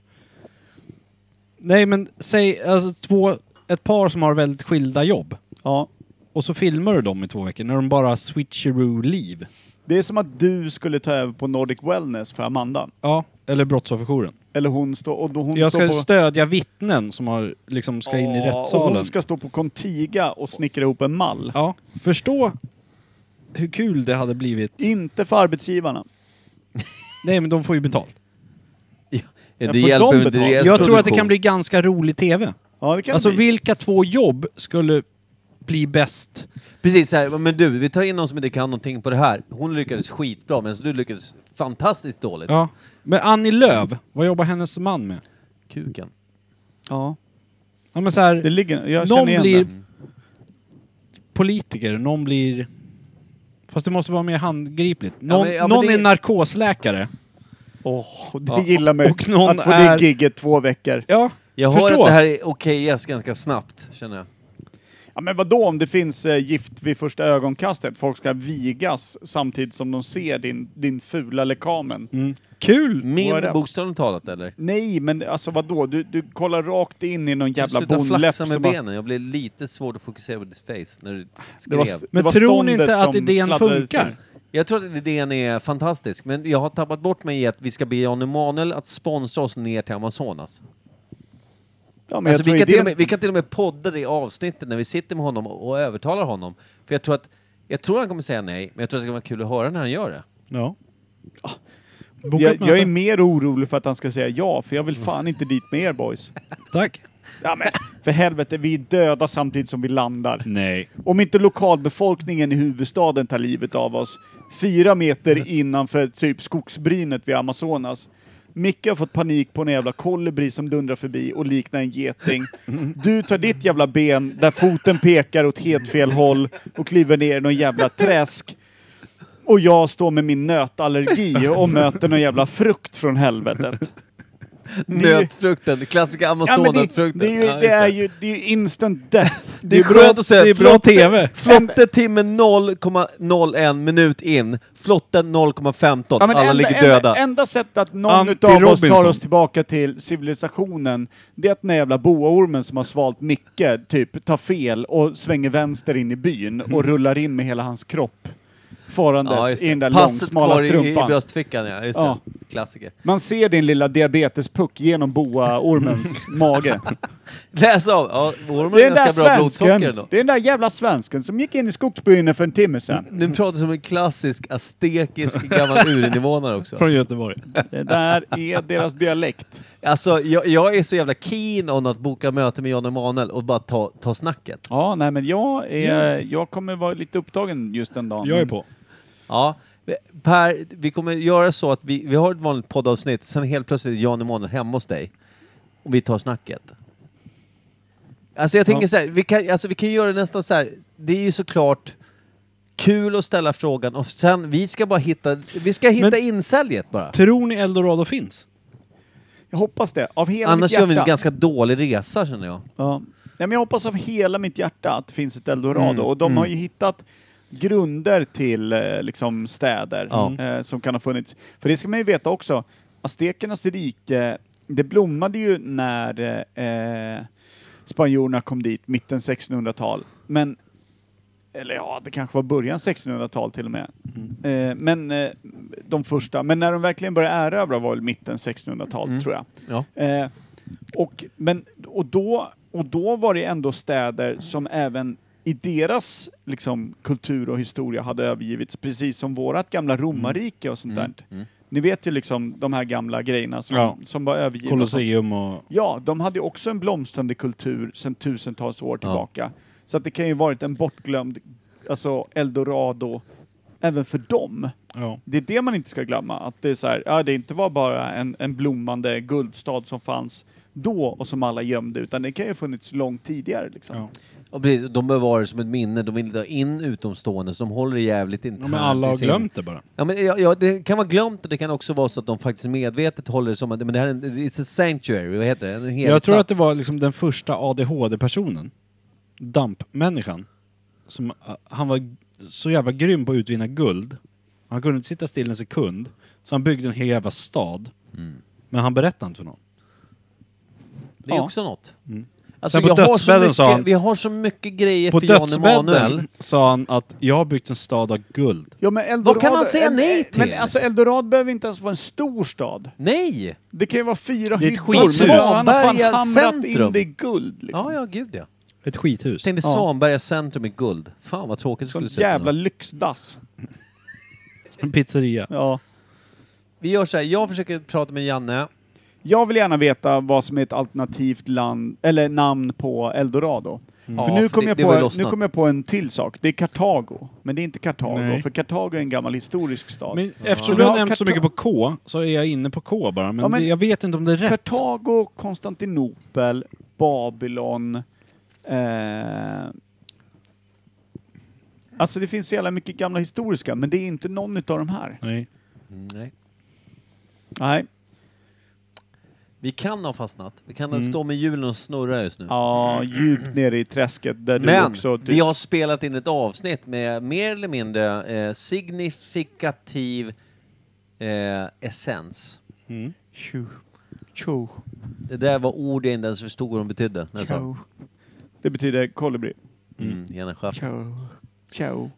[SPEAKER 2] Nej, men säg alltså, två, ett par som har väldigt skilda jobb.
[SPEAKER 3] Ja.
[SPEAKER 2] Och så filmar du dem i två veckor när de bara switcheroo liv.
[SPEAKER 3] Det är som att du skulle ta över på Nordic Wellness för Amanda.
[SPEAKER 2] Ja, eller brottsofferjouren.
[SPEAKER 3] Eller hon står och då hon
[SPEAKER 2] Jag
[SPEAKER 3] står
[SPEAKER 2] ska
[SPEAKER 3] på...
[SPEAKER 2] stödja vittnen som har, liksom ska in i
[SPEAKER 3] Ja, Och
[SPEAKER 2] rättssalen.
[SPEAKER 3] hon ska stå på Contiga och snickra ihop en mall.
[SPEAKER 2] Ja, förstå hur kul det hade blivit.
[SPEAKER 3] Inte för arbetsgivarna.
[SPEAKER 2] Nej, men de får ju betalt.
[SPEAKER 1] Ja,
[SPEAKER 3] får de
[SPEAKER 1] ju
[SPEAKER 3] betalt?
[SPEAKER 1] deras
[SPEAKER 2] Jag tror att det kan
[SPEAKER 1] produktion.
[SPEAKER 2] bli ganska rolig TV.
[SPEAKER 3] Ja, det kan
[SPEAKER 2] Alltså
[SPEAKER 3] det bli.
[SPEAKER 2] vilka två jobb skulle bli bäst?
[SPEAKER 1] Precis så här, men du, vi tar in någon som inte kan någonting på det här. Hon lyckades skitbra, medan du lyckades fantastiskt dåligt.
[SPEAKER 2] Ja. Men Annie Lööf, vad jobbar hennes man med?
[SPEAKER 1] Kuken.
[SPEAKER 3] Ja.
[SPEAKER 2] Ja men så här,
[SPEAKER 3] Det ligger... Jag
[SPEAKER 2] någon
[SPEAKER 3] känner igen
[SPEAKER 2] blir
[SPEAKER 3] det.
[SPEAKER 2] politiker, någon blir... Fast det måste vara mer handgripligt. Någon,
[SPEAKER 1] men- ja, men
[SPEAKER 2] någon
[SPEAKER 1] det-
[SPEAKER 2] är narkosläkare.
[SPEAKER 3] Åh, det
[SPEAKER 2] Ja,
[SPEAKER 3] gillar mig.
[SPEAKER 2] och någon
[SPEAKER 3] att få
[SPEAKER 2] är-
[SPEAKER 3] det gigget två veckor.
[SPEAKER 2] Ja,
[SPEAKER 1] Jag hör
[SPEAKER 2] förstå.
[SPEAKER 1] att det här är okejas ganska snabbt, känner jag.
[SPEAKER 3] Ja, men vad då om det finns eh, gift vid första ögonkastet? Folk ska vigas samtidigt som de ser din, din fula lekamen.
[SPEAKER 2] Mm. Kul!
[SPEAKER 1] Min
[SPEAKER 3] Vad är det?
[SPEAKER 1] bokstavligt talat, eller?
[SPEAKER 3] Nej, men alltså vad då? Du, du kollar rakt in i någon jävla
[SPEAKER 1] Sluta
[SPEAKER 3] bonläpp
[SPEAKER 1] flaxa
[SPEAKER 3] som
[SPEAKER 1] med
[SPEAKER 3] har-
[SPEAKER 1] benen, jag blev lite svårt att fokusera på ditt face när du
[SPEAKER 3] Det
[SPEAKER 1] skrev.
[SPEAKER 3] var, det
[SPEAKER 2] Men
[SPEAKER 3] var
[SPEAKER 2] tror ni
[SPEAKER 3] ståndet
[SPEAKER 2] inte att
[SPEAKER 3] som
[SPEAKER 2] idén
[SPEAKER 3] fladdrade
[SPEAKER 2] funkar?
[SPEAKER 3] till.
[SPEAKER 1] Jag tror att idén är fantastisk, men jag har tappat bort mig i att vi ska be Jan Emanuel att sponsra oss ner till Amazonas.
[SPEAKER 3] Ja, men
[SPEAKER 1] Alltså,
[SPEAKER 3] jag
[SPEAKER 1] vi,
[SPEAKER 3] tror
[SPEAKER 1] kan till
[SPEAKER 3] idén...
[SPEAKER 1] och med, vi kan till och med podda det avsnittet när vi sitter med honom och övertalar honom. För jag tror att jag tror han kommer säga nej, men jag tror att det ska vara kul att höra när han gör det.
[SPEAKER 2] Ja.
[SPEAKER 1] Ah.
[SPEAKER 3] jag, jag är mer orolig för att han ska säga ja, för jag vill fan inte dit med er boys.
[SPEAKER 2] Tack.
[SPEAKER 3] Ja, men, för helvete, vi är döda samtidigt som vi landar.
[SPEAKER 2] Nej.
[SPEAKER 3] Om inte lokalbefolkningen i huvudstaden tar livet av oss, fyra meter innanför typ skogsbrynet vid Amazonas. Micke har fått panik på en jävla kolibri som dundrar förbi och liknar en geting. Du tar ditt jävla ben där foten pekar åt helt fel håll och kliver ner i någon jävla träsk. Och jag står med min nötallergi och möter någon jävla frukt från helvetet. Det är ju-
[SPEAKER 1] Nötfrukten, den klassiska
[SPEAKER 3] Ja, men det,
[SPEAKER 1] Amazonatfrukten.
[SPEAKER 3] det, är ju,
[SPEAKER 1] Ja,
[SPEAKER 3] det
[SPEAKER 1] just
[SPEAKER 3] är ju det är ju instant death.
[SPEAKER 1] Det är skönt att säga
[SPEAKER 2] det är bra
[SPEAKER 1] flotte-
[SPEAKER 2] TV.
[SPEAKER 1] Flotte timme 0,01 minut in, flotten 0,15,
[SPEAKER 3] Ja, men
[SPEAKER 1] alla
[SPEAKER 3] enda,
[SPEAKER 1] ligger
[SPEAKER 3] enda-
[SPEAKER 1] döda.
[SPEAKER 3] enda sättet att någon
[SPEAKER 2] Anti
[SPEAKER 3] utav oss tar
[SPEAKER 2] Robinson.
[SPEAKER 3] oss tillbaka till civilisationen, det är att den här jävla boaormen som har svalt Micke, typ tar fel och svänger vänster in i byn och rullar in med hela hans kropp. Farandes
[SPEAKER 1] Mm. Ja, just
[SPEAKER 3] i den där
[SPEAKER 1] det. Passet
[SPEAKER 3] långsmala
[SPEAKER 1] kvar i, i
[SPEAKER 3] strumpan.
[SPEAKER 1] bröstfickan, ja. Just
[SPEAKER 3] Ja.
[SPEAKER 1] det. Klassiker.
[SPEAKER 3] Man ser din lilla diabetespuck genom boaormens mage.
[SPEAKER 1] Läs av! Ja, ormen har
[SPEAKER 3] Det är, den där
[SPEAKER 1] ganska bra blodsocker
[SPEAKER 3] svensken,
[SPEAKER 1] ändå.
[SPEAKER 3] det är den där jävla svensken som gick in i skogsbyn för en timme sedan.
[SPEAKER 1] Du pratar som en klassisk aztekisk gammal urinvånare också.
[SPEAKER 2] Från Göteborg.
[SPEAKER 3] Det där är deras dialekt.
[SPEAKER 1] Alltså, jag, jag är så jävla keen on att boka möte med Jan Emanuel och bara ta, ta snacket.
[SPEAKER 3] Ja, nej men jag, är, jag kommer vara lite upptagen just den dagen.
[SPEAKER 2] Jag är
[SPEAKER 3] Men-
[SPEAKER 2] på.
[SPEAKER 1] Ja. Per, vi kommer göra så att vi, vi har ett vanligt poddavsnitt, sen helt plötsligt är Jan Emanuel hemma hos dig. Och vi tar snacket. Alltså jag tänker så här, vi kan, alltså vi kan göra det nästan så här. det är ju såklart kul att ställa frågan och sen, vi ska bara hitta, vi ska hitta
[SPEAKER 2] Men-
[SPEAKER 1] insäljet bara.
[SPEAKER 2] Tror ni Eldorado finns?
[SPEAKER 3] Jag hoppas det. Av hela
[SPEAKER 1] Annars
[SPEAKER 3] mitt
[SPEAKER 1] gör
[SPEAKER 3] hjärta.
[SPEAKER 1] vi en ganska dålig resa känner jag.
[SPEAKER 3] ja. Nej, men jag hoppas av hela mitt hjärta att det finns ett Eldorado.
[SPEAKER 1] Mm,
[SPEAKER 3] Och de har ju hittat grunder till eh, liksom, städer
[SPEAKER 1] Ja.
[SPEAKER 3] eh, som kan ha funnits. För det ska man ju veta också. Aztekernas rike, det blommade ju när eh, spanjorerna kom dit, mitten 1600-tal. Men
[SPEAKER 1] Mm.
[SPEAKER 3] eller ja, det kanske var början 1600-tal till och med. Eh, men eh, de första, men när de verkligen började erövra var väl mitten 1600-tal
[SPEAKER 1] Mm.
[SPEAKER 3] tror jag.
[SPEAKER 1] Ja.
[SPEAKER 3] Eh, och, men, och, då, och då var det ändå städer som även i deras liksom, kultur och historia hade övergivits, precis som vårat gamla
[SPEAKER 2] Mm.
[SPEAKER 3] romarrike och sånt där. Ni vet ju liksom de här gamla grejerna som,
[SPEAKER 2] Ja.
[SPEAKER 3] som var övergivna.
[SPEAKER 2] Colosseum och...
[SPEAKER 3] Ja, de hade ju också en blomstrande kultur sedan tusentals år tillbaka. Så att det kan ju varit en bortglömd alltså eldorado även för dem.
[SPEAKER 2] Ja.
[SPEAKER 3] Det är det man inte ska glömma. Att det är så här, ja, det inte var bara en, en blommande guldstad som fanns då och som alla gömde, utan det kan ju ha funnits långt tidigare. Liksom.
[SPEAKER 2] Ja.
[SPEAKER 1] Och precis, de bevarar det som ett minne, de vill inte ha in utomstående, så de håller det jävligt internt.
[SPEAKER 2] Ja, men alla har
[SPEAKER 1] i sin-
[SPEAKER 2] glömt det bara.
[SPEAKER 1] Ja, men, ja, ja, det kan vara glömt och det kan också vara så att de faktiskt medvetet håller det som att men det här är en, it's a sanctuary, vad heter det? En helig
[SPEAKER 2] Jag tror
[SPEAKER 1] plats.
[SPEAKER 2] att det var liksom den första ADHD-personen, dampmänniskan, som ah, han var så jävla grym på att utvinna guld. Han kunde inte sitta still en sekund, så han byggde en hel jävla stad.
[SPEAKER 1] Mm.
[SPEAKER 2] Men han berättade inte för någon.
[SPEAKER 1] Det är
[SPEAKER 3] Ja.
[SPEAKER 1] också något.
[SPEAKER 2] Mm.
[SPEAKER 1] Alltså,
[SPEAKER 2] Sen på
[SPEAKER 1] jag har så
[SPEAKER 2] dödsbädden
[SPEAKER 1] mycket,
[SPEAKER 2] sa han-
[SPEAKER 1] Vi har så mycket grejer
[SPEAKER 2] På
[SPEAKER 1] för Jan Emanuel.
[SPEAKER 2] dödsbädden sa han att jag har byggt en stad av guld.
[SPEAKER 3] Ja, men Eldorado,
[SPEAKER 1] Vad kan man säga
[SPEAKER 3] en-
[SPEAKER 1] nej till?
[SPEAKER 3] Men alltså Eldorado behöver inte ens vara en stor stad.
[SPEAKER 2] Liksom.
[SPEAKER 1] Nej!
[SPEAKER 3] Det kan ju vara fyra
[SPEAKER 2] Det är ett skithus.
[SPEAKER 3] hyddor, men han har fan
[SPEAKER 1] Samberga
[SPEAKER 3] hamrat
[SPEAKER 1] centrum.
[SPEAKER 3] in det i guld. Liksom.
[SPEAKER 1] Ja, ja, gud ja.
[SPEAKER 2] Ett skithus.
[SPEAKER 1] Tänk dig
[SPEAKER 3] Ja.
[SPEAKER 1] Svanberga centrum i guld. Fan vad tråkigt det
[SPEAKER 3] Sån
[SPEAKER 1] skulle se ut
[SPEAKER 3] jävla
[SPEAKER 1] ändå.
[SPEAKER 3] lyxdass.
[SPEAKER 2] En pizzeria.
[SPEAKER 3] Ja.
[SPEAKER 1] Vi gör så här, jag försöker prata med Janne.
[SPEAKER 3] Jag vill gärna veta vad som är ett alternativt land, eller namn på Eldorado.
[SPEAKER 1] Mm. Ja,
[SPEAKER 3] För, nu, kom
[SPEAKER 1] det,
[SPEAKER 3] jag
[SPEAKER 1] det var ju
[SPEAKER 3] på, nu
[SPEAKER 1] lossnat.
[SPEAKER 3] kom jag på en till sak. Det är Kartago. Men det är inte Kartago,
[SPEAKER 2] Nej.
[SPEAKER 3] för Kartago är en gammal historisk stad.
[SPEAKER 2] Men
[SPEAKER 3] Så
[SPEAKER 2] eftersom
[SPEAKER 3] vi
[SPEAKER 2] du har
[SPEAKER 3] har
[SPEAKER 2] nämnt så
[SPEAKER 3] Karta-
[SPEAKER 2] mycket på K så är jag inne på K bara, men,
[SPEAKER 3] Ja, men-
[SPEAKER 2] det, jag vet inte om det är rätt.
[SPEAKER 3] Kartago, Konstantinopel, Babylon... Eh, alltså det finns så jävla mycket gamla historiska, men det är inte någon utav de här.
[SPEAKER 2] Nej.
[SPEAKER 1] Nej.
[SPEAKER 3] Nej.
[SPEAKER 1] Vi kan ha fastnat. Vi kan
[SPEAKER 2] Mm.
[SPEAKER 1] stå med hjulen och snurra just nu.
[SPEAKER 3] Ja, djupt nere i träsket där du
[SPEAKER 1] Men
[SPEAKER 3] också... typ-
[SPEAKER 1] vi har spelat in ett avsnitt med mer eller mindre eh, signifikativ eh, essens.
[SPEAKER 3] Tjo. Tjo.
[SPEAKER 1] Det där var ord jag inte ens förstod vad de betydde. När jag sa.
[SPEAKER 3] Tjo. typ- Det betyder kolibri.
[SPEAKER 1] Mm, Janne Schaff.
[SPEAKER 3] Tjo. Tjo.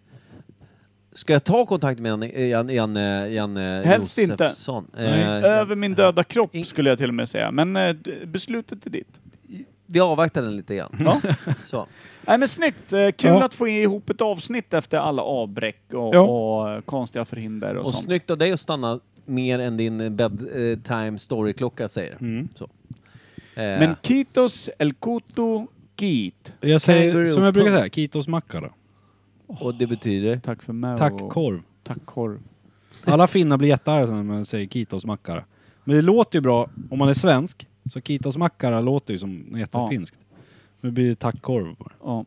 [SPEAKER 1] Ska jag ta kontakt med Janne, eh, Janne, Janne, Janne
[SPEAKER 3] Helst inte.
[SPEAKER 1] Josefsson?
[SPEAKER 2] Nej.
[SPEAKER 1] Eh,
[SPEAKER 3] Över min döda kropp
[SPEAKER 1] In-
[SPEAKER 3] skulle jag till och med säga, men eh, d- beslutet är ditt.
[SPEAKER 1] vi avvaktar den lite grann.
[SPEAKER 3] Ja.
[SPEAKER 1] Så.
[SPEAKER 3] Nej men snyggt! Eh, Kul
[SPEAKER 2] Ja.
[SPEAKER 3] att få ihop ett avsnitt efter alla avbräck och,
[SPEAKER 2] Ja.
[SPEAKER 3] och eh, konstiga förhinder och,
[SPEAKER 1] Och
[SPEAKER 3] sånt.
[SPEAKER 1] snyggt av dig att stanna mer än din bedtime story-klocka säger. Så. Eh,
[SPEAKER 3] Mm. Men Kitos El Kutu Kit.
[SPEAKER 2] Jag säger
[SPEAKER 1] Kangaroo
[SPEAKER 2] som jag brukar
[SPEAKER 1] punk.
[SPEAKER 2] säga, Kitos macka då.
[SPEAKER 1] Eh, Och det betyder?
[SPEAKER 3] Tack för mig.
[SPEAKER 2] Tack
[SPEAKER 3] och-
[SPEAKER 2] korv.
[SPEAKER 3] Tack korv.
[SPEAKER 2] Alla finnar blir jättearga sen när man säger Kitos mackara. Men det låter ju bra om man är svensk. Så Kitos mackara låter ju som något jättefinskt. Men det blir ju tackkorv bara.
[SPEAKER 3] Ja.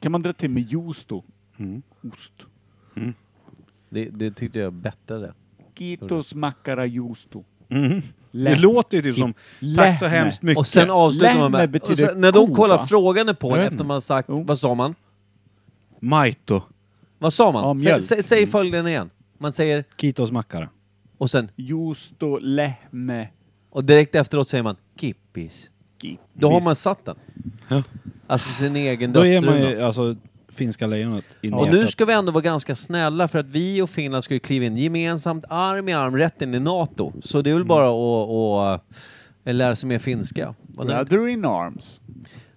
[SPEAKER 3] Kan man dra till med juice då?
[SPEAKER 2] Mm.
[SPEAKER 3] Ost.
[SPEAKER 1] Det, det tyckte jag bättre.
[SPEAKER 3] Kitos makara juice då.
[SPEAKER 2] Det låter ju typ som tack så hemskt mycket.
[SPEAKER 1] Mm. Och sen avslutar man
[SPEAKER 3] Lämme
[SPEAKER 1] med...
[SPEAKER 3] betyder
[SPEAKER 1] Och sen, när de
[SPEAKER 3] ko,
[SPEAKER 1] kollar
[SPEAKER 3] va?
[SPEAKER 1] frågande på en
[SPEAKER 2] Jag vet
[SPEAKER 1] efter
[SPEAKER 2] inte.
[SPEAKER 1] man sagt...
[SPEAKER 3] Jo.
[SPEAKER 1] Vad sa man?
[SPEAKER 2] Maito.
[SPEAKER 1] Vad sa man?
[SPEAKER 3] Ja,
[SPEAKER 1] säg,
[SPEAKER 3] mjölk.
[SPEAKER 1] säg,
[SPEAKER 2] Mm.
[SPEAKER 1] säg följden igen. Man säger...
[SPEAKER 2] Kitos mackara.
[SPEAKER 1] Och sen...
[SPEAKER 3] Juice då lähme
[SPEAKER 1] Och direkt efteråt säger man kippis.
[SPEAKER 3] kit.
[SPEAKER 1] Då har man satt den. Alltså sin egen
[SPEAKER 2] Då är man ju
[SPEAKER 1] dödsruna.
[SPEAKER 2] alltså finska lejonet in i
[SPEAKER 1] Och nu
[SPEAKER 2] hjärtat.
[SPEAKER 1] ska vi ändå vara ganska snälla för att vi och Finland ska ju kliva in gemensamt arm i arm rätt in i NATO. Så det är
[SPEAKER 2] Mm.
[SPEAKER 1] väl bara att att, eh, lära sig mer finska. Vad nämnde
[SPEAKER 3] Brother in arms.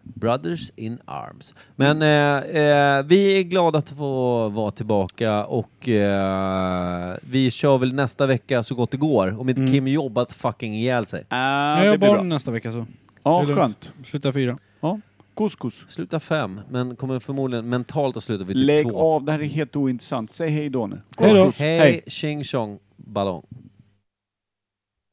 [SPEAKER 1] Brothers in Arms. Men eh, eh, vi är glada att få vara tillbaka och eh, vi kör väl nästa vecka så gott det går. Om inte
[SPEAKER 3] Mm.
[SPEAKER 1] Kim jobbat fucking ihjäl sig.
[SPEAKER 3] Ah,
[SPEAKER 2] jag
[SPEAKER 3] det
[SPEAKER 2] har
[SPEAKER 3] blir
[SPEAKER 2] barn
[SPEAKER 3] bra.
[SPEAKER 2] nästa vecka så.
[SPEAKER 3] Ja,
[SPEAKER 2] Det är lugnt.
[SPEAKER 3] skönt.
[SPEAKER 2] Slutar fyra.
[SPEAKER 3] Ja. Couscous.
[SPEAKER 1] Sluta fem, men kommer förmodligen mentalt att sluta vid typ
[SPEAKER 3] Lägg
[SPEAKER 1] två.
[SPEAKER 3] av, det här är helt ointressant. Säg hej då nu.
[SPEAKER 2] Hej då.
[SPEAKER 1] Hej, tjing tjong ballong.